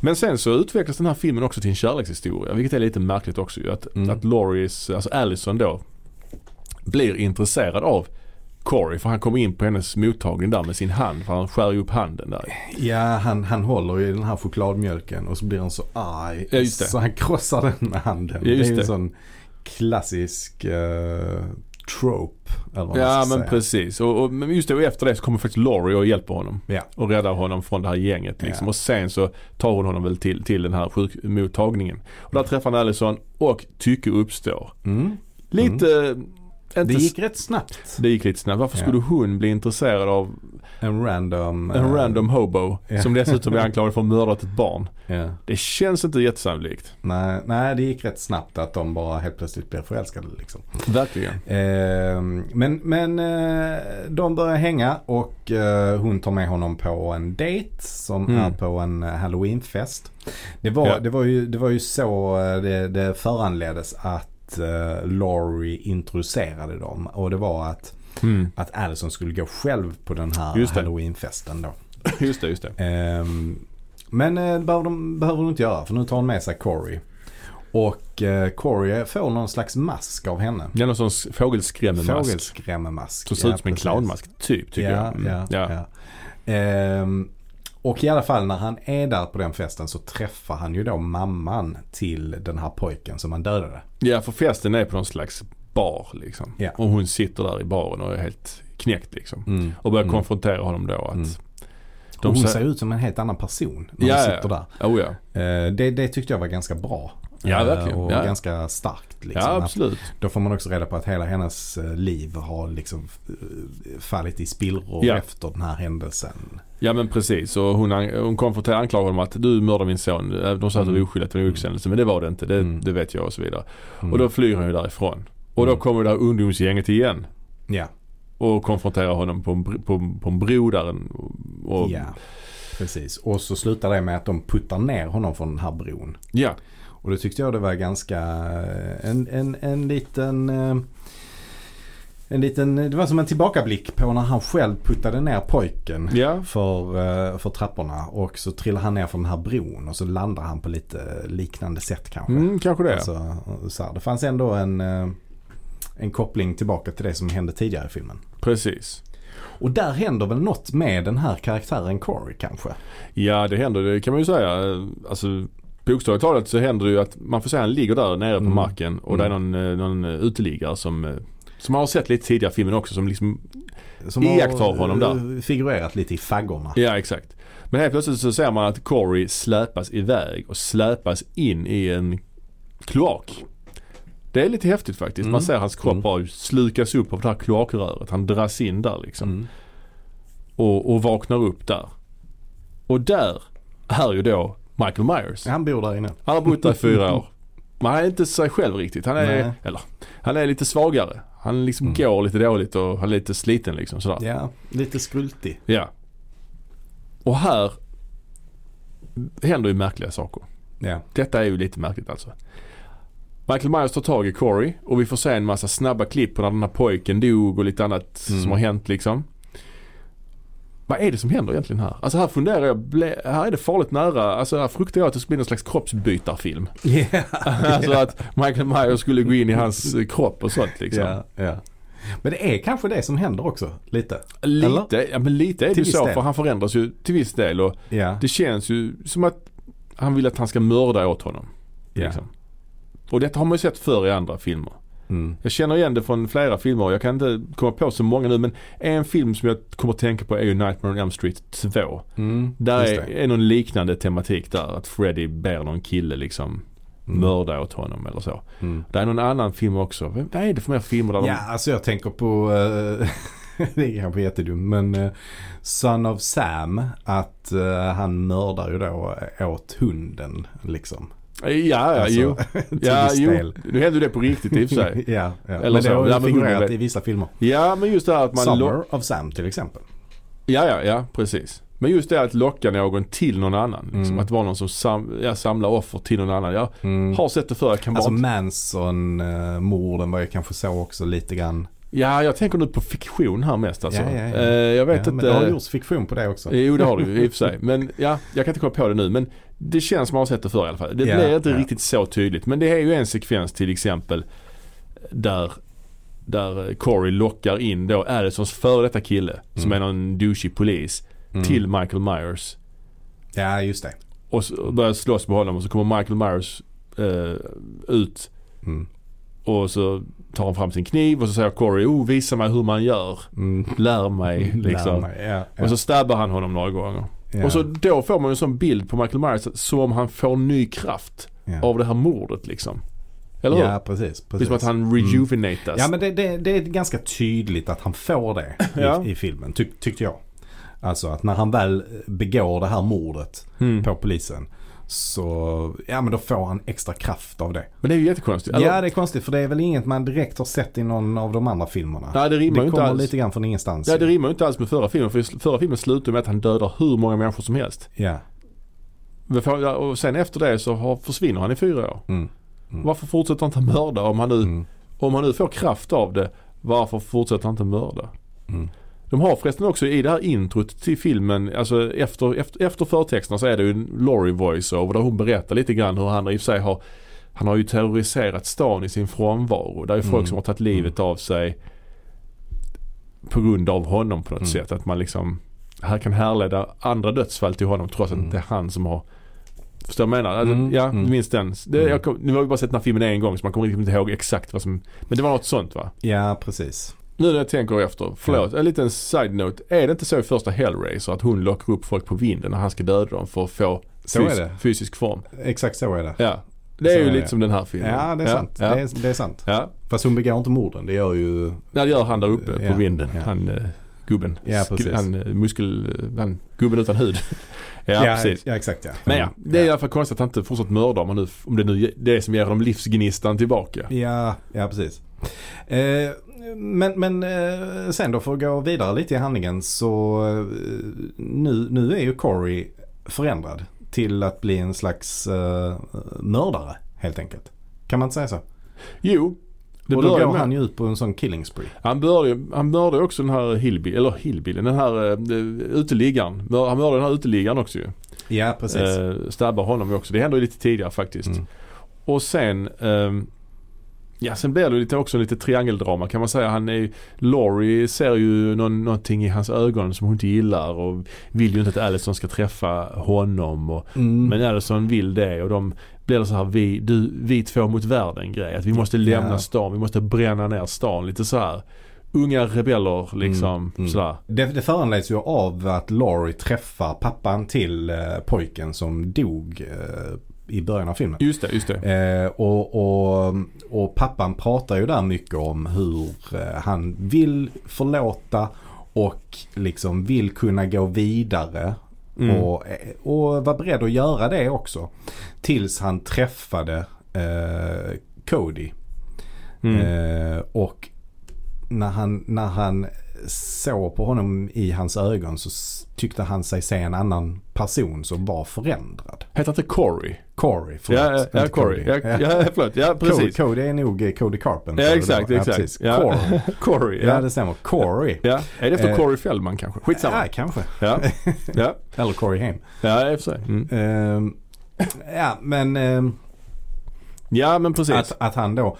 Speaker 1: Men sen så utvecklas den här filmen också till en kärlekshistoria. Vilket är lite märkligt också ju. Att,
Speaker 2: Mm.
Speaker 1: att Laurie's, alltså Allison då, blir intresserad av Corey för han kommer in på hennes mottagning där med sin hand för han skär ju upp handen där.
Speaker 2: Ja, han, han håller ju i den här chokladmjölken och så blir han så arg.
Speaker 1: Ja, just det.
Speaker 2: Så han krossar den med handen.
Speaker 1: Ja, just
Speaker 2: det är ju en
Speaker 1: det.
Speaker 2: sån klassisk eh, trope. Eller vad
Speaker 1: Ja
Speaker 2: man ska
Speaker 1: men
Speaker 2: säga.
Speaker 1: precis. Och, och, men just det, och efter det så kommer faktiskt Laurie och hjälper honom.
Speaker 2: Ja.
Speaker 1: Och räddar honom från det här gänget. Liksom.
Speaker 2: Ja.
Speaker 1: Och sen så tar hon honom väl till, till den här sjukmottagningen. Och där träffar han Allison och tycke uppstår.
Speaker 2: Mm.
Speaker 1: Lite... eh, Inte
Speaker 2: Det
Speaker 1: s-
Speaker 2: gick rätt snabbt.
Speaker 1: det gick lite snabbt. Varför
Speaker 2: Ja.
Speaker 1: skulle hon bli intresserad av
Speaker 2: En random...
Speaker 1: en
Speaker 2: eh,
Speaker 1: random hobo
Speaker 2: Ja.
Speaker 1: som dessutom är anklagad för att ha mördat ett barn?
Speaker 2: ja.
Speaker 1: Det känns inte jättesannolikt.
Speaker 2: Nej, nej, det gick rätt snabbt att de bara helt plötsligt blev förälskade liksom.
Speaker 1: Verkligen.
Speaker 2: Eh, men men eh, de börjar hänga och eh, hon tar med honom på en dejt som
Speaker 1: Mm.
Speaker 2: är på en eh, halloweenfest. Det var,
Speaker 1: Ja.
Speaker 2: det var, ju, det var ju så eh, det, det föranleddes att eh, Laurie introducerade dem. Och det var att,
Speaker 1: Mm.
Speaker 2: att Allison skulle gå själv på den här
Speaker 1: Just det.
Speaker 2: halloweenfesten då.
Speaker 1: Just det, just det.
Speaker 2: Ehm, men eh, det behöver de, behöver de inte göra för nu tar hon med sig Corey. Och eh, Corey får någon slags mask av henne.
Speaker 1: Det är någon sorts fågelskrämmemask.
Speaker 2: Fågelskrämmemask.
Speaker 1: Som ser
Speaker 2: Ja,
Speaker 1: ut som en
Speaker 2: precis.
Speaker 1: clownmask, typ, tycker
Speaker 2: ja,
Speaker 1: jag. Mm.
Speaker 2: Ja, ja. Ehm, och i alla fall när han är där på den festen så träffar han ju då mamman till den här pojken som han dödade.
Speaker 1: Ja, för festen är på någon slags bar liksom.
Speaker 2: Ja.
Speaker 1: Och hon sitter där i baren och är helt knäckt liksom. Och börjar
Speaker 2: Mm.
Speaker 1: konfrontera honom då att...
Speaker 2: Mm.
Speaker 1: De
Speaker 2: och hon
Speaker 1: säger-
Speaker 2: ser ut som en helt annan person när
Speaker 1: Ja,
Speaker 2: hon
Speaker 1: ja.
Speaker 2: sitter där.
Speaker 1: Oh, ja.
Speaker 2: Ehm, det, det tyckte jag var ganska bra.
Speaker 1: Ja,
Speaker 2: Ehm,
Speaker 1: verkligen.
Speaker 2: Och
Speaker 1: Ja.
Speaker 2: ganska starkt. Liksom,
Speaker 1: ja,
Speaker 2: Att
Speaker 1: absolut.
Speaker 2: Då får man också reda på att hela hennes eh, liv har liksom eh, fallit i spillror
Speaker 1: Ja.
Speaker 2: efter den här händelsen.
Speaker 1: Ja men precis. Och hon, an- hon konfronterar anklagar honom att du mördade min son. Äh, De sa att det var liksom.
Speaker 2: Mm.
Speaker 1: oskyldigt, det var en olyckshändelse. Men det var det inte. Det,
Speaker 2: Mm.
Speaker 1: det vet jag och så vidare.
Speaker 2: Mm.
Speaker 1: Och då flyr hon ju därifrån. Och då kommer det här ungdomsgänget igen
Speaker 2: Ja,
Speaker 1: och konfronterar honom på en, br- på, på en bro där. en- Och,
Speaker 2: ja. Precis. Och så slutar det med att de puttar ner honom från den här bron.
Speaker 1: ja.
Speaker 2: Och då tyckte jag det var ganska eh, en, en, en liten eh, en liten, det var som en tillbakablick på när han själv puttade ner pojken
Speaker 1: Ja.
Speaker 2: för, eh, för trapporna och så trillar han ner från den här bron och så landar han på lite liknande sätt kanske.
Speaker 1: Mm, kanske det.
Speaker 2: Alltså, så här, det fanns ändå en, eh, en koppling tillbaka till det som hände tidigare i filmen.
Speaker 1: Precis.
Speaker 2: Och där händer väl något med den här karaktären Corey kanske?
Speaker 1: Ja det händer, det kan man ju säga. Eh, Alltså bokstavligt talat så händer det ju att man får säga han ligger där nere på
Speaker 2: Mm.
Speaker 1: marken och det är någon, eh, någon eh, uteliggare som eh, som har sett lite tidigare i filmen också som liksom,
Speaker 2: Som
Speaker 1: Iakttar honom
Speaker 2: har eh, figurerat lite i faggorna.
Speaker 1: ja exakt. Men helt plötsligt så ser man att Corey släpas iväg och släpas in i en kloak. Det är lite häftigt faktiskt.
Speaker 2: Mm.
Speaker 1: Man ser hans kropp
Speaker 2: Mm.
Speaker 1: bara slukas upp av det här kloakröret. Han dras in där liksom.
Speaker 2: Mm.
Speaker 1: Och, och vaknar upp där. Och där är ju då Michael Myers.
Speaker 2: Han bor där inne.
Speaker 1: Han har bott där i fyra år. Men han är inte sig själv riktigt. Han är,
Speaker 2: Nej.
Speaker 1: eller, han är lite svagare. Han liksom
Speaker 2: Mm.
Speaker 1: går lite dåligt och han är lite sliten liksom sådär.
Speaker 2: Ja, lite skrultig.
Speaker 1: Ja. Och här händer ju märkliga saker.
Speaker 2: Ja.
Speaker 1: Detta är ju lite märkligt alltså. Michael Myers tar tag i Corey och vi får se en massa snabba klipp på när den här pojken dog och lite annat
Speaker 2: Mm.
Speaker 1: som har hänt liksom. Vad är det som händer egentligen här? Alltså här funderar jag, ble, här är det farligt nära, alltså här fruktar jag att det skulle bli någon slags kroppsbytarfilm. Alltså att Michael Myers skulle gå in i hans eh, kropp och sånt liksom.
Speaker 2: ja, ja. Men det är kanske det som händer också, lite.
Speaker 1: Lite, ja, men lite är det
Speaker 2: Till
Speaker 1: ju
Speaker 2: viss
Speaker 1: så
Speaker 2: del.
Speaker 1: för han förändras ju till viss del och
Speaker 2: Ja.
Speaker 1: det känns ju som att han vill att han ska mörda åt honom.
Speaker 2: Ja.
Speaker 1: Liksom. Och detta har man ju sett förr i andra filmer.
Speaker 2: Mm.
Speaker 1: Jag känner igen det från flera filmer och jag kan inte komma på så många nu men en film som jag kommer att tänka på är ju Nightmare on Elm Street 2.
Speaker 2: Mm.
Speaker 1: Där
Speaker 2: Just
Speaker 1: är,
Speaker 2: det.
Speaker 1: är någon liknande tematik där att Freddy ber någon kille liksom
Speaker 2: Mm.
Speaker 1: mörda åt honom eller så.
Speaker 2: Mm.
Speaker 1: Det är någon annan film också. Vad vad är det för mer filmer där de-
Speaker 2: Ja, alltså jag tänker på, eh, det är kanske jättedumt, men eh, Son of Sam, att eh, han mördar ju då eh, åt hunden liksom.
Speaker 1: Ja, ja,
Speaker 2: Alltså,
Speaker 1: jo.
Speaker 2: till
Speaker 1: Ja,
Speaker 2: viss
Speaker 1: jo.
Speaker 2: del.
Speaker 1: Nu händer ju det på riktigt i och för sig.
Speaker 2: ja, ja.
Speaker 1: Eller
Speaker 2: men
Speaker 1: så.
Speaker 2: det
Speaker 1: Ja,
Speaker 2: har ju
Speaker 1: men hunden
Speaker 2: figurerat
Speaker 1: vet.
Speaker 2: i vissa filmer.
Speaker 1: Ja, men just det här att man...
Speaker 2: Summer
Speaker 1: lock-
Speaker 2: of Sam till exempel.
Speaker 1: Ja, ja, ja, precis. Men just det att locka någon till någon annan. Liksom.
Speaker 2: Mm.
Speaker 1: Att vara någon som sam- ja, samlar offer till någon annan. Jag har sett det förr, jag kan bara
Speaker 2: Alltså
Speaker 1: inte-
Speaker 2: Manson-morden var ju kanske så också lite grann.
Speaker 1: Ja, jag tänker nu på fiktion här mest alltså.
Speaker 2: Ja, ja, ja.
Speaker 1: Eh, jag vet inte...
Speaker 2: ja, men det har gjorts fiktion på det också.
Speaker 1: Jo, det har du ju i och för sig. Men ja, jag kan inte komma på det nu. Men det känns som man har sett det förr i alla fall. Det
Speaker 2: Ja,
Speaker 1: blir inte
Speaker 2: ja.
Speaker 1: riktigt så tydligt. Men det är ju en sekvens till exempel där, där Corey lockar in då Addisons före detta kille som
Speaker 2: Mm.
Speaker 1: är någon douchey polis
Speaker 2: Mm.
Speaker 1: till Michael Myers.
Speaker 2: Ja, just det.
Speaker 1: Och så börjar slåss med honom och så kommer Michael Myers eh, ut
Speaker 2: Mm.
Speaker 1: och så tar han fram sin kniv och så säger Corey oh visa mig hur man gör.
Speaker 2: Mm.
Speaker 1: Lär mig liksom.
Speaker 2: Lär mig. Ja, ja,
Speaker 1: Och så stabbar han honom några gånger.
Speaker 2: ja,
Speaker 1: Och så då får man ju en sån bild på Michael Myers som om han får ny kraft
Speaker 2: ja.
Speaker 1: av det här mordet liksom. Eller hur?
Speaker 2: Ja, precis.
Speaker 1: Det är
Speaker 2: precis. Mm.
Speaker 1: som att han rejuvenatas.
Speaker 2: Ja, men det, det, det är ganska tydligt att han får det i,
Speaker 1: Ja.
Speaker 2: i filmen, tyck- tyckte jag. Alltså att när han väl begår det här mordet
Speaker 1: mm.
Speaker 2: på polisen så, ja men då får han extra kraft av det.
Speaker 1: men det är ju jättekonstigt. Eller,
Speaker 2: Ja det är konstigt för det är väl inget man direkt har sett i någon av de andra filmerna.
Speaker 1: nej, det rimmar ju
Speaker 2: det
Speaker 1: inte
Speaker 2: kommer
Speaker 1: alls.
Speaker 2: lite grann från ingenstans.
Speaker 1: Ja, det rimmar ju inte alls med förra filmen. För i sl- förra filmen slutar med att han dödar hur många människor som helst.
Speaker 2: ja.
Speaker 1: Men för- ja, Och sen efter det så har, försvinner han i fyra år.
Speaker 2: Mm. Mm.
Speaker 1: Varför fortsätter han inte mörda om han, nu,
Speaker 2: Mm.
Speaker 1: om han nu får kraft av det? Varför fortsätter han inte mörda?
Speaker 2: Mm.
Speaker 1: De har förresten också i det här introt till filmen, alltså efter, efter, efter förtexterna så är det ju en Laurie voiceover där hon berättar lite grann hur han i och för sig har han har ju terroriserat stan i sin frånvaro. Det är ju folk
Speaker 2: Mm.
Speaker 1: som har tagit livet av sig på grund av honom på något
Speaker 2: Mm.
Speaker 1: sätt. Att man liksom här kan härleda andra dödsfall till honom trots att
Speaker 2: Mm.
Speaker 1: det är han som har Förstår du vad jag menar? Alltså,
Speaker 2: Mm,
Speaker 1: Ja,
Speaker 2: mm.
Speaker 1: du minns den. Det,
Speaker 2: Mm.
Speaker 1: jag kom, nu har vi bara sett den här filmen en gång så man kommer liksom inte ihåg exakt vad som... Men det var något sånt va?
Speaker 2: ja precis.
Speaker 1: Nu när jag tänker efter, förlåt, en liten side-note. Är det inte så i första Hellraiser att hon lockar upp folk på vinden och han ska döda dem för att få
Speaker 2: Så
Speaker 1: fys-
Speaker 2: är det.
Speaker 1: fysisk form?
Speaker 2: Exakt så är det.
Speaker 1: Ja. Det är
Speaker 2: Så
Speaker 1: ju
Speaker 2: är
Speaker 1: lite
Speaker 2: det.
Speaker 1: som den här filmen.
Speaker 2: Ja det är sant.
Speaker 1: Ja.
Speaker 2: Det, är, det är sant.
Speaker 1: ja.
Speaker 2: Fast hon begår inte morden. Det gör ju...
Speaker 1: Nej, det gör han där uppe
Speaker 2: Ja,
Speaker 1: på vinden.
Speaker 2: ja.
Speaker 1: Han eh, gubben.
Speaker 2: Ja,
Speaker 1: Sk-
Speaker 2: precis.
Speaker 1: Han eh, muskel... eh, Han, gubben utan hud. ja, precis.
Speaker 2: Ja exakt ja. Mm.
Speaker 1: Men ja, det är i alla fall konstigt att han inte fortsatt mörda om, han nu, om det nu är det som ger honom livsgnistan tillbaka.
Speaker 2: Ja, ja precis. Eh, men men eh, sen då för att gå vidare lite i handlingen så eh, nu, nu är ju Corey förändrad till att bli en slags eh, mördare helt enkelt. Kan man inte säga så?
Speaker 1: Jo, det
Speaker 2: och då
Speaker 1: börjar
Speaker 2: går
Speaker 1: med.
Speaker 2: han ju ut på en sån killing spree.
Speaker 1: Han mördade han mördade också den här hillbil, eller hillbilen, den här eh, uteliggaren. Mör- Han mördade den här uteliggaren också ju.
Speaker 2: Ja precis.
Speaker 1: Eh, stabbar honom ju också. Det händer ju lite tidigare faktiskt.
Speaker 2: Mm.
Speaker 1: Och sen ehm, Ja sen blir det lite också lite triangeldrama kan man säga. Han är, Laurie ser ju någon, någonting i hans ögon som hon inte gillar och vill ju inte att Allison ska träffa honom. Och,
Speaker 2: Mm.
Speaker 1: Men Allison vill det och de blir det så här vi, du, vi två mot världen grej. Att vi måste lämna
Speaker 2: Ja.
Speaker 1: stan, vi måste bränna ner stan. Lite så här unga rebeller liksom.
Speaker 2: mm.
Speaker 1: Sådär.
Speaker 2: Det, det föranleds ju av att Laurie träffar pappan till eh, pojken som dog eh, i början av filmen.
Speaker 1: Just det, just det.
Speaker 2: Eh, och, och, och pappan pratar ju där mycket om hur eh, han vill förlåta och liksom vill kunna gå vidare.
Speaker 1: Mm.
Speaker 2: Och, eh, och var beredd att göra det också. Tills han träffade eh, Cody.
Speaker 1: Mm.
Speaker 2: Eh, och när han, när han såg på honom i hans ögon så s- tyckte han sig se en annan person som var förändrad.
Speaker 1: Heter inte Corey?
Speaker 2: Corey, förlåt.
Speaker 1: Ja, ja, ja,
Speaker 2: inte
Speaker 1: Corey.
Speaker 2: Cody.
Speaker 1: Ja, ja, förlåt. Ja, precis.
Speaker 2: Cody, Cody är nog eh, Cody Carpenter.
Speaker 1: Ja, exakt,
Speaker 2: Det var-
Speaker 1: exakt.
Speaker 2: precis.
Speaker 1: Ja.
Speaker 2: Corey.
Speaker 1: Corey,
Speaker 2: Ja,
Speaker 1: ja.
Speaker 2: det stämmer. Corey.
Speaker 1: ja. Är det för
Speaker 2: Eh.
Speaker 1: Corey Feldman kanske? Skitsamma.
Speaker 2: Ja, kanske.
Speaker 1: Ja, ja.
Speaker 2: Eller Corey Haim.
Speaker 1: ja i och för sig. Mm.
Speaker 2: Ehm, ja, men ehm,
Speaker 1: Ja, men precis.
Speaker 2: att, att han då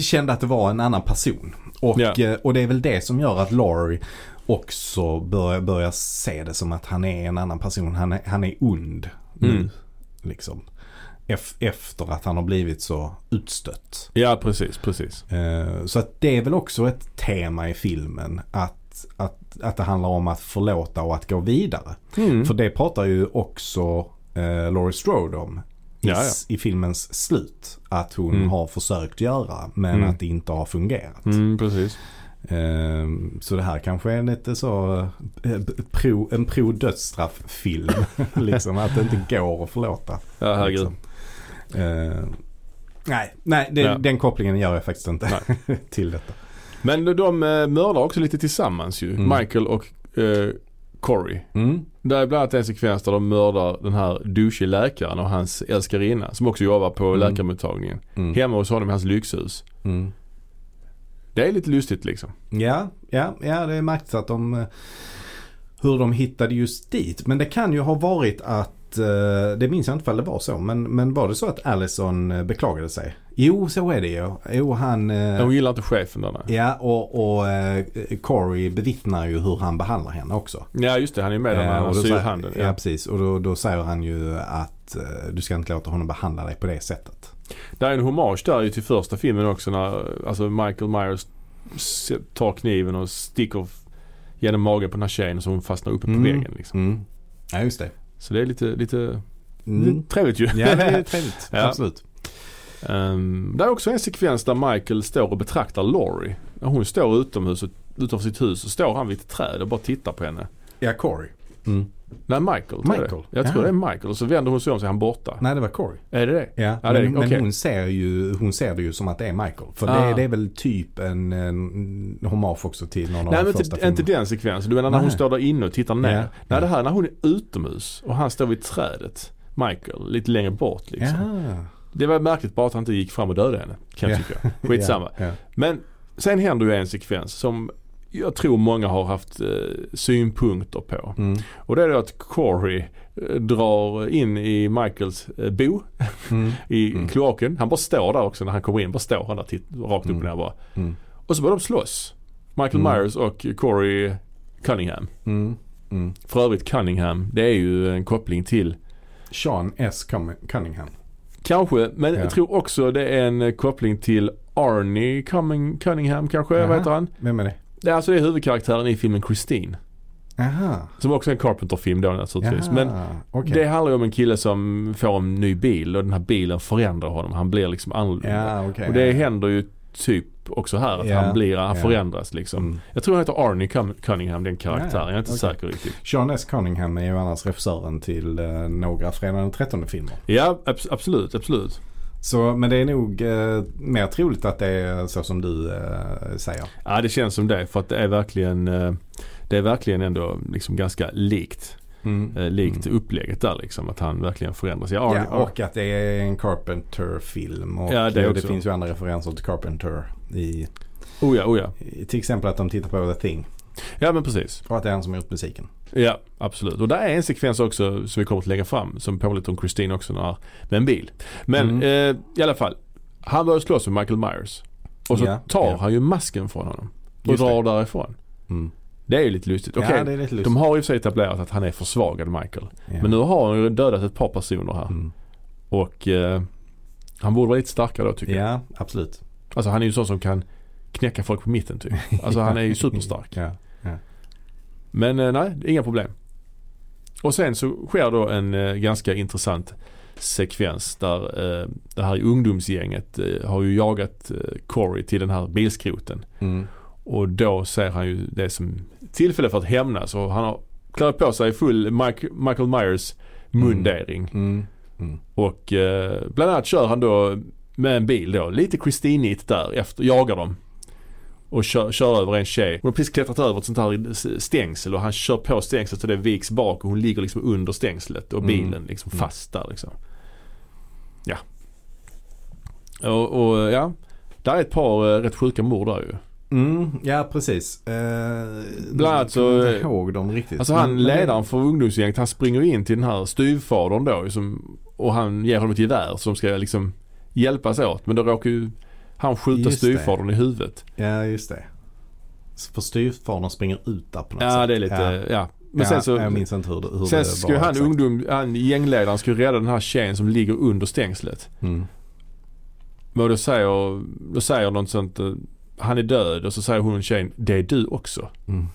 Speaker 2: kände att det var en annan person. Och,
Speaker 1: Ja.
Speaker 2: eh, och det är väl det som gör att Laurie också börjar, börjar se det som att han är en annan person. Han är, han är ond nu.
Speaker 1: Mm.
Speaker 2: Liksom. Ef- Efter att han har blivit så utstött.
Speaker 1: Ja, precis, precis.
Speaker 2: Eh, Så att det är väl också ett tema i filmen att, att, att det handlar om att förlåta och att gå vidare.
Speaker 1: Mm.
Speaker 2: För det pratar ju också eh, Laurie Strode om i,
Speaker 1: Ja, ja.
Speaker 2: s- i filmens slut. Att hon
Speaker 1: Mm.
Speaker 2: har försökt göra men
Speaker 1: Mm.
Speaker 2: att det inte har fungerat.
Speaker 1: Mm, precis.
Speaker 2: Eh, så det här kanske är lite så eh, b- pro, en pro-dödsstraff-film. liksom att det inte går att förlåta.
Speaker 1: Ja, herregud.
Speaker 2: Liksom. Eh, nej, nej det,
Speaker 1: Ja.
Speaker 2: den kopplingen gör jag faktiskt inte till detta.
Speaker 1: Men de, de eh, mördar också lite tillsammans ju.
Speaker 2: Mm.
Speaker 1: Michael och eh, Corey.
Speaker 2: Mm.
Speaker 1: Där är bland annat en sekvens där de mördar den här douchig läkaren och hans älskarinna som också jobbar på
Speaker 2: Mm.
Speaker 1: läkarmottagningen.
Speaker 2: Mm.
Speaker 1: Hemma hos honom i hans lyxhus.
Speaker 2: Mm.
Speaker 1: Det är lite lustigt liksom.
Speaker 2: Ja, ja, ja, det är märkligt att de eh, hur de hittade just dit. Men det kan ju ha varit att, eh, det minns jag inte ifall det var så, men, men var det så att Allison eh, beklagade sig? Jo, så är det ju. Jo, han... eh,
Speaker 1: De gillar inte chefen där nej.
Speaker 2: Ja, och, och eh, Corey bevittnar ju hur han behandlar henne också.
Speaker 1: Ja just det, han är med där när
Speaker 2: Eh,
Speaker 1: han
Speaker 2: och då
Speaker 1: syr
Speaker 2: sa-
Speaker 1: handen.
Speaker 2: Ja,
Speaker 1: Ja.
Speaker 2: precis. Och då, då säger han ju att eh, du ska inte låta honom behandla dig på det sättet.
Speaker 1: Det är en hommage där ju till första filmen också när alltså Michael Myers s- tar kniven och sticker f- genom magen på den här tjejen så hon fastnar uppe på
Speaker 2: Mm.
Speaker 1: väggen. Liksom.
Speaker 2: Mm. Ja, just det.
Speaker 1: Så det är lite, lite,
Speaker 2: Mm.
Speaker 1: lite trevligt ju.
Speaker 2: Ja, det är trevligt.
Speaker 1: Ja.
Speaker 2: Absolut.
Speaker 1: Ehm, det är också en sekvens där Michael står och betraktar Laurie. När hon står utomhus, och- utanför sitt hus så står han vid ett träd och bara tittar på henne.
Speaker 2: Ja, Corey. Mm.
Speaker 1: Nej, Michael. tror jag det är.
Speaker 2: Michael?
Speaker 1: Jag tror
Speaker 2: Ja.
Speaker 1: det är Michael. Och så vänder hon sig om så är han borta.
Speaker 2: Nej, det var Corey.
Speaker 1: Är det det?
Speaker 2: Ja,
Speaker 1: Ja, det är-
Speaker 2: men, men
Speaker 1: okej.
Speaker 2: hon, ser ju, hon ser det ju som att det är Michael. För
Speaker 1: Ah.
Speaker 2: det, det är väl typ en, en hommage också till
Speaker 1: Nej
Speaker 2: någon av de
Speaker 1: men typ
Speaker 2: första
Speaker 1: inte, inte
Speaker 2: filmerna.
Speaker 1: den sekvensen. Du menar när hon
Speaker 2: Nej.
Speaker 1: står där inne och tittar ner.
Speaker 2: Ja.
Speaker 1: Nej det här när hon är utomhus och han står vid trädet. Michael, lite längre bort liksom.
Speaker 2: Jaha.
Speaker 1: Det var märkligt bara att han inte gick fram och dödade henne. Kan jag tycka. Skitsamma.
Speaker 2: Ja, ja.
Speaker 1: Men sen händer ju en sekvens som jag tror många har haft eh, synpunkter på.
Speaker 2: Mm.
Speaker 1: Och det är då att Corey eh, drar in i Michaels eh, bo
Speaker 2: Mm.
Speaker 1: i
Speaker 2: Mm.
Speaker 1: kloaken. Han bara står där också när han kommer in. Bara står han där titt- rakt upp och
Speaker 2: Mm.
Speaker 1: ner bara.
Speaker 2: Mm.
Speaker 1: Och så börjar de slåss. Michael
Speaker 2: Mm.
Speaker 1: Myers och Corey Cunningham.
Speaker 2: Mm. Mm.
Speaker 1: För övrigt Cunningham, det är ju en koppling till
Speaker 2: Sean S. Cum- Cunningham.
Speaker 1: Kanske, men
Speaker 2: Ja.
Speaker 1: jag tror också det är en eh, koppling till Arnie Cumming- Cunningham kanske,
Speaker 2: Jaha.
Speaker 1: vad heter han?
Speaker 2: Vem är det?
Speaker 1: Det är alltså det är huvudkaraktären i filmen Christine.
Speaker 2: Jaha.
Speaker 1: Som också är en Carpenter-film då naturligtvis. Men
Speaker 2: okej.
Speaker 1: det handlar ju om en kille som får en ny bil och den här bilen förändrar honom. Han blir liksom annorlunda.
Speaker 2: Ja, okej.
Speaker 1: Och det händer ju typ också här att
Speaker 2: Ja.
Speaker 1: han blir, han
Speaker 2: Ja.
Speaker 1: förändras liksom.
Speaker 2: Mm.
Speaker 1: Jag tror han heter Arnie Cum- Cunningham den karaktären.
Speaker 2: Ja,
Speaker 1: Jag är inte
Speaker 2: okej.
Speaker 1: säker riktigt.
Speaker 2: Sean S. Cunningham är ju annars regissören till eh, några Fredagen den 13 filmer.
Speaker 1: Ja, abs- absolut, absolut.
Speaker 2: Så, men det är nog eh, mer troligt att det är så som du eh, säger.
Speaker 1: Ja det känns som det för att det är verkligen eh, Det är verkligen ändå liksom ganska likt
Speaker 2: Mm.
Speaker 1: eh, Likt
Speaker 2: Mm.
Speaker 1: upplägget där liksom att han verkligen förändras. Ja,
Speaker 2: Ja,
Speaker 1: Ar- Ar-
Speaker 2: och att det är en Carpenter-film. Och
Speaker 1: Ja, det
Speaker 2: det,
Speaker 1: också.
Speaker 2: finns ju andra referenser till Carpenter. I,
Speaker 1: oh ja, oh ja.
Speaker 2: i, till exempel att de tittar på The Thing.
Speaker 1: Ja men precis.
Speaker 2: Och att det är han som har gjort musiken.
Speaker 1: Ja absolut. Och där är en sekvens också som vi kommer att lägga fram som påminner lite om Christine också när, med en bil. Men
Speaker 2: Mm.
Speaker 1: eh, i alla fall. Han börjar slåss med Michael Myers. Och så
Speaker 2: Ja,
Speaker 1: tar
Speaker 2: ja.
Speaker 1: han ju masken från honom. Och
Speaker 2: Just
Speaker 1: drar därifrån.
Speaker 2: Mm.
Speaker 1: Det är ju lite lustigt. Okej,
Speaker 2: Ja, det är lite lustigt.
Speaker 1: de har ju i och för sig etablerat att han är försvagad Michael.
Speaker 2: Ja.
Speaker 1: Men nu har han ju dödat ett par personer här.
Speaker 2: Mm.
Speaker 1: Och eh, han borde vara lite starkare då tycker jag.
Speaker 2: Ja, absolut.
Speaker 1: Alltså han är ju sån som kan knäcka folk på mitten typ. Alltså han är ju superstark.
Speaker 2: Mm. Ja.
Speaker 1: Men eh, nej, inga problem. Och sen så sker då en eh, ganska intressant sekvens där eh, det här ungdomsgänget eh, har ju jagat eh, Corey till den här bilskroten.
Speaker 2: Mm.
Speaker 1: Och då ser han ju det som tillfälle för att hämnas och han har klär på sig full Mike, Michael Myers mundering.
Speaker 2: Mm.
Speaker 1: Och eh, bland annat kör han då med en bil då, lite Christinigt där efter, jagar dem. Och kör, kör över en tjej. Hon har precis klättrat över ett sånt här stängsel och han kör på stängslet så det viks bak och hon ligger liksom under stängslet och
Speaker 2: Mm.
Speaker 1: bilen liksom
Speaker 2: Mm.
Speaker 1: fast där liksom. Ja. Och, och ja, där är ett par eh, rätt sjuka mord där ju.
Speaker 2: Mm. Ja, precis. Eh,
Speaker 1: Bland annat så-
Speaker 2: Jag kommer inte ihåg dem riktigt.
Speaker 1: Alltså han,
Speaker 2: Men-
Speaker 1: ledaren för ungdomsgänget, han springer in till den här styvfadern då som, och han ger honom ett gevär som ska liksom hjälpas åt. Men då råkar ju han skjuta
Speaker 2: Just det.
Speaker 1: styvfadern i huvudet.
Speaker 2: Ja, just det. För styvfadern springer ut där på något
Speaker 1: Ja,
Speaker 2: sätt.
Speaker 1: det är lite, ja. Men
Speaker 2: ja,
Speaker 1: sen så,
Speaker 2: Jag minns inte hur, det- hur
Speaker 1: sen
Speaker 2: det
Speaker 1: ska ju
Speaker 2: var
Speaker 1: han
Speaker 2: exakt.
Speaker 1: ungdom, han gängledaren ska ju rädda den här tjejen som ligger under stängslet.
Speaker 2: Mm.
Speaker 1: Men då säger, då säger något sånt, eh, han är död och så säger hon tjejen, det är du också.
Speaker 2: Mm.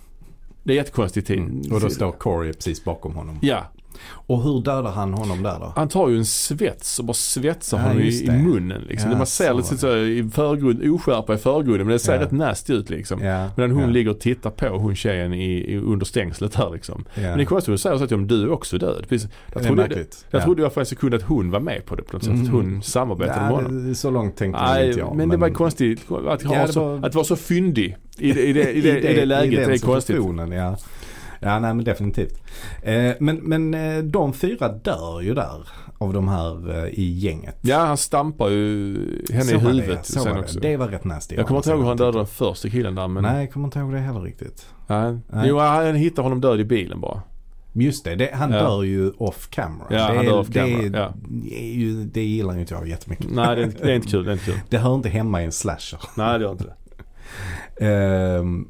Speaker 1: Det är jättekonstigt.
Speaker 2: Mm. Och då står Corey precis bakom honom.
Speaker 1: Ja,
Speaker 2: Och hur dödar han honom där då?
Speaker 1: Han tar ju en svets och bara svetsar
Speaker 2: Ja,
Speaker 1: honom i,
Speaker 2: just
Speaker 1: i
Speaker 2: det.
Speaker 1: munnen. Liksom.
Speaker 2: Ja,
Speaker 1: man ser
Speaker 2: så
Speaker 1: lite
Speaker 2: var
Speaker 1: så i förgrund, oskärpa i förgrunden men det ser
Speaker 2: Ja.
Speaker 1: rätt nasty ut liksom.
Speaker 2: Ja,
Speaker 1: Medan hon
Speaker 2: ja,
Speaker 1: ligger och tittar på hon tjejen i, i, under stängslet här liksom.
Speaker 2: ja.
Speaker 1: Men det är konstigt, hon säger så att ja, men du är också död. Precis. Jag
Speaker 2: det är
Speaker 1: trodde,
Speaker 2: märkligt.
Speaker 1: jag
Speaker 2: Ja.
Speaker 1: trodde jag för en sekund att hon var med på det på något sätt. Att
Speaker 2: Mm.
Speaker 1: hon samarbetade med
Speaker 2: Nej,
Speaker 1: honom.
Speaker 2: det- Så långt tänkte nog
Speaker 1: Nej,
Speaker 2: inte jag.
Speaker 1: men det var konstigt att, ha
Speaker 2: Ja, det
Speaker 1: så,
Speaker 2: var-
Speaker 1: att vara så fyndig i det, i det, i det, i det läget.
Speaker 2: den
Speaker 1: det är konstigt.
Speaker 2: situationen, Ja. ja, nej men definitivt. Eh, men men eh, de fyra dör ju där av de här eh, i gänget.
Speaker 1: Ja, han stampar ju henne
Speaker 2: Så
Speaker 1: i
Speaker 2: var det,
Speaker 1: huvudet
Speaker 2: så var
Speaker 1: sen
Speaker 2: det.
Speaker 1: också.
Speaker 2: Det var rätt nasty.
Speaker 1: jag kommer inte ihåg hur han
Speaker 2: dödade.
Speaker 1: dödade den första killen där men...
Speaker 2: Nej, jag kommer inte ihåg det heller riktigt.
Speaker 1: Nej.
Speaker 2: Nej.
Speaker 1: Jo, han hittar honom död i bilen bara.
Speaker 2: Just det, det han
Speaker 1: Ja.
Speaker 2: dör ju off camera.
Speaker 1: Ja,
Speaker 2: det,
Speaker 1: han
Speaker 2: är-
Speaker 1: dör off
Speaker 2: det, är-
Speaker 1: camera, ja.
Speaker 2: det, är ju, det gillar ju inte jag jättemycket.
Speaker 1: Nej, det är inte, det är inte kul. Det är inte kul.
Speaker 2: Det hör inte hemma i en slasher.
Speaker 1: Nej, det gör inte det.
Speaker 2: Ehm,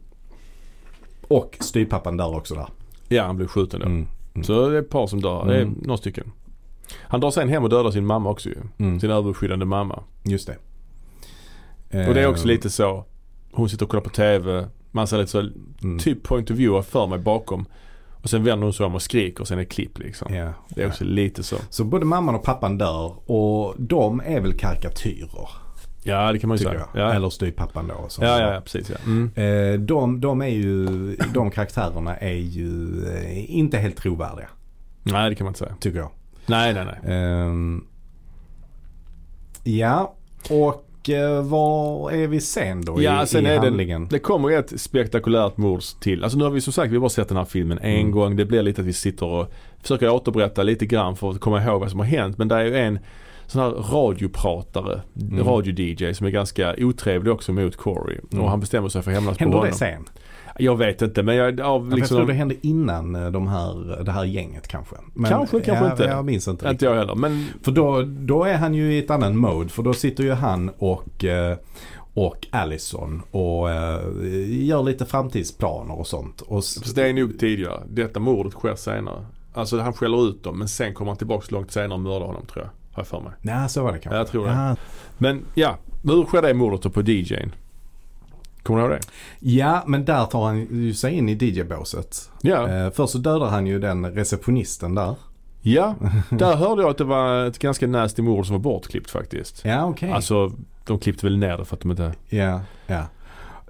Speaker 2: och styrpappan dör också där.
Speaker 1: Ja, han blir skjuten då.
Speaker 2: Mm. Mm.
Speaker 1: Så det är ett par som dör. Det är
Speaker 2: Mm.
Speaker 1: några stycken. Han drar sen hem och dödar sin mamma också ju.
Speaker 2: Mm.
Speaker 1: Sin överskyddande mamma.
Speaker 2: Just det.
Speaker 1: Och det är också
Speaker 2: Ehm,
Speaker 1: lite så. Hon sitter och kollar på TV. Man ser lite så,
Speaker 2: mm.
Speaker 1: typ point of view för mig bakom. Och sen vänder hon sig om och skriker och sen är det klipp liksom.
Speaker 2: Ja.
Speaker 1: Det är också lite så.
Speaker 2: Så både mamman och pappan dör och de är väl karikatyrer.
Speaker 1: Ja, det kan man ju
Speaker 2: Tycker
Speaker 1: säga.
Speaker 2: jag.
Speaker 1: Ja.
Speaker 2: Eller styrpappan då. som-
Speaker 1: Ja, ja, ja, precis ja. Mm.
Speaker 2: Eh, De, de, är ju, de karaktärerna är ju eh, inte helt trovärdiga,
Speaker 1: Nej, det kan man inte säga.
Speaker 2: tycker jag.
Speaker 1: Nej, nej, nej.
Speaker 2: Ehm, ja, och eh, var är vi sen då
Speaker 1: Ja,
Speaker 2: i,
Speaker 1: sen
Speaker 2: i
Speaker 1: är det-
Speaker 2: handlingen?
Speaker 1: Mm. Det kommer ju ett spektakulärt mord till. Alltså nu har vi som sagt vi har bara sett den här filmen en
Speaker 2: Mm.
Speaker 1: gång. Det blir lite att vi sitter och försöker återberätta lite grann för att komma ihåg vad som har hänt. Men det är ju en sån här radiopratare,
Speaker 2: Mm.
Speaker 1: radio-DJ som är ganska otrevlig också mot Corey.
Speaker 2: Mm.
Speaker 1: Och han bestämmer sig för att hämnas på
Speaker 2: Händer
Speaker 1: honom.
Speaker 2: det sen?
Speaker 1: Jag vet inte men jag, av
Speaker 2: Liksom, jag
Speaker 1: liksom,
Speaker 2: tror det hände innan eh, de här, det här gänget kanske. Men,
Speaker 1: Kanske, kanske
Speaker 2: ja,
Speaker 1: inte.
Speaker 2: Jag minns inte.
Speaker 1: inte
Speaker 2: riktigt.
Speaker 1: jag heller. Men
Speaker 2: För då, då är han ju i ett annan mode. För då sitter ju han och, eh, och Allison och eh, gör lite framtidsplaner och sånt. Och, s-
Speaker 1: så Alltså, det är nog tidigare. Detta mordet sker senare. Alltså han skäller ut dem men sen kommer han tillbaks långt senare och mördar honom tror jag. Har jag för mig.
Speaker 2: nej, så var det kanske.
Speaker 1: Jag tror det.
Speaker 2: Ja,
Speaker 1: Men ja, hur sker det mordet då på DJn? Kommer du ihåg det?
Speaker 2: ja, men där tar han ju sig in i DJ-båset.
Speaker 1: Ja.
Speaker 2: Eh, först så dödar han ju den receptionisten där.
Speaker 1: Ja, där hörde jag att det var ett ganska nasty mord som var bortklippt faktiskt.
Speaker 2: Ja, okej.
Speaker 1: Alltså, de klippte väl ner det för att de inte...
Speaker 2: Ja, ja.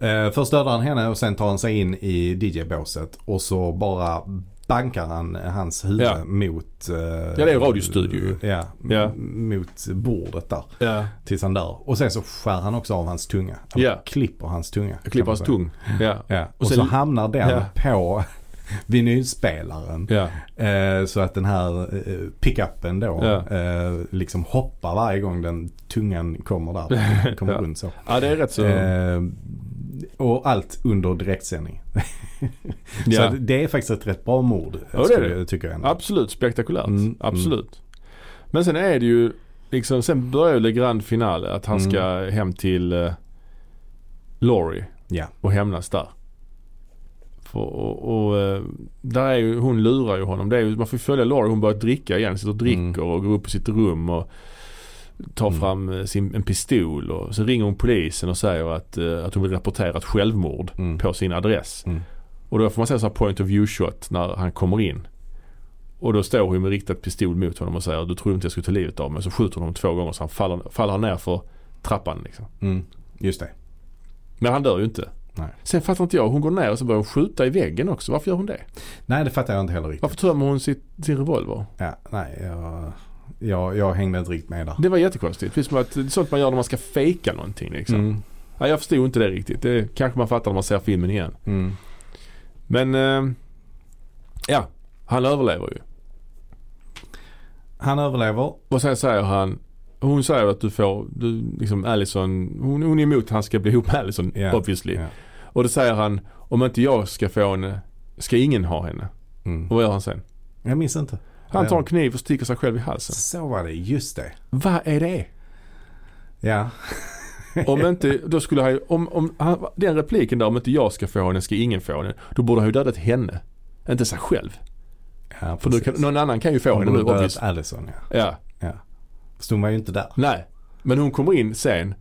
Speaker 2: Eh, först dödar han henne och sen tar han sig in i DJ-båset och så bara bankar han hans huvud
Speaker 1: Ja.
Speaker 2: mot... eh,
Speaker 1: Ja, det är radiostudio ju.
Speaker 2: Ja,
Speaker 1: Ja.
Speaker 2: m- mot bordet där.
Speaker 1: Ja.
Speaker 2: Tills han dör. Och sen så skär han också av hans tunga. Han
Speaker 1: Ja.
Speaker 2: klipper hans tunga.
Speaker 1: Jag
Speaker 2: kan
Speaker 1: klipper
Speaker 2: man
Speaker 1: hans
Speaker 2: säga.
Speaker 1: tung. Ja.
Speaker 2: Ja. Och,
Speaker 1: Och
Speaker 2: så
Speaker 1: sen-
Speaker 2: hamnar den
Speaker 1: Ja.
Speaker 2: på vinylspelaren.
Speaker 1: Ja.
Speaker 2: Eh, så att den här eh, pickuppen då
Speaker 1: Ja.
Speaker 2: eh, liksom hoppar varje gång den tungan kommer där. Kommer
Speaker 1: Ja.
Speaker 2: runt så.
Speaker 1: ja, det är rätt så.
Speaker 2: Eh, och allt under direktsändning. Så
Speaker 1: ja.
Speaker 2: att det är faktiskt ett rätt bra mord.
Speaker 1: Ja, det är
Speaker 2: skulle-
Speaker 1: det.
Speaker 2: Tycker jag ändå.
Speaker 1: Absolut spektakulärt.
Speaker 2: Mm,
Speaker 1: Absolut. Men sen är det ju liksom, sen börjar ju Le Grand Finale att han
Speaker 2: Mm.
Speaker 1: ska hem till eh, Laurie
Speaker 2: Ja.
Speaker 1: och hämnas där. För, och och eh, där är ju, hon lurar ju honom. Det är, ju- man får ju följa Laurie, hon börjar dricka igen. Sitter och dricker och går upp på sitt rum och tar
Speaker 2: Mm.
Speaker 1: fram eh, sin, en pistol. Och så ringer hon polisen och säger att, eh, att hon vill rapportera ett självmord
Speaker 2: Mm.
Speaker 1: på sin adress.
Speaker 2: Mm.
Speaker 1: Och då får man säga så här point of view shot när han kommer in. Och då står hon ju med riktad pistol mot honom och säger du tror inte jag skulle ta livet av mig. Så skjuter hon honom två gånger så han faller, faller han ner för trappan liksom.
Speaker 2: Mm. Just det.
Speaker 1: Men han dör ju inte.
Speaker 2: Nej.
Speaker 1: Sen fattar inte jag, hon går ner och så börjar hon skjuta i väggen också. Varför gör hon det?
Speaker 2: Nej det fattar jag inte heller riktigt.
Speaker 1: Varför tömmer hon sitt, sin revolver?
Speaker 2: Ja, nej, jag, jag, jag hängde inte riktigt med där.
Speaker 1: Det var jättekonstigt. Precis som att det är sånt man gör när man ska fejka någonting liksom.
Speaker 2: Mm.
Speaker 1: Nej, jag förstod inte det riktigt. Det kanske man fattar när man ser filmen igen.
Speaker 2: Mm.
Speaker 1: Men eh, ja, han överlever ju.
Speaker 2: Han överlever.
Speaker 1: Och sen säger han hon säger att du får, du, liksom Allison, hon, hon är emot att han ska bli ihop med Allison
Speaker 2: Ja,
Speaker 1: obviously.
Speaker 2: ja.
Speaker 1: Och då säger han, om inte jag ska få henne, ska ingen ha henne.
Speaker 2: Mm.
Speaker 1: Och vad gör han sen?
Speaker 2: Jag minns inte.
Speaker 1: Han tar
Speaker 2: Ja.
Speaker 1: en kniv och sticker sig själv i halsen.
Speaker 2: Så var det, just det.
Speaker 1: Vad är det?
Speaker 2: Ja.
Speaker 1: Om inte, då skulle han ju, om, om han, den repliken där, om inte jag ska få henne ska ingen få henne. Då borde han ju dödat henne. Inte sig själv.
Speaker 2: ja
Speaker 1: För då kan,
Speaker 2: precis.
Speaker 1: någon annan kan ju få
Speaker 2: Hon
Speaker 1: henne nu
Speaker 2: borde
Speaker 1: obviously.
Speaker 2: dödat Allison ja.
Speaker 1: Ja.
Speaker 2: Fast hon var ju inte där.
Speaker 1: Nej. Men hon kommer in sen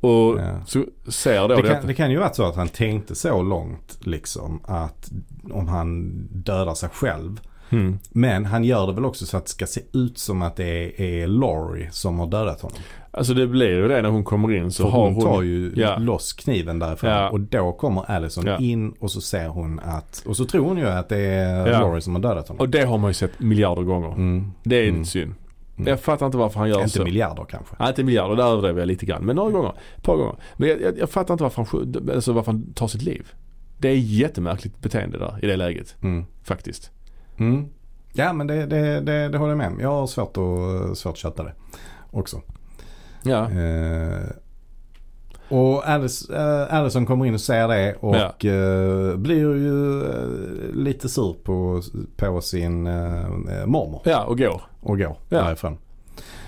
Speaker 1: och
Speaker 2: Ja.
Speaker 1: så ser då
Speaker 2: Det
Speaker 1: detta.
Speaker 2: kan, det kan ju vara så att han tänkte så långt liksom att om han dödar sig själv.
Speaker 1: Mm.
Speaker 2: Men han gör det väl också så att det ska se ut som att det är, är Laurie som har dödat honom.
Speaker 1: Alltså det blir ju det när hon kommer in så
Speaker 2: För
Speaker 1: har
Speaker 2: hon,
Speaker 1: hon...
Speaker 2: tar ju
Speaker 1: Ja.
Speaker 2: loss kniven därifrån
Speaker 1: Ja.
Speaker 2: och då kommer Allison
Speaker 1: Ja.
Speaker 2: in och så ser hon att, och så tror hon ju att det är
Speaker 1: Ja.
Speaker 2: Laurie som har dödat honom.
Speaker 1: Och det har man ju sett miljarder gånger.
Speaker 2: Mm.
Speaker 1: Det är lite
Speaker 2: Mm.
Speaker 1: synd.
Speaker 2: Mm.
Speaker 1: Jag fattar inte varför han gör
Speaker 2: Inte
Speaker 1: så.
Speaker 2: miljarder kanske.
Speaker 1: Nej, inte miljarder, där överdrev jag lite grann. Men några gånger. Ett par gånger. Men jag, jag, jag fattar inte varför han, skj- alltså varför han tar sitt liv. Det är jättemärkligt beteende där i det läget.
Speaker 2: Mm.
Speaker 1: Faktiskt.
Speaker 2: Mm. Ja men det, det, det, det håller jag med om. Jag har svårt att, svårt att köta det också.
Speaker 1: Ja.
Speaker 2: Eh, och Alice, eh, Allison kommer in och ser det och eh, blir ju eh, lite sur på, på sin eh, mormor
Speaker 1: ja, och går.
Speaker 2: och går
Speaker 1: Ja.
Speaker 2: därifrån.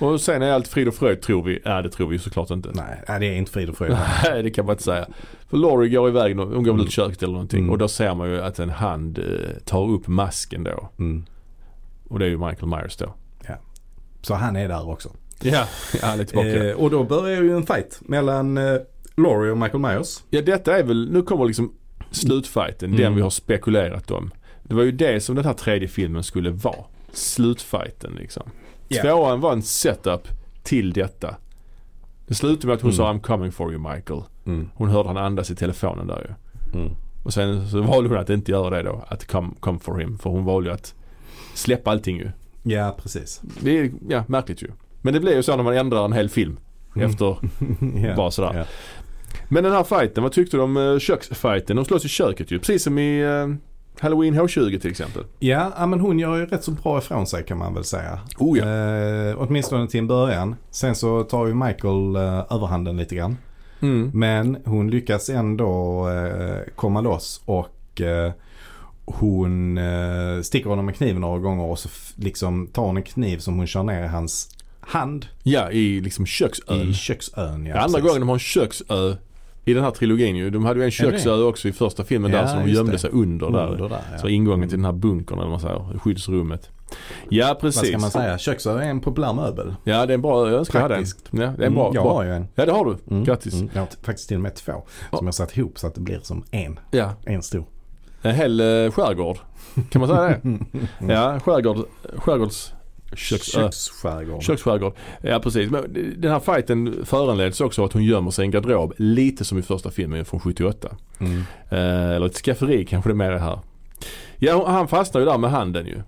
Speaker 1: Och sen är allt frid och fröjd tror vi. Nej, det tror vi ju såklart inte.
Speaker 2: Nej, nej, det är inte frid och fröjd.
Speaker 1: Nej, det kan man inte säga. För Laurie går iväg, nå- hon går väl
Speaker 2: Mm.
Speaker 1: ut i köket eller någonting.
Speaker 2: Mm.
Speaker 1: Och då ser man ju att en hand eh, tar upp masken då.
Speaker 2: Mm.
Speaker 1: Och det är ju Michael Myers då.
Speaker 2: Så han är där också.
Speaker 1: Ja, han är tillbaka.
Speaker 2: Eh, och då börjar ju en fight mellan eh, Laurie och Michael Myers.
Speaker 1: Ja detta är väl, nu kommer liksom slutfighten,
Speaker 2: Mm.
Speaker 1: den vi har spekulerat om. Det var ju det som den här tredje filmen skulle vara. Slutfighten liksom.
Speaker 2: Ja.
Speaker 1: Tvåan var en setup till detta. Det slutade med att hon
Speaker 2: Mm.
Speaker 1: sa I'm coming for you Michael. Hon hörde han andas i telefonen där ju.
Speaker 2: Mm.
Speaker 1: Och sen så valde hon att inte göra det då, att come, come for him. För hon valde ju att släppa allting ju.
Speaker 2: Ja, precis.
Speaker 1: Det är, ja, märkligt ju. Men det blir ju så när man ändrar en hel film.
Speaker 2: Mm.
Speaker 1: Efter,
Speaker 2: Ja.
Speaker 1: bara sådär.
Speaker 2: Ja.
Speaker 1: Men den här fighten, vad tyckte du om eh, köksfighten? De slåss i köket ju, precis som i eh, Halloween H20 till exempel.
Speaker 2: Ja, ja, men hon gör ju rätt så bra ifrån sig kan man väl säga.
Speaker 1: Oh
Speaker 2: Eh, åtminstone till en början. Sen så tar ju Michael eh, överhanden lite grann.
Speaker 1: Mm.
Speaker 2: Men hon lyckas ändå eh, komma loss och eh, hon eh, sticker honom med kniven några gånger och så f- liksom tar hon en kniv som hon kör ner i hans hand
Speaker 1: Ja, i liksom köksön.
Speaker 2: i köksön.
Speaker 1: Ja, andra
Speaker 2: precis.
Speaker 1: gången de har en köksö i den här trilogin ju. De hade ju en
Speaker 2: det det?
Speaker 1: köksö också i första filmen
Speaker 2: Ja,
Speaker 1: där som de
Speaker 2: just
Speaker 1: gömde
Speaker 2: det.
Speaker 1: sig under där.
Speaker 2: Under där, ja.
Speaker 1: Så ingången till den här bunkern eller vad man säger, skyddsrummet. Ja precis.
Speaker 2: Vad ska man säga? Köksö är en populär möbel.
Speaker 1: Ja det är en bra, jag önskar jag hade en.
Speaker 2: Praktiskt.
Speaker 1: Ja, det är en bra.
Speaker 2: Mm, jag
Speaker 1: bra.
Speaker 2: har ju en.
Speaker 1: Ja det har du.
Speaker 2: Mm,
Speaker 1: Grattis.
Speaker 2: Mm, jag har t- faktiskt till och med två
Speaker 1: Ja.
Speaker 2: som jag satt ihop så att det blir som en.
Speaker 1: Ja.
Speaker 2: En stor.
Speaker 1: En hel eh, skärgård. Kan man säga det? Ja, skärgård, skärgårds... Köksö.
Speaker 2: Köksskärgård.
Speaker 1: Köksskärgård. Ja precis. Men den här fighten föranleds också av att hon gömmer sig i en garderob. Lite som i första filmen från 78.
Speaker 2: Mm.
Speaker 1: Eh, eller ett skafferi kanske det är mer det här. Ja, han fastnar ju där med handen ju.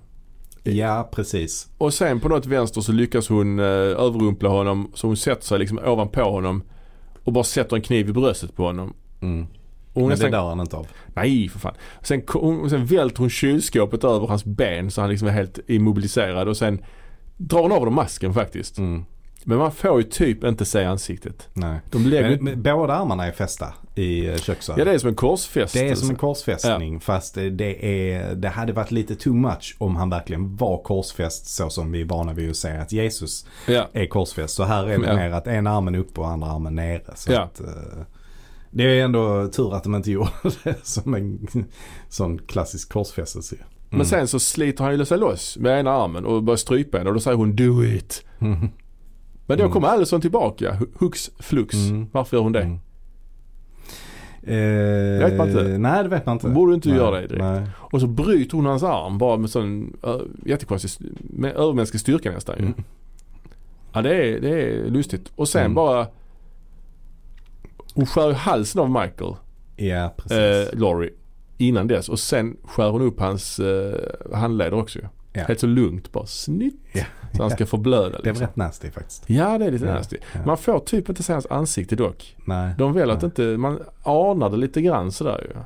Speaker 2: Ja, precis.
Speaker 1: Och sen på något vänster så lyckas hon eh, överrumpla honom så hon sätter sig liksom ovanpå honom och bara sätter en kniv i bröstet på honom.
Speaker 2: Mm.
Speaker 1: Och hon
Speaker 2: Men det
Speaker 1: nästan,
Speaker 2: dör han inte av.
Speaker 1: nej för fan. Sen, ko- hon, sen välter hon kylskåpet över hans ben så han liksom är helt immobiliserad och sen drar hon av honom masken faktiskt.
Speaker 2: Mm.
Speaker 1: Men man får ju typ inte se ansiktet.
Speaker 2: Nej.
Speaker 1: De lägger,
Speaker 2: Men, men, båda armarna är fästa i eh, köksön.
Speaker 1: ja det är som en korsfästelse.
Speaker 2: Det är som en korsfästning fast eh, det, är, det hade varit lite too much om han verkligen var korsfäst så som vi är vana vid att säga att Jesus
Speaker 1: alltså. Ja.
Speaker 2: är korsfäst. Så här är det
Speaker 1: Ja.
Speaker 2: mer att en armen upp och andra armen nere. Så
Speaker 1: Ja.
Speaker 2: att, eh, det är ändå tur att de inte gjorde det som en sån klassisk korsfästelse. Mm.
Speaker 1: Men sen så sliter han ju sig loss med ena armen och börjar strypa henne och då säger hon do it.
Speaker 2: Mm.
Speaker 1: Men då
Speaker 2: Mm.
Speaker 1: kommer Allison tillbaka, hu- hux flux.
Speaker 2: Mm.
Speaker 1: Varför gör hon det?
Speaker 2: Mm. Eh,
Speaker 1: vet man inte.
Speaker 2: Nej, det vet man inte.
Speaker 1: Hon borde inte
Speaker 2: nej,
Speaker 1: göra det direkt.
Speaker 2: Nej.
Speaker 1: Och så bryter hon hans arm bara med sån ö, jättekonstig, st- med övermänsklig styrka nästan ju.
Speaker 2: Mm.
Speaker 1: Ja det är, det är lustigt. Och sen
Speaker 2: Mm.
Speaker 1: bara Hon skär ju halsen av Michael,
Speaker 2: Ja, precis.
Speaker 1: eh, Laurie, innan dess. Och sen skär hon upp hans eh, handleder också ju.
Speaker 2: Ja.
Speaker 1: Helt så lugnt bara snitt.
Speaker 2: Ja.
Speaker 1: Så han ska förblöda
Speaker 2: det var
Speaker 1: liksom.
Speaker 2: rätt nasty faktiskt.
Speaker 1: Ja det är lite
Speaker 2: Ja.
Speaker 1: nasty.
Speaker 2: Ja.
Speaker 1: Man får typ inte se hans ansikte dock.
Speaker 2: Nej.
Speaker 1: De vill att
Speaker 2: Nej.
Speaker 1: inte, man anar det lite grann sådär ju.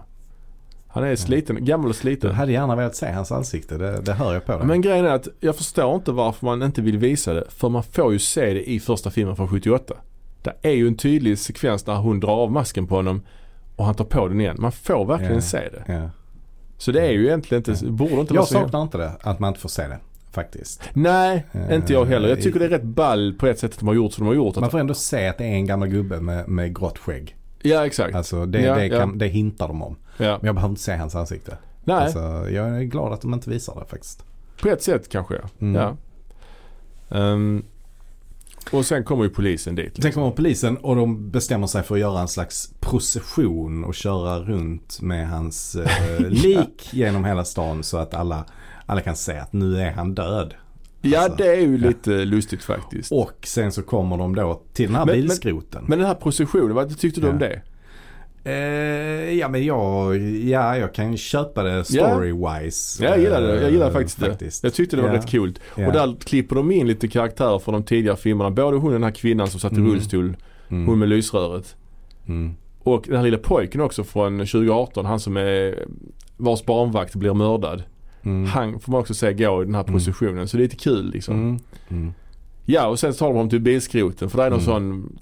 Speaker 1: Han är sliten, gammal och sliten.
Speaker 2: Jag hade gärna velat se hans ansikte, det, det hör jag på dig.
Speaker 1: Men grejen är att jag förstår inte varför man inte vill visa det. För man får ju se det i första filmen från 78. Det är ju en tydlig sekvens där hon drar av masken på honom och han tar på den igen. Man får verkligen
Speaker 2: Ja.
Speaker 1: se det.
Speaker 2: ja.
Speaker 1: Så det är ju egentligen inte, borde inte vara
Speaker 2: Jag
Speaker 1: så.
Speaker 2: saknar inte det, att man inte får se det faktiskt.
Speaker 1: Nej,
Speaker 2: Eh,
Speaker 1: inte jag heller. Jag tycker det är rätt ball på ett sätt att de har gjort som de har gjort.
Speaker 2: Man
Speaker 1: Att,
Speaker 2: får ändå se att det är en gammal gubbe med, med grått skägg.
Speaker 1: ja, exakt.
Speaker 2: Alltså det,
Speaker 1: Ja,
Speaker 2: det,
Speaker 1: ja.
Speaker 2: kan, det hintar de om.
Speaker 1: Ja.
Speaker 2: Men jag behöver inte se hans ansikte.
Speaker 1: Nej,
Speaker 2: Alltså, jag är glad att de inte visar det faktiskt.
Speaker 1: på ett sätt kanske.
Speaker 2: Mm.
Speaker 1: Ja. Ehm, och sen kommer ju polisen dit.
Speaker 2: Sen kommer polisen och de bestämmer sig för att göra en slags procession och köra runt med hans eh, lik genom hela stan så att alla, alla kan se att nu är han död.
Speaker 1: Ja,
Speaker 2: Alltså,
Speaker 1: det är ju
Speaker 2: ja.
Speaker 1: lite lustigt faktiskt.
Speaker 2: Och sen så kommer de då till den här
Speaker 1: Men- men-
Speaker 2: bilskroten.
Speaker 1: Men den här processionen, vad tyckte du om
Speaker 2: Ja.
Speaker 1: det?
Speaker 2: Eh, ja men jag, ja, jag kan köpa det story-wise.
Speaker 1: Ja, jag gillar det. Jag gillar faktiskt,
Speaker 2: faktiskt.
Speaker 1: det. Jag tyckte det var
Speaker 2: Ja.
Speaker 1: rätt kul.
Speaker 2: Ja.
Speaker 1: Och där klipper de in lite karaktärer från de tidigare filmerna. Både hon den här kvinnan som satt i
Speaker 2: Mm.
Speaker 1: rullstol,
Speaker 2: Mm.
Speaker 1: hon med lysröret.
Speaker 2: Mm.
Speaker 1: Och den här lilla pojken också från 2018, han som är vars barnvakt blir mördad.
Speaker 2: Mm.
Speaker 1: Han får man också se gå i den här
Speaker 2: Mm.
Speaker 1: positionen. Så det är lite kul liksom.
Speaker 2: Mm. Mm.
Speaker 1: Ja och sen så tar de honom till bilskroten för det är någon
Speaker 2: Mm.
Speaker 1: sån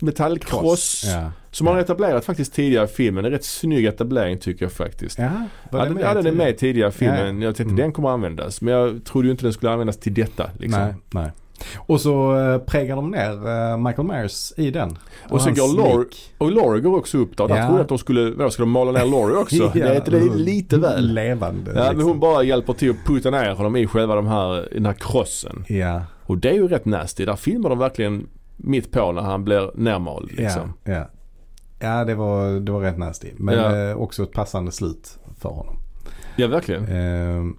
Speaker 1: bilmetallkross.
Speaker 2: Ja.
Speaker 1: Som man har etablerat faktiskt tidigare i filmen. Det är rätt snygg etablering tycker jag faktiskt.
Speaker 2: ja, var
Speaker 1: Ja,
Speaker 2: det
Speaker 1: den,
Speaker 2: med
Speaker 1: ja, den är
Speaker 2: till-
Speaker 1: med i tidigare filmen.
Speaker 2: Ja, ja.
Speaker 1: Jag tänkte
Speaker 2: Mm.
Speaker 1: den kommer användas. Men jag trodde ju inte den skulle användas till detta. Liksom.
Speaker 2: Nej, nej. Och så eh, prägar de ner eh, Michael Myers i den.
Speaker 1: Och så
Speaker 2: hans
Speaker 1: går Laura-
Speaker 2: lik.
Speaker 1: Och Laurie går också upp där. Där
Speaker 2: Ja.
Speaker 1: trodde jag att de skulle, vadå, ska de mala ner Laurie också?
Speaker 2: Ja, Mm.
Speaker 1: Det är inte det är lite väl.
Speaker 2: Levande.
Speaker 1: Ja, men
Speaker 2: liksom.
Speaker 1: hon bara hjälper till att putta ner honom i själva de här, den här krossen.
Speaker 2: Ja,
Speaker 1: Och det är ju rätt nasty. Där filmar de verkligen mitt på när han blir nermald. Liksom.
Speaker 2: ja, ja. ja det, var, det var rätt nasty. Men
Speaker 1: Ja.
Speaker 2: eh, också ett passande slut för honom.
Speaker 1: Ja. verkligen.
Speaker 2: Ehm,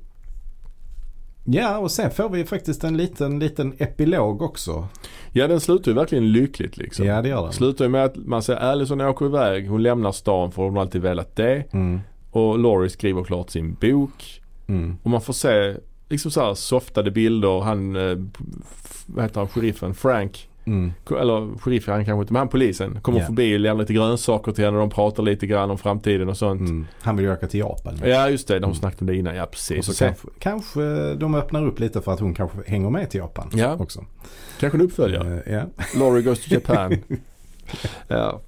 Speaker 2: ja, och sen får vi faktiskt en liten, liten epilog också.
Speaker 1: Ja den slutar ju verkligen lyckligt liksom.
Speaker 2: Ja, det gör den.
Speaker 1: Slutar ju med att man ser Alison åker iväg. Hon lämnar stan för hon har alltid velat det.
Speaker 2: Mm,
Speaker 1: Och Laurie skriver klart sin bok.
Speaker 2: mm,
Speaker 1: Och man får se liksom så här softade bilder. Han, eh, f- vad heter han, sheriffen Frank.
Speaker 2: mm,
Speaker 1: ko- Eller sheriffen han kanske inte, men han polisen. Kommer
Speaker 2: Ja.
Speaker 1: förbi och lämnar lite grönsaker till henne. De pratar lite grann om framtiden och sånt.
Speaker 2: mm. Han vill ju åka till Japan.
Speaker 1: Ja just det, de
Speaker 2: Mm.
Speaker 1: snackade om det innan. Ja
Speaker 2: Och
Speaker 1: precis.
Speaker 2: så
Speaker 1: Och sen,
Speaker 2: kanske, kanske de öppnar upp lite för att hon kanske hänger med till Japan
Speaker 1: Ja.
Speaker 2: också.
Speaker 1: kanske en uppföljare.
Speaker 2: Eh, ja.
Speaker 1: Laurie goes to Japan. ja.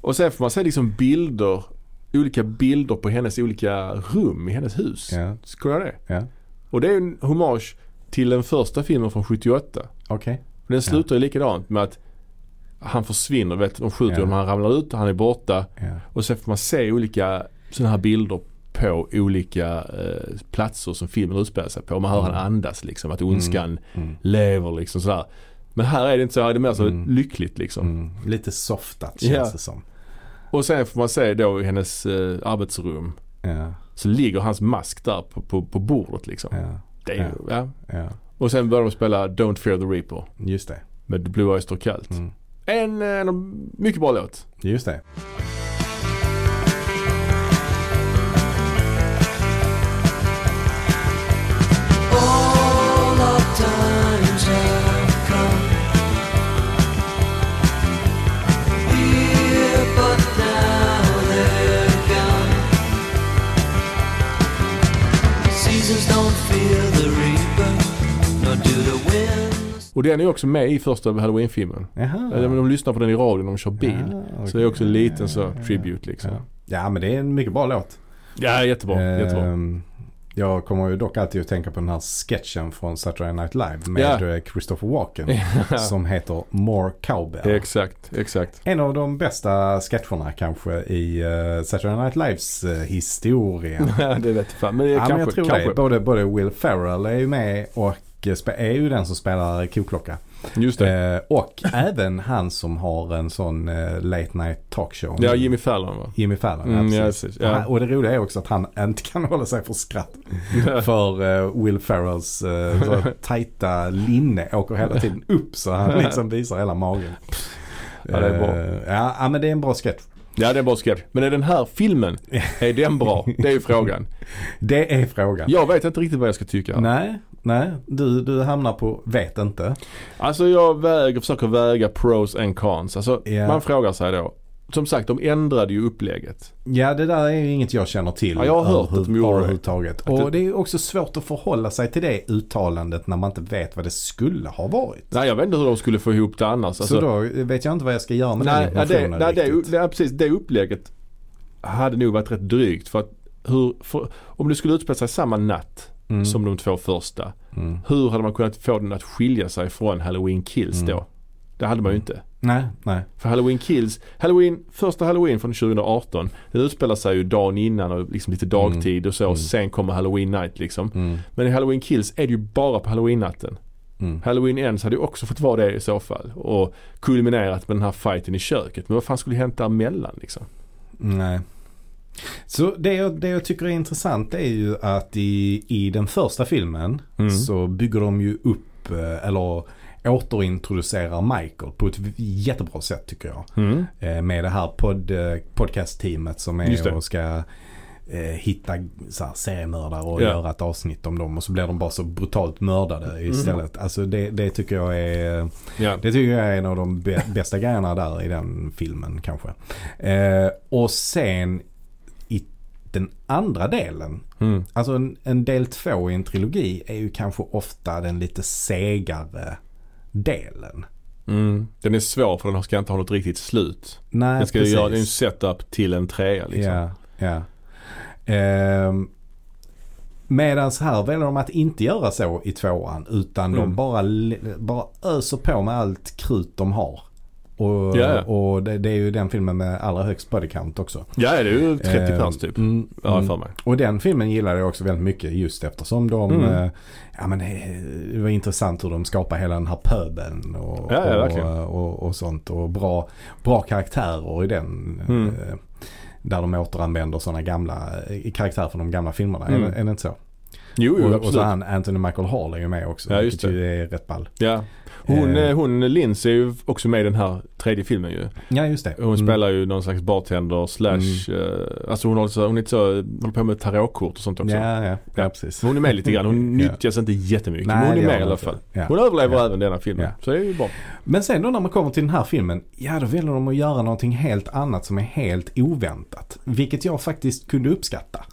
Speaker 1: Och sen får man se liksom bilder. Olika bilder på hennes olika rum i hennes hus.
Speaker 2: ja.
Speaker 1: Skulle jag det?
Speaker 2: Ja.
Speaker 1: Och det är ju en hommage till den första filmen från 78.
Speaker 2: Okej.
Speaker 1: Och Den slutar ju likadant med att han försvinner. Vet, de skjuter
Speaker 2: Ja.
Speaker 1: honom, han ramlar ut, han är borta.
Speaker 2: Ja.
Speaker 1: Och sen får man se olika sådana här bilder på olika eh, platser som filmen utspelar sig på. Man hör
Speaker 2: Mm.
Speaker 1: han andas liksom, att ondskan
Speaker 2: Mm.
Speaker 1: lever liksom sådär. Men här är det inte så, här är det mer så
Speaker 2: Mm.
Speaker 1: lyckligt liksom.
Speaker 2: Mm. Lite softat känns
Speaker 1: Ja.
Speaker 2: det som.
Speaker 1: Och sen får man se då i hennes eh, arbetsrum
Speaker 2: Ja.
Speaker 1: så ligger hans mask där på, på, på bordet liksom.
Speaker 2: Ja.
Speaker 1: Det är, ju- ja.
Speaker 2: ja,
Speaker 1: Och sen börjar de spela Don't Fear the Reaper
Speaker 2: just det.
Speaker 1: med Blue Eyes Står Kallt.
Speaker 2: Mm.
Speaker 1: En, eh, en mycket bra låt.
Speaker 2: Just det.
Speaker 3: seasons don't fear the reaper, nor do the winds.
Speaker 1: Och den är också med i första Halloween-filmen.
Speaker 2: Jaha.
Speaker 1: Eller, men De lyssnar på den i radion när de kör bil.
Speaker 2: Ja,
Speaker 1: Så det är också en
Speaker 2: okej.
Speaker 1: liten så tribute liksom.
Speaker 2: Ja. Ja men det är en mycket bra låt.
Speaker 1: Ja, jättebra. jättebra.
Speaker 2: Ehm, Jag kommer ju dock alltid att tänka på den här sketchen från Saturday Night Live med
Speaker 1: Ja.
Speaker 2: eh, Christopher Walken. Som heter More Cowbell.
Speaker 1: Exakt, exakt.
Speaker 2: En av de bästa sketcherna kanske i eh, Saturday Night Lives eh, historia.
Speaker 1: Ja, det vet jag fan. Men det är
Speaker 2: ja,
Speaker 1: kanske,
Speaker 2: men jag tror
Speaker 1: kanske.
Speaker 2: det. Både, både Will Ferrell är ju med och eh, spe- är ju den som spelar koklocka.
Speaker 1: Just det.
Speaker 2: Eh, och även han som har en sån eh, late night talkshow.
Speaker 1: Ja, Jimmy Fallon va?
Speaker 2: Jimmy Fallon,
Speaker 1: Mm,
Speaker 2: ja,
Speaker 1: ja,
Speaker 2: precis.
Speaker 1: precis. Ja.
Speaker 2: Han- Och det roliga är också att han inte kan hålla sig för skratt. För eh, Will Ferrells eh, så tajta linne åker hela tiden upp så han liksom visar hela magen.
Speaker 1: Ja, det är bra.
Speaker 2: Eh, ja, ja, men det är en bra sketch.
Speaker 1: Ja, det är en bra sketch. Men är den här filmen, är den bra? Det är ju frågan.
Speaker 2: Det är frågan.
Speaker 1: Jag vet inte riktigt vad jag ska tycka.
Speaker 2: Nej, nej. Du, du hamnar på vet inte.
Speaker 1: Alltså jag väger, försöker väga pros and cons. Alltså
Speaker 2: Ja.
Speaker 1: man frågar sig då. Som sagt, de ändrade ju upplägget.
Speaker 2: Ja, det där är ju inget jag känner till.
Speaker 1: Ja, jag har hört
Speaker 2: överhu-
Speaker 1: att de gjorde det.
Speaker 2: överhuvudtaget.
Speaker 1: det-
Speaker 2: Och det är ju också svårt att förhålla sig till det uttalandet när man inte vet vad det skulle ha varit.
Speaker 1: Nej, jag vet inte hur de skulle få ihop det annars. Alltså,
Speaker 2: så då vet jag inte vad jag ska göra med
Speaker 1: nej,
Speaker 2: den
Speaker 1: ja, det,
Speaker 2: informationen
Speaker 1: nej, det,
Speaker 2: riktigt.
Speaker 1: nej, precis. Det upplägget hade nog varit rätt drygt. För att hur, för, om det skulle utspela sig samma natt
Speaker 2: Mm.
Speaker 1: som de två första.
Speaker 2: Mm.
Speaker 1: Hur hade man kunnat få den att skilja sig från Halloween Kills
Speaker 2: Mm.
Speaker 1: då? Det hade man ju inte.
Speaker 2: Nej, nej.
Speaker 1: För Halloween Kills, Halloween, första Halloween från 2018, den utspelar sig ju dagen innan och liksom lite dagtid och så. Sen kommer Halloween Night liksom.
Speaker 2: Mm.
Speaker 1: Men i Halloween Kills är det ju bara på Halloween-natten.
Speaker 2: Mm.
Speaker 1: Halloween Ends hade ju också fått vara det i så fall. Och kulminerat med den här fighten i köket. Men vad fan skulle hänt däremellan liksom?
Speaker 2: Mm. Nej. Så det jag, det jag tycker är intressant är ju att i, i den första filmen
Speaker 1: Mm.
Speaker 2: så bygger de ju upp eh, eller återintroducerar Michael på ett jättebra sätt tycker jag. Eh, Med det här pod, eh, podcast-teamet som
Speaker 1: Just det.
Speaker 2: är och ska eh, hitta så här, seriemördare och
Speaker 1: Ja.
Speaker 2: göra ett avsnitt om dem. Och så blir de bara så brutalt mördade
Speaker 1: Mm.
Speaker 2: istället. Alltså det, det tycker jag är
Speaker 1: Ja.
Speaker 2: det tycker jag är en av de bä- bästa grejerna där i den filmen kanske. Eh, och sen i den andra delen,
Speaker 1: Mm.
Speaker 2: alltså en, en del två i en trilogi är ju kanske ofta den lite segare delen.
Speaker 1: Mm. Den är svår för den ska inte ha något riktigt slut.
Speaker 2: Nej,
Speaker 1: Den ska ju
Speaker 2: precis.
Speaker 1: göra, det är ju en setup till en trea liksom.
Speaker 2: Ja, ja. Ehm, Medan här väljer de att inte göra så i tvåan utan de
Speaker 1: Mm.
Speaker 2: bara, le- bara öser på med allt krut de har. Och,
Speaker 1: Ja, ja.
Speaker 2: och det, det är ju den filmen med allra högst body count också.
Speaker 1: Ja, det är ju 30
Speaker 2: Ehm,
Speaker 1: pers typ.
Speaker 2: Mm,
Speaker 1: Ja, jag har
Speaker 2: mm.
Speaker 1: för mig.
Speaker 2: Och den filmen gillade jag också väldigt mycket just eftersom de,
Speaker 1: Mm.
Speaker 2: eh, ja men eh, det var intressant hur de skapar hela den här pöbeln och,
Speaker 1: Ja, ja, verkligen.
Speaker 2: och, och, och sånt. Och bra, bra karaktärer i den.
Speaker 1: Mm.
Speaker 2: eh, Där de återanvänder sådana gamla eh, karaktärer från de gamla filmerna. Är,
Speaker 1: Mm.
Speaker 2: det- är det inte så?
Speaker 1: Jo, jo
Speaker 2: och, och
Speaker 1: absolut.
Speaker 2: så han Anthony Michael Hall är ju med också.
Speaker 1: Ja, just
Speaker 2: vilket ju är rätt ball.
Speaker 1: Ja. Hon,
Speaker 2: Eh.
Speaker 1: eh, hon Lindsay är ju också med i den här tredje filmen ju.
Speaker 2: Ja just det.
Speaker 1: Hon spelar ju någon slags bartender slash,
Speaker 2: Mm.
Speaker 1: eh, alltså hon, håller så, hon är inte så, håller på med tarotkort och sånt också.
Speaker 2: Ja, ja, ja precis.
Speaker 1: Men Hon är med lite grann, hon
Speaker 2: Ja.
Speaker 1: nyttjas inte jättemycket
Speaker 2: Nej,
Speaker 1: men hon
Speaker 2: det
Speaker 1: är
Speaker 2: gör
Speaker 1: med i
Speaker 2: hon
Speaker 1: alla
Speaker 2: inte.
Speaker 1: fall.
Speaker 2: Ja.
Speaker 1: Hon överlever
Speaker 2: Ja.
Speaker 1: även denna filmen,
Speaker 2: Ja.
Speaker 1: så det är ju bra.
Speaker 2: Men sen då när man kommer till den här filmen, ja då väljer de att göra någonting helt annat som är helt oväntat. Vilket jag faktiskt kunde uppskatta.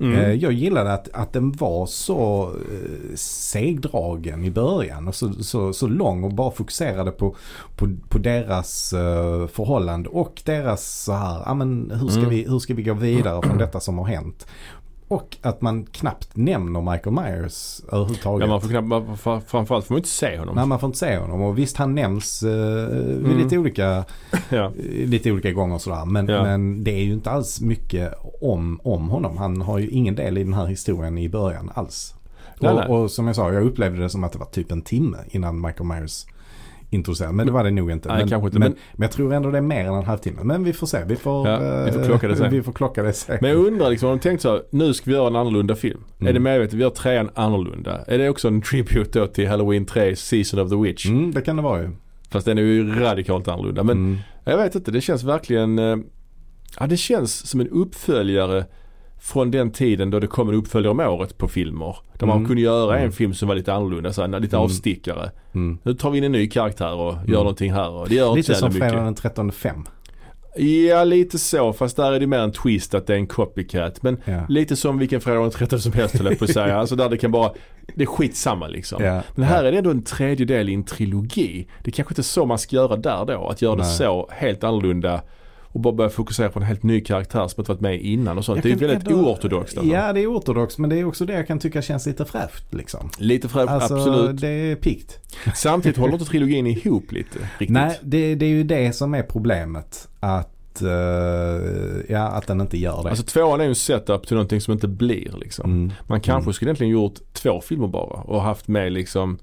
Speaker 1: Mm.
Speaker 2: Eh, Jag gillade att, att den var så eh, segdragen i början och så, så, så lång och bara fokuserade på, på, på deras eh, förhållande och deras så här, ja men hur ska, vi, hur ska vi gå vidare från detta som har hänt. Och att man knappt nämner Michael Myers överhuvudtaget.
Speaker 1: Ja, man får knappt, man, får- framförallt får man inte se honom.
Speaker 2: Nej, man får inte se honom. Och visst, han nämns eh, vid lite, olika,
Speaker 1: Ja.
Speaker 2: eh, lite olika gånger sådär. Men,
Speaker 1: Ja.
Speaker 2: men det är ju inte alls mycket om, om honom. Han har ju ingen del i den här historien i början alls.
Speaker 1: Nej,
Speaker 2: och,
Speaker 1: nej.
Speaker 2: och som jag sa, jag upplevde det som att det var typ en timme innan Michael Myers introducerades. Men det var det nog inte.
Speaker 1: Nej,
Speaker 2: men,
Speaker 1: kanske inte,
Speaker 2: men, men,
Speaker 1: men-
Speaker 2: jag tror ändå det är mer än en halvtimme. Men vi får se. Vi får,
Speaker 1: Ja, vi får
Speaker 2: eh,
Speaker 1: klocka det sen.
Speaker 2: Vi får klocka det sen.
Speaker 1: Men jag undrar liksom, har de tänkt så här, nu ska vi göra en annorlunda film?
Speaker 2: Mm.
Speaker 1: Är det medvetet, vi gör trean annorlunda? Är det också en tribute då till Halloween 3, Season of the Witch?
Speaker 2: Mm, det kan det vara ju.
Speaker 1: Fast den är ju radikalt annorlunda. Men
Speaker 2: Mm.
Speaker 1: Jag vet inte, det känns verkligen eh, Ja det känns som en uppföljare från den tiden då det kom en uppföljare om året på filmer. Där man
Speaker 2: Mm.
Speaker 1: kunde göra
Speaker 2: Mm.
Speaker 1: en film som var lite annorlunda, så här, lite
Speaker 2: Mm.
Speaker 1: avstickare.
Speaker 2: Mm.
Speaker 1: Nu tar vi in en ny karaktär och gör någonting här och det gör
Speaker 2: Lite
Speaker 1: inte så
Speaker 2: som
Speaker 1: jävla mycket.
Speaker 2: Fredag den 13 5.
Speaker 1: Ja, lite så. Fast där är det mer en twist att det är en copycat. Men
Speaker 2: Ja.
Speaker 1: lite som vilken Fredag den 13 som helst höll jag på att säga. Alltså där det kan bara, det är skitsamma liksom.
Speaker 2: Ja.
Speaker 1: Men här är det ändå en tredjedel i en trilogi. Det är kanske inte är så man ska göra där då. Att göra det
Speaker 2: Nej.
Speaker 1: så helt annorlunda och bara börja fokusera på en helt ny karaktär som inte varit med innan och sånt.
Speaker 2: Jag
Speaker 1: det är ju
Speaker 2: kan
Speaker 1: väldigt
Speaker 2: ändå-
Speaker 1: oortodoxt. alltså.
Speaker 2: Ja, det är oortodoxt men det är också det jag kan tycka känns lite fräscht liksom.
Speaker 1: Lite främt,
Speaker 2: Alltså,
Speaker 1: absolut.
Speaker 2: det är piggt.
Speaker 1: Samtidigt håller inte trilogin ihop lite riktigt.
Speaker 2: Nej, det, det är ju det som är problemet. Att, eh, ja, att den inte gör det.
Speaker 1: Alltså tvåan är ju en setup till någonting som inte blir liksom.
Speaker 2: mm.
Speaker 1: Man kanske skulle egentligen gjort två filmer bara och haft med liksom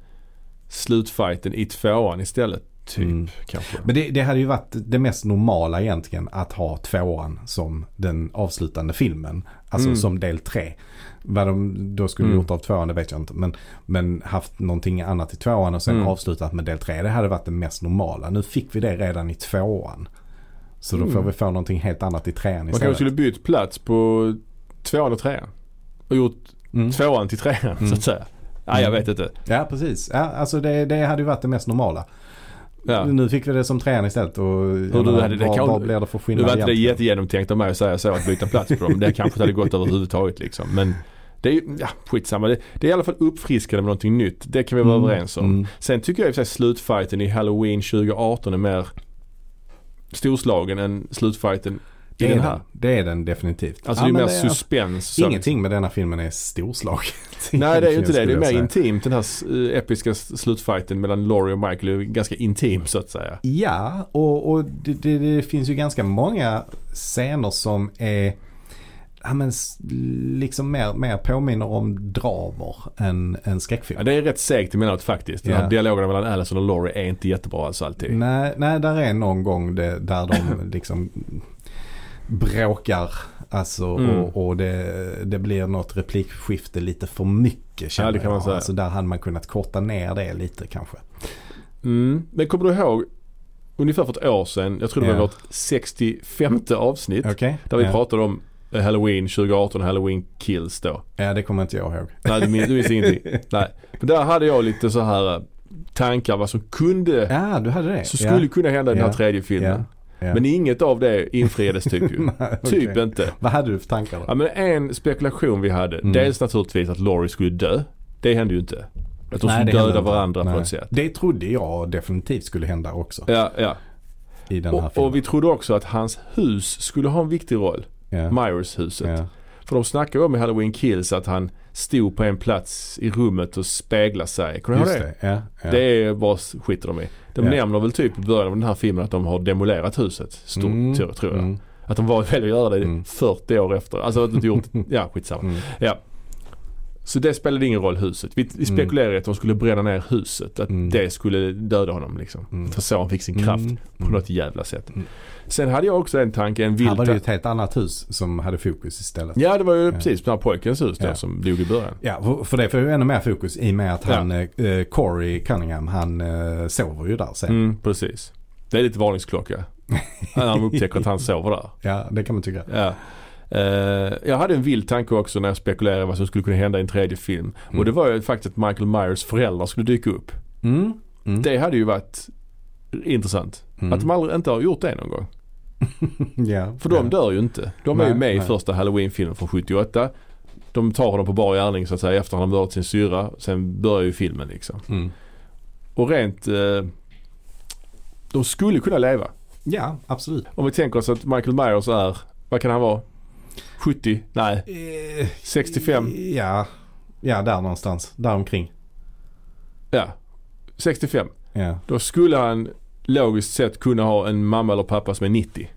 Speaker 1: slutfighten i tvåan istället. Typ
Speaker 2: Mm.
Speaker 1: kanske.
Speaker 2: Men det, det hade ju varit det mest normala egentligen att ha tvåan som den avslutande filmen. Alltså
Speaker 1: Mm.
Speaker 2: som del tre. Vad de då skulle
Speaker 1: Mm.
Speaker 2: gjort av tvåan det vet jag inte. Men, men haft någonting annat i tvåan och sen
Speaker 1: Mm.
Speaker 2: avslutat med del tre. Det hade varit det mest normala. Nu fick vi det redan i tvåan. Så då
Speaker 1: Mm.
Speaker 2: får vi få någonting helt annat i trean
Speaker 1: Man
Speaker 2: istället.
Speaker 1: kanske skulle bytt plats på tvåan och trean. Och gjort
Speaker 2: Mm.
Speaker 1: tvåan till trean så att säga. Nej jag
Speaker 2: Mm.
Speaker 1: vet inte.
Speaker 2: Ja precis. Ja, alltså det, det hade ju varit det mest normala.
Speaker 1: Ja.
Speaker 2: Nu fick vi det som trean istället. Och Hur
Speaker 1: du hade det
Speaker 2: vad,
Speaker 1: kan-
Speaker 2: vad blir det för
Speaker 1: Nu
Speaker 2: skillnad
Speaker 1: var inte det
Speaker 2: egentligen?
Speaker 1: jättegenomtänkt av mig att säga så att byta plats på dem. Det kanske inte hade gått överhuvudtaget liksom. Men det är ju, ja skitsamma. Det, det är i alla fall uppfriskande med någonting nytt. Det kan vi vara
Speaker 2: Mm.
Speaker 1: överens om.
Speaker 2: Mm.
Speaker 1: Sen tycker jag i och för sig slutfighten i Halloween 2018 är mer storslagen än slutfighten i
Speaker 2: Det är
Speaker 1: den här.
Speaker 2: den. Det är den definitivt.
Speaker 1: Alltså
Speaker 2: Ja,
Speaker 1: det är
Speaker 2: men
Speaker 1: mer
Speaker 2: alltså-
Speaker 1: suspens. så-
Speaker 2: Ingenting med denna filmen är storslaget.
Speaker 1: Nej det är ju inte det. Det är
Speaker 2: Egentligen
Speaker 1: mer
Speaker 2: skulle jag säga.
Speaker 1: intimt. Den här eh, episka s- slutfighten mellan Laurie och Michael är ju ganska intim så att säga.
Speaker 2: Ja, och, och det, det, det finns ju ganska många scener som är Ja, men s- liksom mer, mer påminner om dramer än, än skräckfilm.
Speaker 1: Ja, det är rätt segt emellanåt faktiskt. Den här
Speaker 2: Ja.
Speaker 1: dialogen mellan Allison och Laurie är inte jättebra alls alltid.
Speaker 2: Nej, nej, där är någon gång det, där de liksom bråkar. Alltså,
Speaker 1: Mm.
Speaker 2: och, och det, det blir något replikskifte lite för mycket känner
Speaker 1: Ja, det kan man
Speaker 2: jag.
Speaker 1: säga.
Speaker 2: Alltså, där hade man kunnat korta ner det lite kanske.
Speaker 1: Mm. Men kommer du ihåg ungefär för ett år sedan, jag tror det var
Speaker 2: Ja.
Speaker 1: vårt 65 avsnitt,
Speaker 2: Okej?
Speaker 1: där vi
Speaker 2: Ja.
Speaker 1: pratade om eh, Halloween 2018 och Halloween Kills då.
Speaker 2: Ja, det kommer inte jag ihåg.
Speaker 1: Nej, du minns, du minns ingenting. Nej. Men där hade jag lite så här eh, tankar vad som kunde,
Speaker 2: Ja, du hade det.
Speaker 1: så skulle kunna hända i den här
Speaker 2: Ja.
Speaker 1: tredje
Speaker 2: ja.
Speaker 1: filmen.
Speaker 2: Ja. Ja.
Speaker 1: Men inget av det infriades typ ju.
Speaker 2: Nej, okej.
Speaker 1: Typ inte.
Speaker 2: Vad hade du för tankar då?
Speaker 1: Ja, men en spekulation vi hade,
Speaker 2: Mm.
Speaker 1: dels naturligtvis att Laurie skulle dö. Det hände ju inte. Att de
Speaker 2: Nej,
Speaker 1: skulle
Speaker 2: det
Speaker 1: döda
Speaker 2: hände inte.
Speaker 1: varandra
Speaker 2: Nej.
Speaker 1: på ett sätt.
Speaker 2: Det trodde jag definitivt skulle hända också
Speaker 1: Ja, ja.
Speaker 2: i den här
Speaker 1: Och, och
Speaker 2: filmen.
Speaker 1: vi trodde också att hans hus skulle ha en viktig roll.
Speaker 2: ja.
Speaker 1: Myers-huset.
Speaker 2: ja.
Speaker 1: För de snackar ju om i Halloween Kills att han stod på en plats i rummet och speglade sig. Kommer du
Speaker 2: Just
Speaker 1: ihåg det?
Speaker 2: det. Ja. Ja.
Speaker 1: Det är bara skiter de i. De
Speaker 2: Ja.
Speaker 1: nämner väl typ i början av den här filmen att de har demolerat huset. Stort,
Speaker 2: Mm.
Speaker 1: tror, tror jag.
Speaker 2: Mm.
Speaker 1: Att de var väl att göra det
Speaker 2: Mm.
Speaker 1: 40 år efter. Alltså att de inte gjort, ja skitsamma.
Speaker 2: Mm.
Speaker 1: Så det spelade ingen roll huset. Vi, vi spekulerade i att de skulle bränna ner huset. Att
Speaker 2: Mm.
Speaker 1: det skulle döda honom liksom.
Speaker 2: Mm.
Speaker 1: För så han fick sin kraft
Speaker 2: Mm.
Speaker 1: på något jävla sätt.
Speaker 2: Mm.
Speaker 1: Sen hade jag också en tanke, en
Speaker 2: Här
Speaker 1: vild
Speaker 2: var det ju
Speaker 1: tanke.
Speaker 2: ett helt annat hus som hade fokus istället.
Speaker 1: Ja det var ju
Speaker 2: Ja.
Speaker 1: precis den här pojkens hus då
Speaker 2: Ja.
Speaker 1: som dog i början.
Speaker 2: Ja, för- för det får ju ännu mer fokus i och med att han, eh, Corey Cunningham, han eh, sover ju där sen.
Speaker 1: Mm, precis. Det är lite varningsklocka. När de upptäcker att han sover där.
Speaker 2: Ja, det kan man tycka.
Speaker 1: Ja. Eh, jag hade en vild tanke också när jag spekulerade vad som skulle kunna hända i en tredje film.
Speaker 2: Mm.
Speaker 1: Och det var ju faktiskt att Michael Myers föräldrar skulle dyka upp.
Speaker 2: Mm. Mm.
Speaker 1: Det hade ju varit intressant.
Speaker 2: Mm.
Speaker 1: Att de aldrig inte har gjort det någon gång.
Speaker 2: ja.
Speaker 1: För de
Speaker 2: ja.
Speaker 1: dör ju inte. De är ju
Speaker 2: Nej,
Speaker 1: med i
Speaker 2: nej.
Speaker 1: första Halloween-filmen från 78. De tar honom på bar gärning så att säga efter han har mördat sin syra. Sen börjar ju filmen liksom.
Speaker 2: Mm.
Speaker 1: Och rent... Eh, de skulle kunna leva.
Speaker 2: Ja, absolut.
Speaker 1: Om vi tänker oss att Michael Myers är, vad kan han vara? 70? Nej,
Speaker 2: Eh,
Speaker 1: 65?
Speaker 2: Ja, ja där någonstans. Där omkring.
Speaker 1: Ja, 65.
Speaker 2: Ja.
Speaker 1: Då skulle han logiskt sett kunna ha en mamma eller pappa som är 90.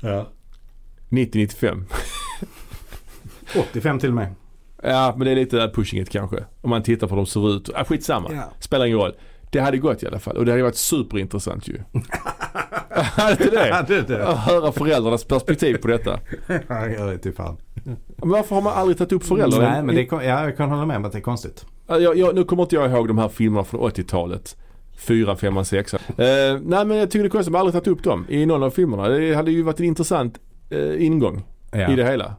Speaker 2: ja.
Speaker 1: 90-95.
Speaker 2: 85 till och med.
Speaker 1: Ja, men det är lite där pushing it kanske. Om man tittar på hur de ser ut. Ah, skitsamma.
Speaker 2: Ja.
Speaker 1: Spelar ingen roll. Det hade gått i alla fall och det hade varit superintressant ju. hade inte det?
Speaker 2: det det?
Speaker 1: Att höra föräldrarnas perspektiv på detta.
Speaker 2: Jag vet inte fan.
Speaker 1: Men varför har man aldrig tagit upp föräldrar?
Speaker 2: Nej, men det är, kon- ja, jag kan hålla med om att det är konstigt.
Speaker 1: Jag, jag, nu kommer inte jag ihåg de här filmerna från 80-talet. Fyra, femman, sexa. Eh, nej men jag tycker det är konstigt att man aldrig tagit upp dem i någon av filmerna. Det hade ju varit en intressant eh, ingång
Speaker 2: Ja.
Speaker 1: i det hela.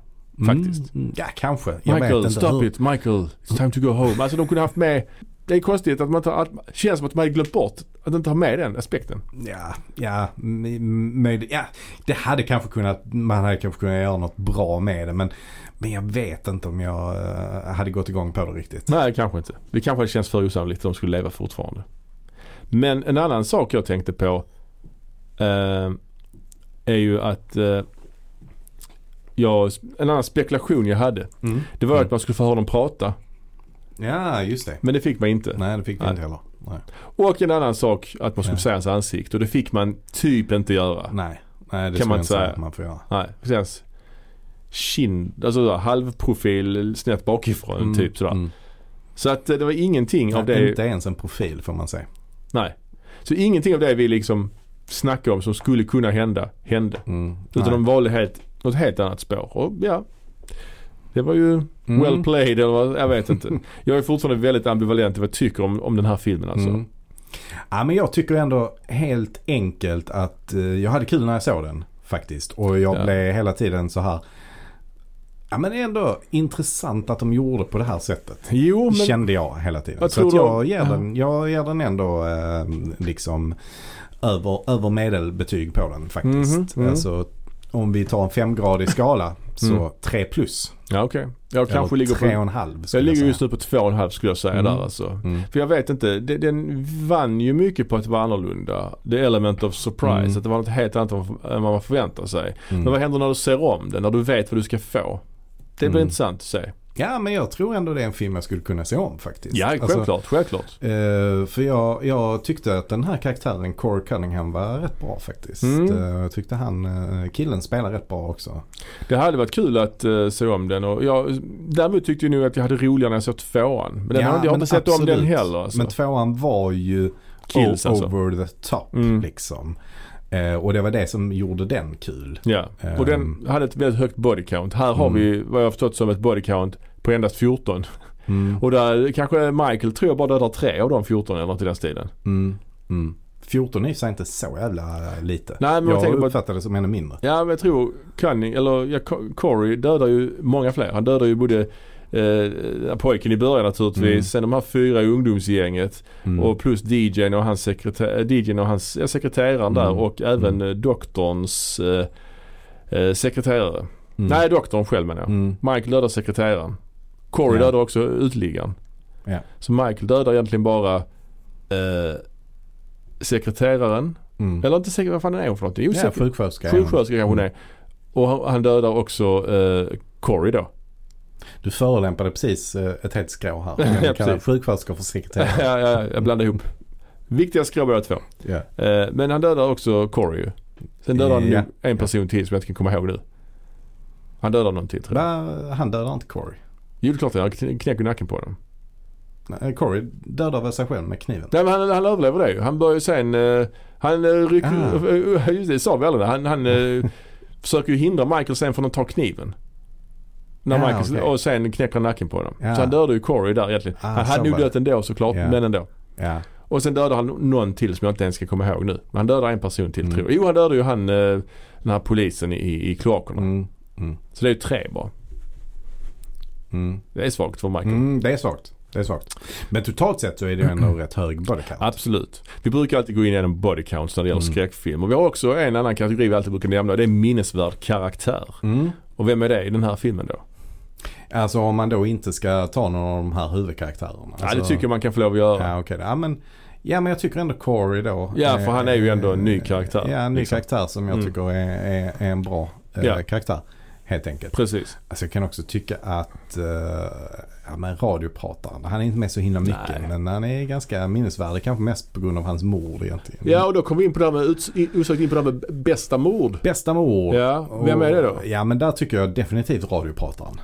Speaker 1: Faktiskt.
Speaker 2: Mm. Ja, kanske. Jag vet
Speaker 1: Michael,
Speaker 2: inte
Speaker 1: stop
Speaker 2: hur.
Speaker 1: it. Michael, it's time to go home. Alltså de kunde haft med det är konstigt att man tar, att, känns som att man har glömt bort att inte ha med den aspekten.
Speaker 2: Ja, ja, m- möjligt. ja, det hade kanske kunnat, man hade kanske kunnat göra något bra med det men, men jag vet inte om jag eh, hade gått igång på det riktigt.
Speaker 1: Nej, kanske inte. Det kanske känns för osannolikt att de skulle leva fortfarande. Men en annan sak jag tänkte på eh, är ju att eh, jag, en annan spekulation jag hade
Speaker 2: Mm.
Speaker 1: det var
Speaker 2: Mm.
Speaker 1: att man skulle få höra dem prata.
Speaker 2: Ja, just det.
Speaker 1: Men det fick man inte.
Speaker 2: Nej, det fick vi
Speaker 1: Nej.
Speaker 2: inte heller. Nej.
Speaker 1: Och en annan sak att man skulle
Speaker 2: Ja.
Speaker 1: säga hans ansikte och det fick man typ inte göra.
Speaker 2: Nej, nej
Speaker 1: Kan
Speaker 2: det kan
Speaker 1: man
Speaker 2: man inte
Speaker 1: säga.
Speaker 2: säga att man får göra.
Speaker 1: Nej, precis. hans Kind, alltså sådär, halvprofil snett bakifrån
Speaker 2: Mm,
Speaker 1: typ sådär.
Speaker 2: mm.
Speaker 1: Så att eh, det var ingenting av
Speaker 2: Nej,
Speaker 1: det.
Speaker 2: Inte ens en profil får man säga.
Speaker 1: Nej. Så ingenting av det vi liksom snackade om som skulle kunna hända, hände.
Speaker 2: Mm.
Speaker 1: Utan
Speaker 2: nej.
Speaker 1: de valde helt, något helt annat spår. Och ja, det var ju
Speaker 2: Mm.
Speaker 1: well played eller vad, jag vet inte. jag är fortfarande väldigt ambivalent i vad jag tycker om, om den här filmen alltså.
Speaker 2: Mm. Ja, men jag tycker ändå helt enkelt att eh, jag hade kul när jag såg den faktiskt. Och jag
Speaker 1: Ja.
Speaker 2: blev hela tiden så här. Ja men det är ändå intressant att de gjorde på det här sättet.
Speaker 1: Jo, men
Speaker 2: Kände jag hela tiden.
Speaker 1: Vad
Speaker 2: Så att
Speaker 1: tror
Speaker 2: jag,
Speaker 1: du?
Speaker 2: ger den, jag ger den ändå eh, liksom över, över medelbetyg på den faktiskt.
Speaker 1: Mhm, mhm.
Speaker 2: Alltså om vi tar en femgradig skala så
Speaker 1: Mm. tre
Speaker 2: 3 plus.
Speaker 1: ja, okej. Jag kanske
Speaker 2: Eller
Speaker 1: ligger
Speaker 2: tre och
Speaker 1: på,
Speaker 2: en halv skulle
Speaker 1: jag
Speaker 2: jag
Speaker 1: ligger
Speaker 2: säga.
Speaker 1: just nu på två och en halv skulle jag säga
Speaker 2: Mm.
Speaker 1: där alltså.
Speaker 2: Mm.
Speaker 1: För jag vet inte, de- den vann ju mycket på att vara annorlunda. The element of surprise,
Speaker 2: Mm.
Speaker 1: att det var något helt annat än vad man förväntar sig.
Speaker 2: Mm.
Speaker 1: Men vad händer när du ser om den, när du vet vad du ska få? Det blir
Speaker 2: Mm.
Speaker 1: intressant att se.
Speaker 2: Ja, men jag tror ändå det är en film jag skulle kunna se om faktiskt.
Speaker 1: Ja,
Speaker 2: Alltså,
Speaker 1: självklart, självklart.
Speaker 2: eh, för jag, jag tyckte att den här karaktären, Core Cunningham, var rätt bra faktiskt.
Speaker 1: Mm.
Speaker 2: Eh, jag tyckte han, eh, killen spelar rätt bra också.
Speaker 1: Det hade varit kul att eh, se om den och jag, däremot tyckte jag nog att jag hade roligare när jag såg tvåan. Men den
Speaker 2: Ja,
Speaker 1: har jag har
Speaker 2: men
Speaker 1: inte sett om den
Speaker 2: absolut.
Speaker 1: heller alltså.
Speaker 2: Men tvåan var ju
Speaker 1: Kills
Speaker 2: o-
Speaker 1: alltså.
Speaker 2: over the top
Speaker 1: Mm.
Speaker 2: liksom. Eh, och det var det som gjorde den kul.
Speaker 1: Ja, och den hade ett väldigt högt body count. Här har
Speaker 2: Ehm. Mm.
Speaker 1: vi vad jag har förstått som ett body count på endast 14.
Speaker 2: Mm.
Speaker 1: Och där kanske Michael tror jag bara dödar tre av de 14 eller något i den stilen.
Speaker 2: Mm. Mm. 14 är ju så inte så jävla lite.
Speaker 1: Nej, men jag tänker
Speaker 2: jag
Speaker 1: på-
Speaker 2: uppfattade det som ännu mindre.
Speaker 1: Ja men jag tror Cunning, eller ja, Co- Corey dödar ju många fler. Han dödar ju både eh, pojken i början naturligtvis,
Speaker 2: Mm.
Speaker 1: sen de här fyra i ungdomsgänget
Speaker 2: Mm.
Speaker 1: och plus DJn och hans, sekreter- DJn och hans ja, sekreteraren där
Speaker 2: Mm.
Speaker 1: och även eh, doktorns eh, eh, sekreterare.
Speaker 2: Mm.
Speaker 1: Nej doktorn själv menar jag.
Speaker 2: Mm.
Speaker 1: Michael dödar sekreteraren. Corey
Speaker 2: Ja.
Speaker 1: dödar också utliggaren.
Speaker 2: Ja.
Speaker 1: Så Michael dödar egentligen bara eh, sekreteraren.
Speaker 2: Mm.
Speaker 1: Eller inte sekreteraren, vad fan är hon för någonting? Jo,
Speaker 2: Ja,
Speaker 1: sekre-
Speaker 2: sjuksköterska. är hon.
Speaker 1: Sjuksköterska kanske hon
Speaker 2: Mm.
Speaker 1: är. Och han, han dödar också eh, Corey då.
Speaker 2: Du förolämpade precis eh, ett helt skrå här.
Speaker 1: Ja,
Speaker 2: Jag kallar
Speaker 1: precis.
Speaker 2: sjuksköterskor för sekreterare.
Speaker 1: ja, ja, jag blandar ihop. Viktiga skrå båda två.
Speaker 2: Ja.
Speaker 1: Eh, men han dödar också Corey ju. Sen dödar han
Speaker 2: Ja.
Speaker 1: ju en person till som jag inte kan komma ihåg nu. Han dödar någon till tror jag.
Speaker 2: Va, Han dödar inte Corey.
Speaker 1: Jo det är klart han kn- knäcker nacken på honom.
Speaker 2: Nej, eh, Corey dödar väl sig själv med kniven.
Speaker 1: Nej men han, han överlever det ju. Han börjar ju sen, eh, han eh, rycker,
Speaker 2: Ah.
Speaker 1: just det sa vi aldrig det. Han, han eh, försöker ju hindra Michael sen från att ta kniven. När
Speaker 2: Ja,
Speaker 1: Michael,
Speaker 2: Ah, okej.
Speaker 1: Och sen knäcker han nacken på honom.
Speaker 2: Ja.
Speaker 1: Så han dödar ju Corey där egentligen.
Speaker 2: Ah,
Speaker 1: han
Speaker 2: så
Speaker 1: hade nog
Speaker 2: var det.
Speaker 1: dött ändå såklart,
Speaker 2: Ja.
Speaker 1: men ändå.
Speaker 2: Ja.
Speaker 1: Och sen dödar han någon till som jag inte ens ska komma ihåg nu. Men han dödar en person till
Speaker 2: Mm.
Speaker 1: tror jag. Jo han dödar ju han eh, den här polisen i, i kloakerna.
Speaker 2: Mm. Mm.
Speaker 1: Så det är ju tre bara.
Speaker 2: Mm.
Speaker 1: Det är svagt för Michael.
Speaker 2: Mm. Det är svagt. Det är svagt. Men totalt sett så är det ju ändå rätt hög body count.
Speaker 1: Absolut. Vi brukar alltid gå in genom body counts när det gäller
Speaker 2: Mm.
Speaker 1: skräckfilm. Och vi har också en annan kategori vi alltid brukar nämna och det är minnesvärd karaktär.
Speaker 2: Mm.
Speaker 1: Och vem är det i den här filmen då?
Speaker 2: Alltså om man då inte ska ta någon av de här huvudkaraktärerna. Alltså,
Speaker 1: ja det tycker jag man kan få lov att göra.
Speaker 2: Ja, okej. Ja, men, ja, men jag tycker ändå Corey då.
Speaker 1: Ja, för
Speaker 2: eh,
Speaker 1: han är ju ändå en ny
Speaker 2: eh,
Speaker 1: karaktär,
Speaker 2: Ja, en ny
Speaker 1: liksom.
Speaker 2: karaktär som jag
Speaker 1: Mm.
Speaker 2: tycker är, är, är en bra eh,
Speaker 1: Ja.
Speaker 2: karaktär. Helt enkelt.
Speaker 1: Precis.
Speaker 2: Alltså jag kan också tycka att eh, ja, men radioprataren, han är inte med så himla mycket.
Speaker 1: Nej.
Speaker 2: Men han är ganska minnesvärd. Kanske mest på grund av hans mord egentligen.
Speaker 1: Ja och då kom vi in på det här med, uts- i- osökt in på det här med bästa mord.
Speaker 2: Bästa mord.
Speaker 1: Ja, vem är det då?
Speaker 2: Och- Ja men där tycker jag definitivt radioprataren.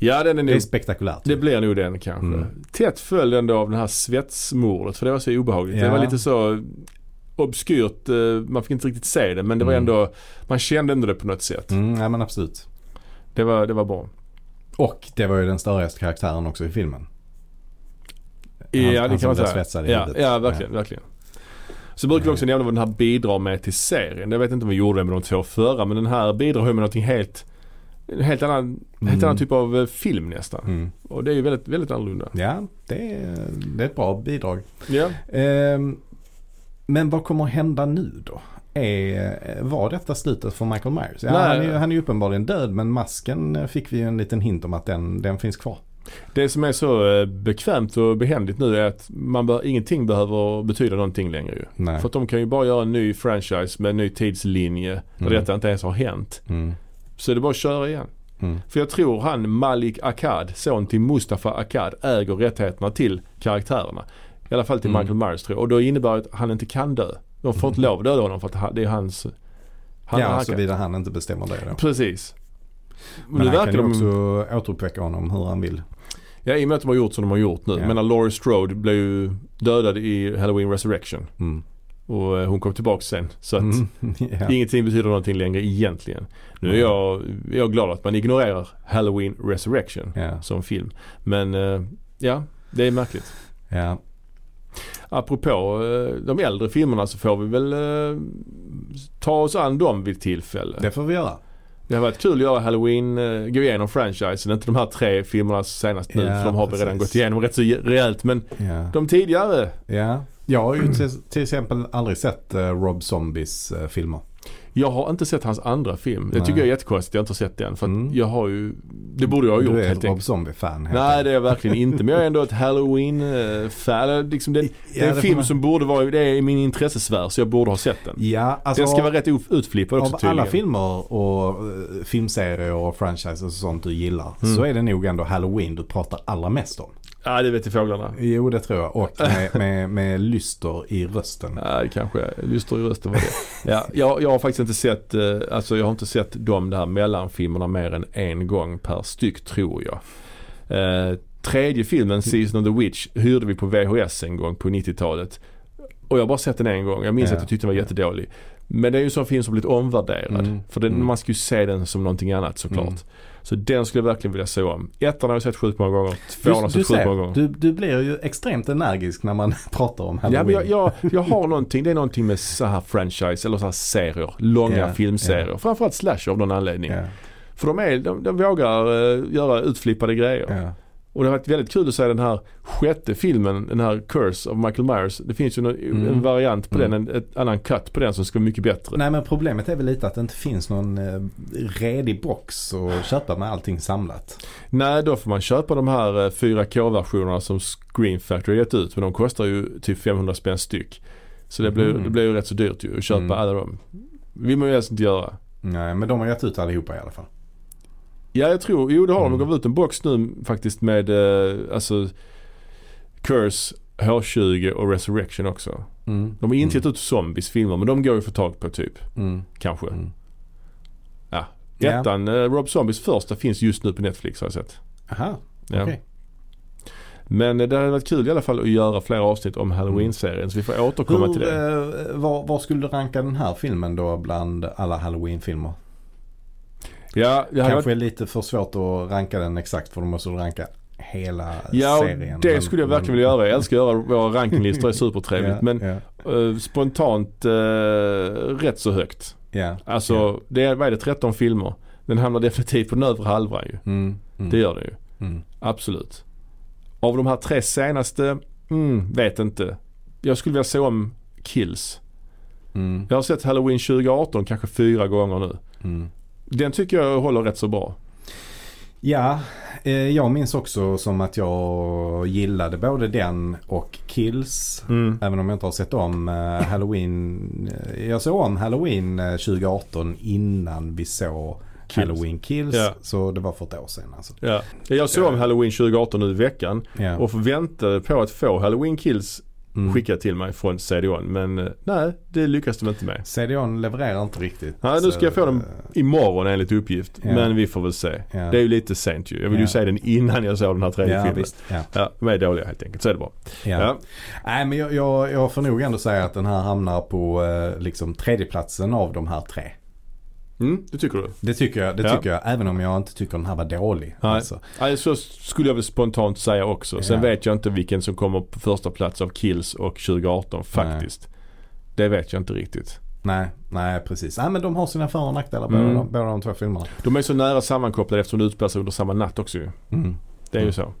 Speaker 1: Ja den är
Speaker 2: Det är
Speaker 1: nog
Speaker 2: spektakulärt.
Speaker 1: Det blir nog den kanske.
Speaker 2: Mm.
Speaker 1: Tätt följd ändå av det här svetsmordet för det var så obehagligt. Det
Speaker 2: Ja.
Speaker 1: var lite så obskyrt. eh, Man fick inte riktigt se det men det var
Speaker 2: Mm.
Speaker 1: ändå, man kände ändå det på något sätt.
Speaker 2: Mm, ja men absolut.
Speaker 1: Det, var, det var bra.
Speaker 2: Och det var ju den störigaste karaktären också i filmen.
Speaker 1: ja det
Speaker 2: han
Speaker 1: kan
Speaker 2: som
Speaker 1: man
Speaker 2: blev
Speaker 1: säga.
Speaker 2: svetsad i
Speaker 1: ja,
Speaker 2: huvudet.
Speaker 1: ja verkligen, verkligen. Så brukar vi också nämna vad den här bidrar med till serien. Jag vet inte om vi gjorde det med de två förra men den här bidrar ju med någonting helt En helt annan, helt
Speaker 2: Mm.
Speaker 1: annan typ av eh, film nästan.
Speaker 2: Mm.
Speaker 1: Och det är ju väldigt, väldigt annorlunda.
Speaker 2: Ja, det är, det är ett bra bidrag.
Speaker 1: Ja.
Speaker 2: Ehm, men vad kommer att hända nu då? Är, var detta slutet för Michael Myers? Ja,
Speaker 1: Nej.
Speaker 2: han, är, ju- han är ju uppenbarligen död men masken eh, fick vi ju en liten hint om att den, den finns kvar.
Speaker 1: Det som är så eh, bekvämt och behändigt nu är att man bör, ingenting behöver betyda någonting längre ju.
Speaker 2: Nej.
Speaker 1: För att de kan ju bara göra en ny franchise med en ny tidslinje där
Speaker 2: Mm.
Speaker 1: detta inte ens har hänt.
Speaker 2: Mm.
Speaker 1: Så är det bara att köra igen.
Speaker 2: Mm.
Speaker 1: För jag tror han Malik Akkad, son till Mustafa Akkad, äger rättigheterna till karaktärerna. I alla fall till
Speaker 2: Mm.
Speaker 1: Michael Myers tror jag. Och då innebär det att han inte kan dö. De får inte lov att döda honom för att han- det är hans... Han,
Speaker 2: ja,
Speaker 1: han kan-
Speaker 2: såvida han inte bestämmer det då.
Speaker 1: Precis.
Speaker 2: Men
Speaker 1: nu
Speaker 2: han kan
Speaker 1: verkar
Speaker 2: ju
Speaker 1: de...
Speaker 2: också återuppväcka honom hur han vill.
Speaker 1: Ja, i och med att de har gjort som de har gjort nu.
Speaker 2: Ja.
Speaker 1: Men när Laurie Strode blev ju dödad i Halloween Resurrection.
Speaker 2: Mm.
Speaker 1: Och eh, hon kom tillbaka sen. Så att
Speaker 2: Mm. Ja.
Speaker 1: ingenting betyder någonting längre egentligen. Nu är
Speaker 2: Mm.
Speaker 1: jag, är jag glad att man ignorerar Halloween Resurrection
Speaker 2: Ja.
Speaker 1: som film. Men eh, ja, det är märkligt.
Speaker 2: Ja.
Speaker 1: Apropå eh, de äldre filmerna så får vi väl eh, ta oss an dem vid tillfälle.
Speaker 2: Det får vi göra.
Speaker 1: Det har varit kul att göra Halloween, eh, gå igenom franchisen. Inte de här tre filmerna senast nu
Speaker 2: Ja,
Speaker 1: för de har vi
Speaker 2: precis.
Speaker 1: redan gått igenom rätt så rejält. Men
Speaker 2: Ja.
Speaker 1: de tidigare.
Speaker 2: Ja. Jag har ju till, till exempel aldrig sett eh, Rob Zombies eh, filmer.
Speaker 1: Jag har inte sett hans andra film. Det
Speaker 2: Nej.
Speaker 1: tycker jag är jättekonstigt. Jag har inte sett den. För att
Speaker 2: Mm.
Speaker 1: jag har ju, det borde jag ha gjort
Speaker 2: du är
Speaker 1: helt
Speaker 2: ett Rob
Speaker 1: enkelt.
Speaker 2: Zombie-fan. helt
Speaker 1: Nej
Speaker 2: enkelt.
Speaker 1: det är jag verkligen inte. Men jag är ändå ett halloween-fan. Liksom den, det
Speaker 2: Ja,
Speaker 1: är en
Speaker 2: det får
Speaker 1: film
Speaker 2: man-
Speaker 1: som borde vara, det är i min intressesfär så jag borde ha sett den.
Speaker 2: Ja, alltså,
Speaker 1: den ska vara rätt of- utflippad också
Speaker 2: Av alla
Speaker 1: tydligen.
Speaker 2: filmer och eh, filmserier och franchises och sånt du gillar så är det nog ändå Halloween du pratar allra mest om.
Speaker 1: Ja det vet jag fåglarna.
Speaker 2: Jo, det tror jag. Och med, med, med lyster i rösten.
Speaker 1: Ja det kanske är, lyster i rösten var det. Ja, jag, jag har faktiskt inte sett, eh, alltså jag har inte sett de där mellanfilmerna mer än en gång per styck tror jag. Eh, tredje filmen, Season of the Witch, hyrde vi på VHS en gång på 90-talet. Och jag har bara sett den en gång. Jag minns
Speaker 2: Ja.
Speaker 1: att jag tyckte den var jättedålig. Men det är ju en sån film som blivit omvärderad.
Speaker 2: Mm.
Speaker 1: För den,
Speaker 2: Mm.
Speaker 1: man ska ju se den som någonting annat såklart.
Speaker 2: Mm.
Speaker 1: Så den skulle jag verkligen vilja se om. Ettan har jag sett sjukt många gånger. Tvåan har jag
Speaker 2: du,
Speaker 1: sett sjukt många
Speaker 2: ser,
Speaker 1: gånger.
Speaker 2: du, du blir ju extremt energisk när man pratar om
Speaker 1: Ja,
Speaker 2: Halloween.
Speaker 1: men jag, jag, jag har någonting, det är någonting med så här franchise eller så här serier, långa
Speaker 2: Ja,
Speaker 1: filmserier. Framförallt slasher av någon anledning.
Speaker 2: Ja,
Speaker 1: För de, är, de, de vågar eh, göra utflippade grejer.
Speaker 2: ja.
Speaker 1: Och det har varit väldigt kul att se den här sjätte filmen, den här Curse av Michael Myers. Det finns ju någon,
Speaker 2: Mm.
Speaker 1: en variant på
Speaker 2: Mm.
Speaker 1: den, en ett annan cut på den som ska vara mycket bättre.
Speaker 2: Nej men problemet är väl lite att det inte finns någon eh, redig box att köpa med allting samlat.
Speaker 1: Nej, då får man köpa de här eh, 4K-versionerna som Screen Factory gett ut. Men de kostar ju typ 500 spänn styck. Så det blir,
Speaker 2: Mm.
Speaker 1: det blir ju rätt så dyrt ju att köpa
Speaker 2: Mm.
Speaker 1: alla dem. vill man ju helst inte göra.
Speaker 2: Nej men de har gett ut allihopa i alla fall.
Speaker 1: Ja jag tror, jo det har de.
Speaker 2: Mm.
Speaker 1: De gav ut en box nu faktiskt med eh, alltså Curse, H20 och Resurrection också. De har inte gett ut zombies filmer men de går ju att få tag på typ.
Speaker 2: Mm.
Speaker 1: Kanske.
Speaker 2: Mm. Ja.
Speaker 1: Ettan, eh, Rob Zombies första finns just nu på Netflix har jag sett.
Speaker 2: Aha,
Speaker 1: Ja.
Speaker 2: okej.
Speaker 1: Men eh, det hade varit kul i alla fall att göra flera avsnitt om Halloween-serien så vi får återkomma
Speaker 2: Hur,
Speaker 1: till det.
Speaker 2: eh, var, var skulle du ranka den här filmen då bland alla Halloween-filmer?
Speaker 1: Ja, det hade varit
Speaker 2: Kanske är lite för svårt att ranka den exakt för då måste du ranka hela
Speaker 1: Ja,
Speaker 2: serien.
Speaker 1: och det
Speaker 2: Men-
Speaker 1: skulle jag
Speaker 2: men-
Speaker 1: verkligen vilja göra. Jag älskar att göra våra rankinglistor, det är supertrevligt.
Speaker 2: Ja,
Speaker 1: Men
Speaker 2: ja,
Speaker 1: eh, spontant eh, rätt så högt.
Speaker 2: ja.
Speaker 1: Alltså,
Speaker 2: Ja.
Speaker 1: det är, vad är det, 13 filmer? Den hamnar definitivt på den övre halvan ju.
Speaker 2: Mm, mm,
Speaker 1: Det gör den ju.
Speaker 2: mm.
Speaker 1: Absolut. Av de här tre senaste, mm, vet inte. Jag skulle vilja se om Kills.
Speaker 2: Mm,
Speaker 1: Jag har sett Halloween 2018 kanske fyra gånger nu.
Speaker 2: mm.
Speaker 1: Den tycker jag håller rätt så bra.
Speaker 2: Ja, eh, jag minns också som att jag gillade både den och Kills. Även om jag inte har sett om eh, Halloween. eh, Jag såg om Halloween eh, 2018 innan vi såg
Speaker 1: Kills.
Speaker 2: Halloween Kills.
Speaker 1: Ja.
Speaker 2: Så det var för ett år sedan alltså.
Speaker 1: Ja. Jag såg om Halloween 2018 nu i veckan
Speaker 2: Ja.
Speaker 1: och väntade på att få Halloween Kills
Speaker 2: Mm.
Speaker 1: skickat till mig från CD-ON. Men eh, nej, det lyckas de inte med.
Speaker 2: CDON levererar inte riktigt.
Speaker 1: Nej, nu ska
Speaker 2: så,
Speaker 1: jag få dem.
Speaker 2: eh,
Speaker 1: Imorgon enligt uppgift.
Speaker 2: Ja.
Speaker 1: Men vi får väl se.
Speaker 2: Ja.
Speaker 1: Det är ju lite sent ju. Jag vill ju
Speaker 2: Ja.
Speaker 1: se den innan jag såg den här tredje
Speaker 2: Ja,
Speaker 1: filmen.
Speaker 2: visst. Ja.
Speaker 1: Ja, de är dåliga helt enkelt. Så är det bara.
Speaker 2: Ja.
Speaker 1: Ja.
Speaker 2: Nej, men jag, jag, jag får nog ändå säga att den här hamnar på eh, liksom tredjeplatsen av de här tre.
Speaker 1: Mm, det tycker du?
Speaker 2: Det tycker jag, det
Speaker 1: Ja.
Speaker 2: tycker jag även om jag inte tycker den här var dålig.
Speaker 1: Nej.
Speaker 2: Alltså.
Speaker 1: Ja, så skulle jag väl spontant säga också. Sen
Speaker 2: Ja.
Speaker 1: vet jag inte vilken som kommer på första plats av Kills och 2018 faktiskt. Det vet jag inte riktigt.
Speaker 2: Nej, nej precis. Nej men de har sina för och nackdelar båda
Speaker 1: Mm.
Speaker 2: de- båda de två filmerna.
Speaker 1: De är så nära sammankopplade eftersom det utspelar sig under samma natt också ju.
Speaker 2: Mm.
Speaker 1: Det är ju så.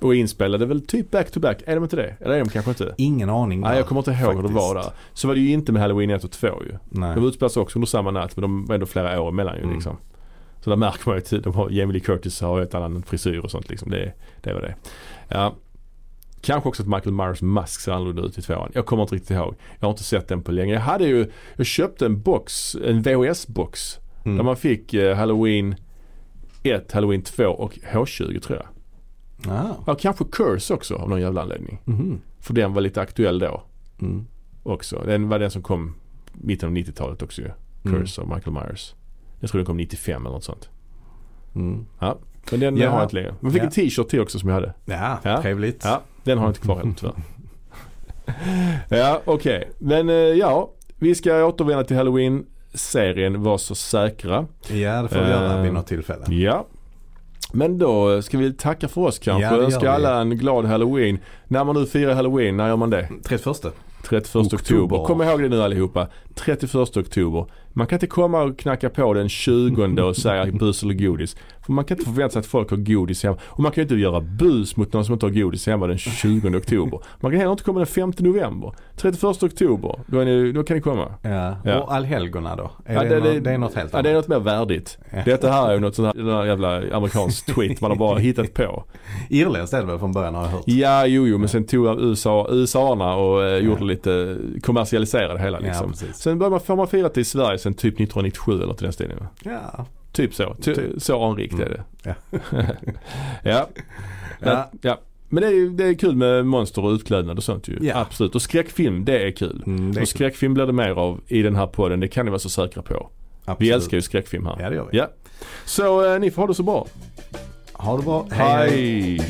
Speaker 1: Och inspelade väl typ back to back, är de inte det? Eller är de kanske inte?
Speaker 2: Ingen aning.
Speaker 1: Nej jag kommer inte ihåg hur det var där.
Speaker 2: faktiskt.
Speaker 1: Så var det ju inte med Halloween 1 och 2 ju.
Speaker 2: Nej.
Speaker 1: De utspelar sig också under samma natt men de var ändå flera år emellan ju
Speaker 2: Mm.
Speaker 1: liksom. Så där märker man ju att de har, Jamie Lee Curtis har ju ett annan frisyr och sånt liksom. Det, det var det. Ja. Kanske också att Michael Myers mask ser annorlunda ut i tvåan. Jag kommer inte riktigt ihåg. Jag har inte sett den på länge. Jag hade ju, jag köpte en box, en VHS-box
Speaker 2: Mm.
Speaker 1: Där man fick eh, Halloween 1, Halloween 2 och H20 tror jag.
Speaker 2: Ah.
Speaker 1: Ja, kanske Curse också av någon jävla anledning.
Speaker 2: Mhm.
Speaker 1: För den var lite aktuell då
Speaker 2: Mm.
Speaker 1: också. Den var den som kom mitten av 90-talet också ju. Curse av Michael Myers. Jag tror den kom 95 eller något sånt.
Speaker 2: Mm. Mm.
Speaker 1: Men den
Speaker 2: Ja.
Speaker 1: har jag inte längre. Man fick
Speaker 2: Ja.
Speaker 1: en t-shirt till också som jag hade.
Speaker 2: Ja,
Speaker 1: Ja.
Speaker 2: trevligt.
Speaker 1: Ja, den har jag inte kvar heller tyvärr. ja, okej. Men eh, ja, vi ska återvända till Halloween-serien Var så säkra.
Speaker 2: ja, det får vi göra
Speaker 1: Eh,
Speaker 2: vid något tillfälle.
Speaker 1: Ja. Men då ska vi tacka för oss kanske.
Speaker 2: Ja, det gör
Speaker 1: Önska
Speaker 2: vi.
Speaker 1: alla en glad halloween. När man nu firar halloween, när gör man det?
Speaker 2: 31.
Speaker 1: 31
Speaker 2: Oktober.
Speaker 1: oktober. Kom ihåg det nu allihopa. 31 oktober. Man kan inte komma och knacka på den 20 och säga bus eller godis. För man kan inte förvänta sig att folk har godis hemma. Och man kan ju inte göra bus mot någon som inte har godis hemma den 20 oktober. Man kan heller inte komma den 5 november. 31 oktober, då, är ni, då kan ni komma.
Speaker 2: Ja.
Speaker 1: Ja.
Speaker 2: Och allhelgona då? Är
Speaker 1: Ja,
Speaker 2: det,
Speaker 1: det-
Speaker 2: något,
Speaker 1: det-
Speaker 2: det är något helt
Speaker 1: Ja,
Speaker 2: annat.
Speaker 1: det är något mer värdigt.
Speaker 2: Ja.
Speaker 1: Detta här är ju något sånt här den här jävla amerikanskt tweet man har bara hittat på.
Speaker 2: Irländskt är det väl från början har jag hört.
Speaker 1: Ja, jo, jo, men sen tog jag USA, USA-arna och eh, gjorde
Speaker 2: Ja.
Speaker 1: lite, kommersialiserade det hela liksom.
Speaker 2: precis.
Speaker 1: sen började man, får man fira till Sverige sen typ 1997 eller till den stilen. va?
Speaker 2: Ja.
Speaker 1: Typ så. Ty,
Speaker 2: Typ. Mm.
Speaker 1: Så anrikt är det.
Speaker 2: Ja.
Speaker 1: ja. Men,
Speaker 2: Ja.
Speaker 1: ja. Men det är, ju- det är kul med monster och utklädnad och sånt ju.
Speaker 2: Ja.
Speaker 1: Absolut. Och skräckfilm, det är kul.
Speaker 2: Mm, det är
Speaker 1: och
Speaker 2: kul.
Speaker 1: skräckfilm blir det mer av i den här podden. Det kan ni vara så säkra på. Vi
Speaker 2: Absolut.
Speaker 1: älskar ju skräckfilm här.
Speaker 2: Ja, det gör vi.
Speaker 1: Ja. Så eh, ni får ha det så bra.
Speaker 2: Ha det bra.
Speaker 1: Hej!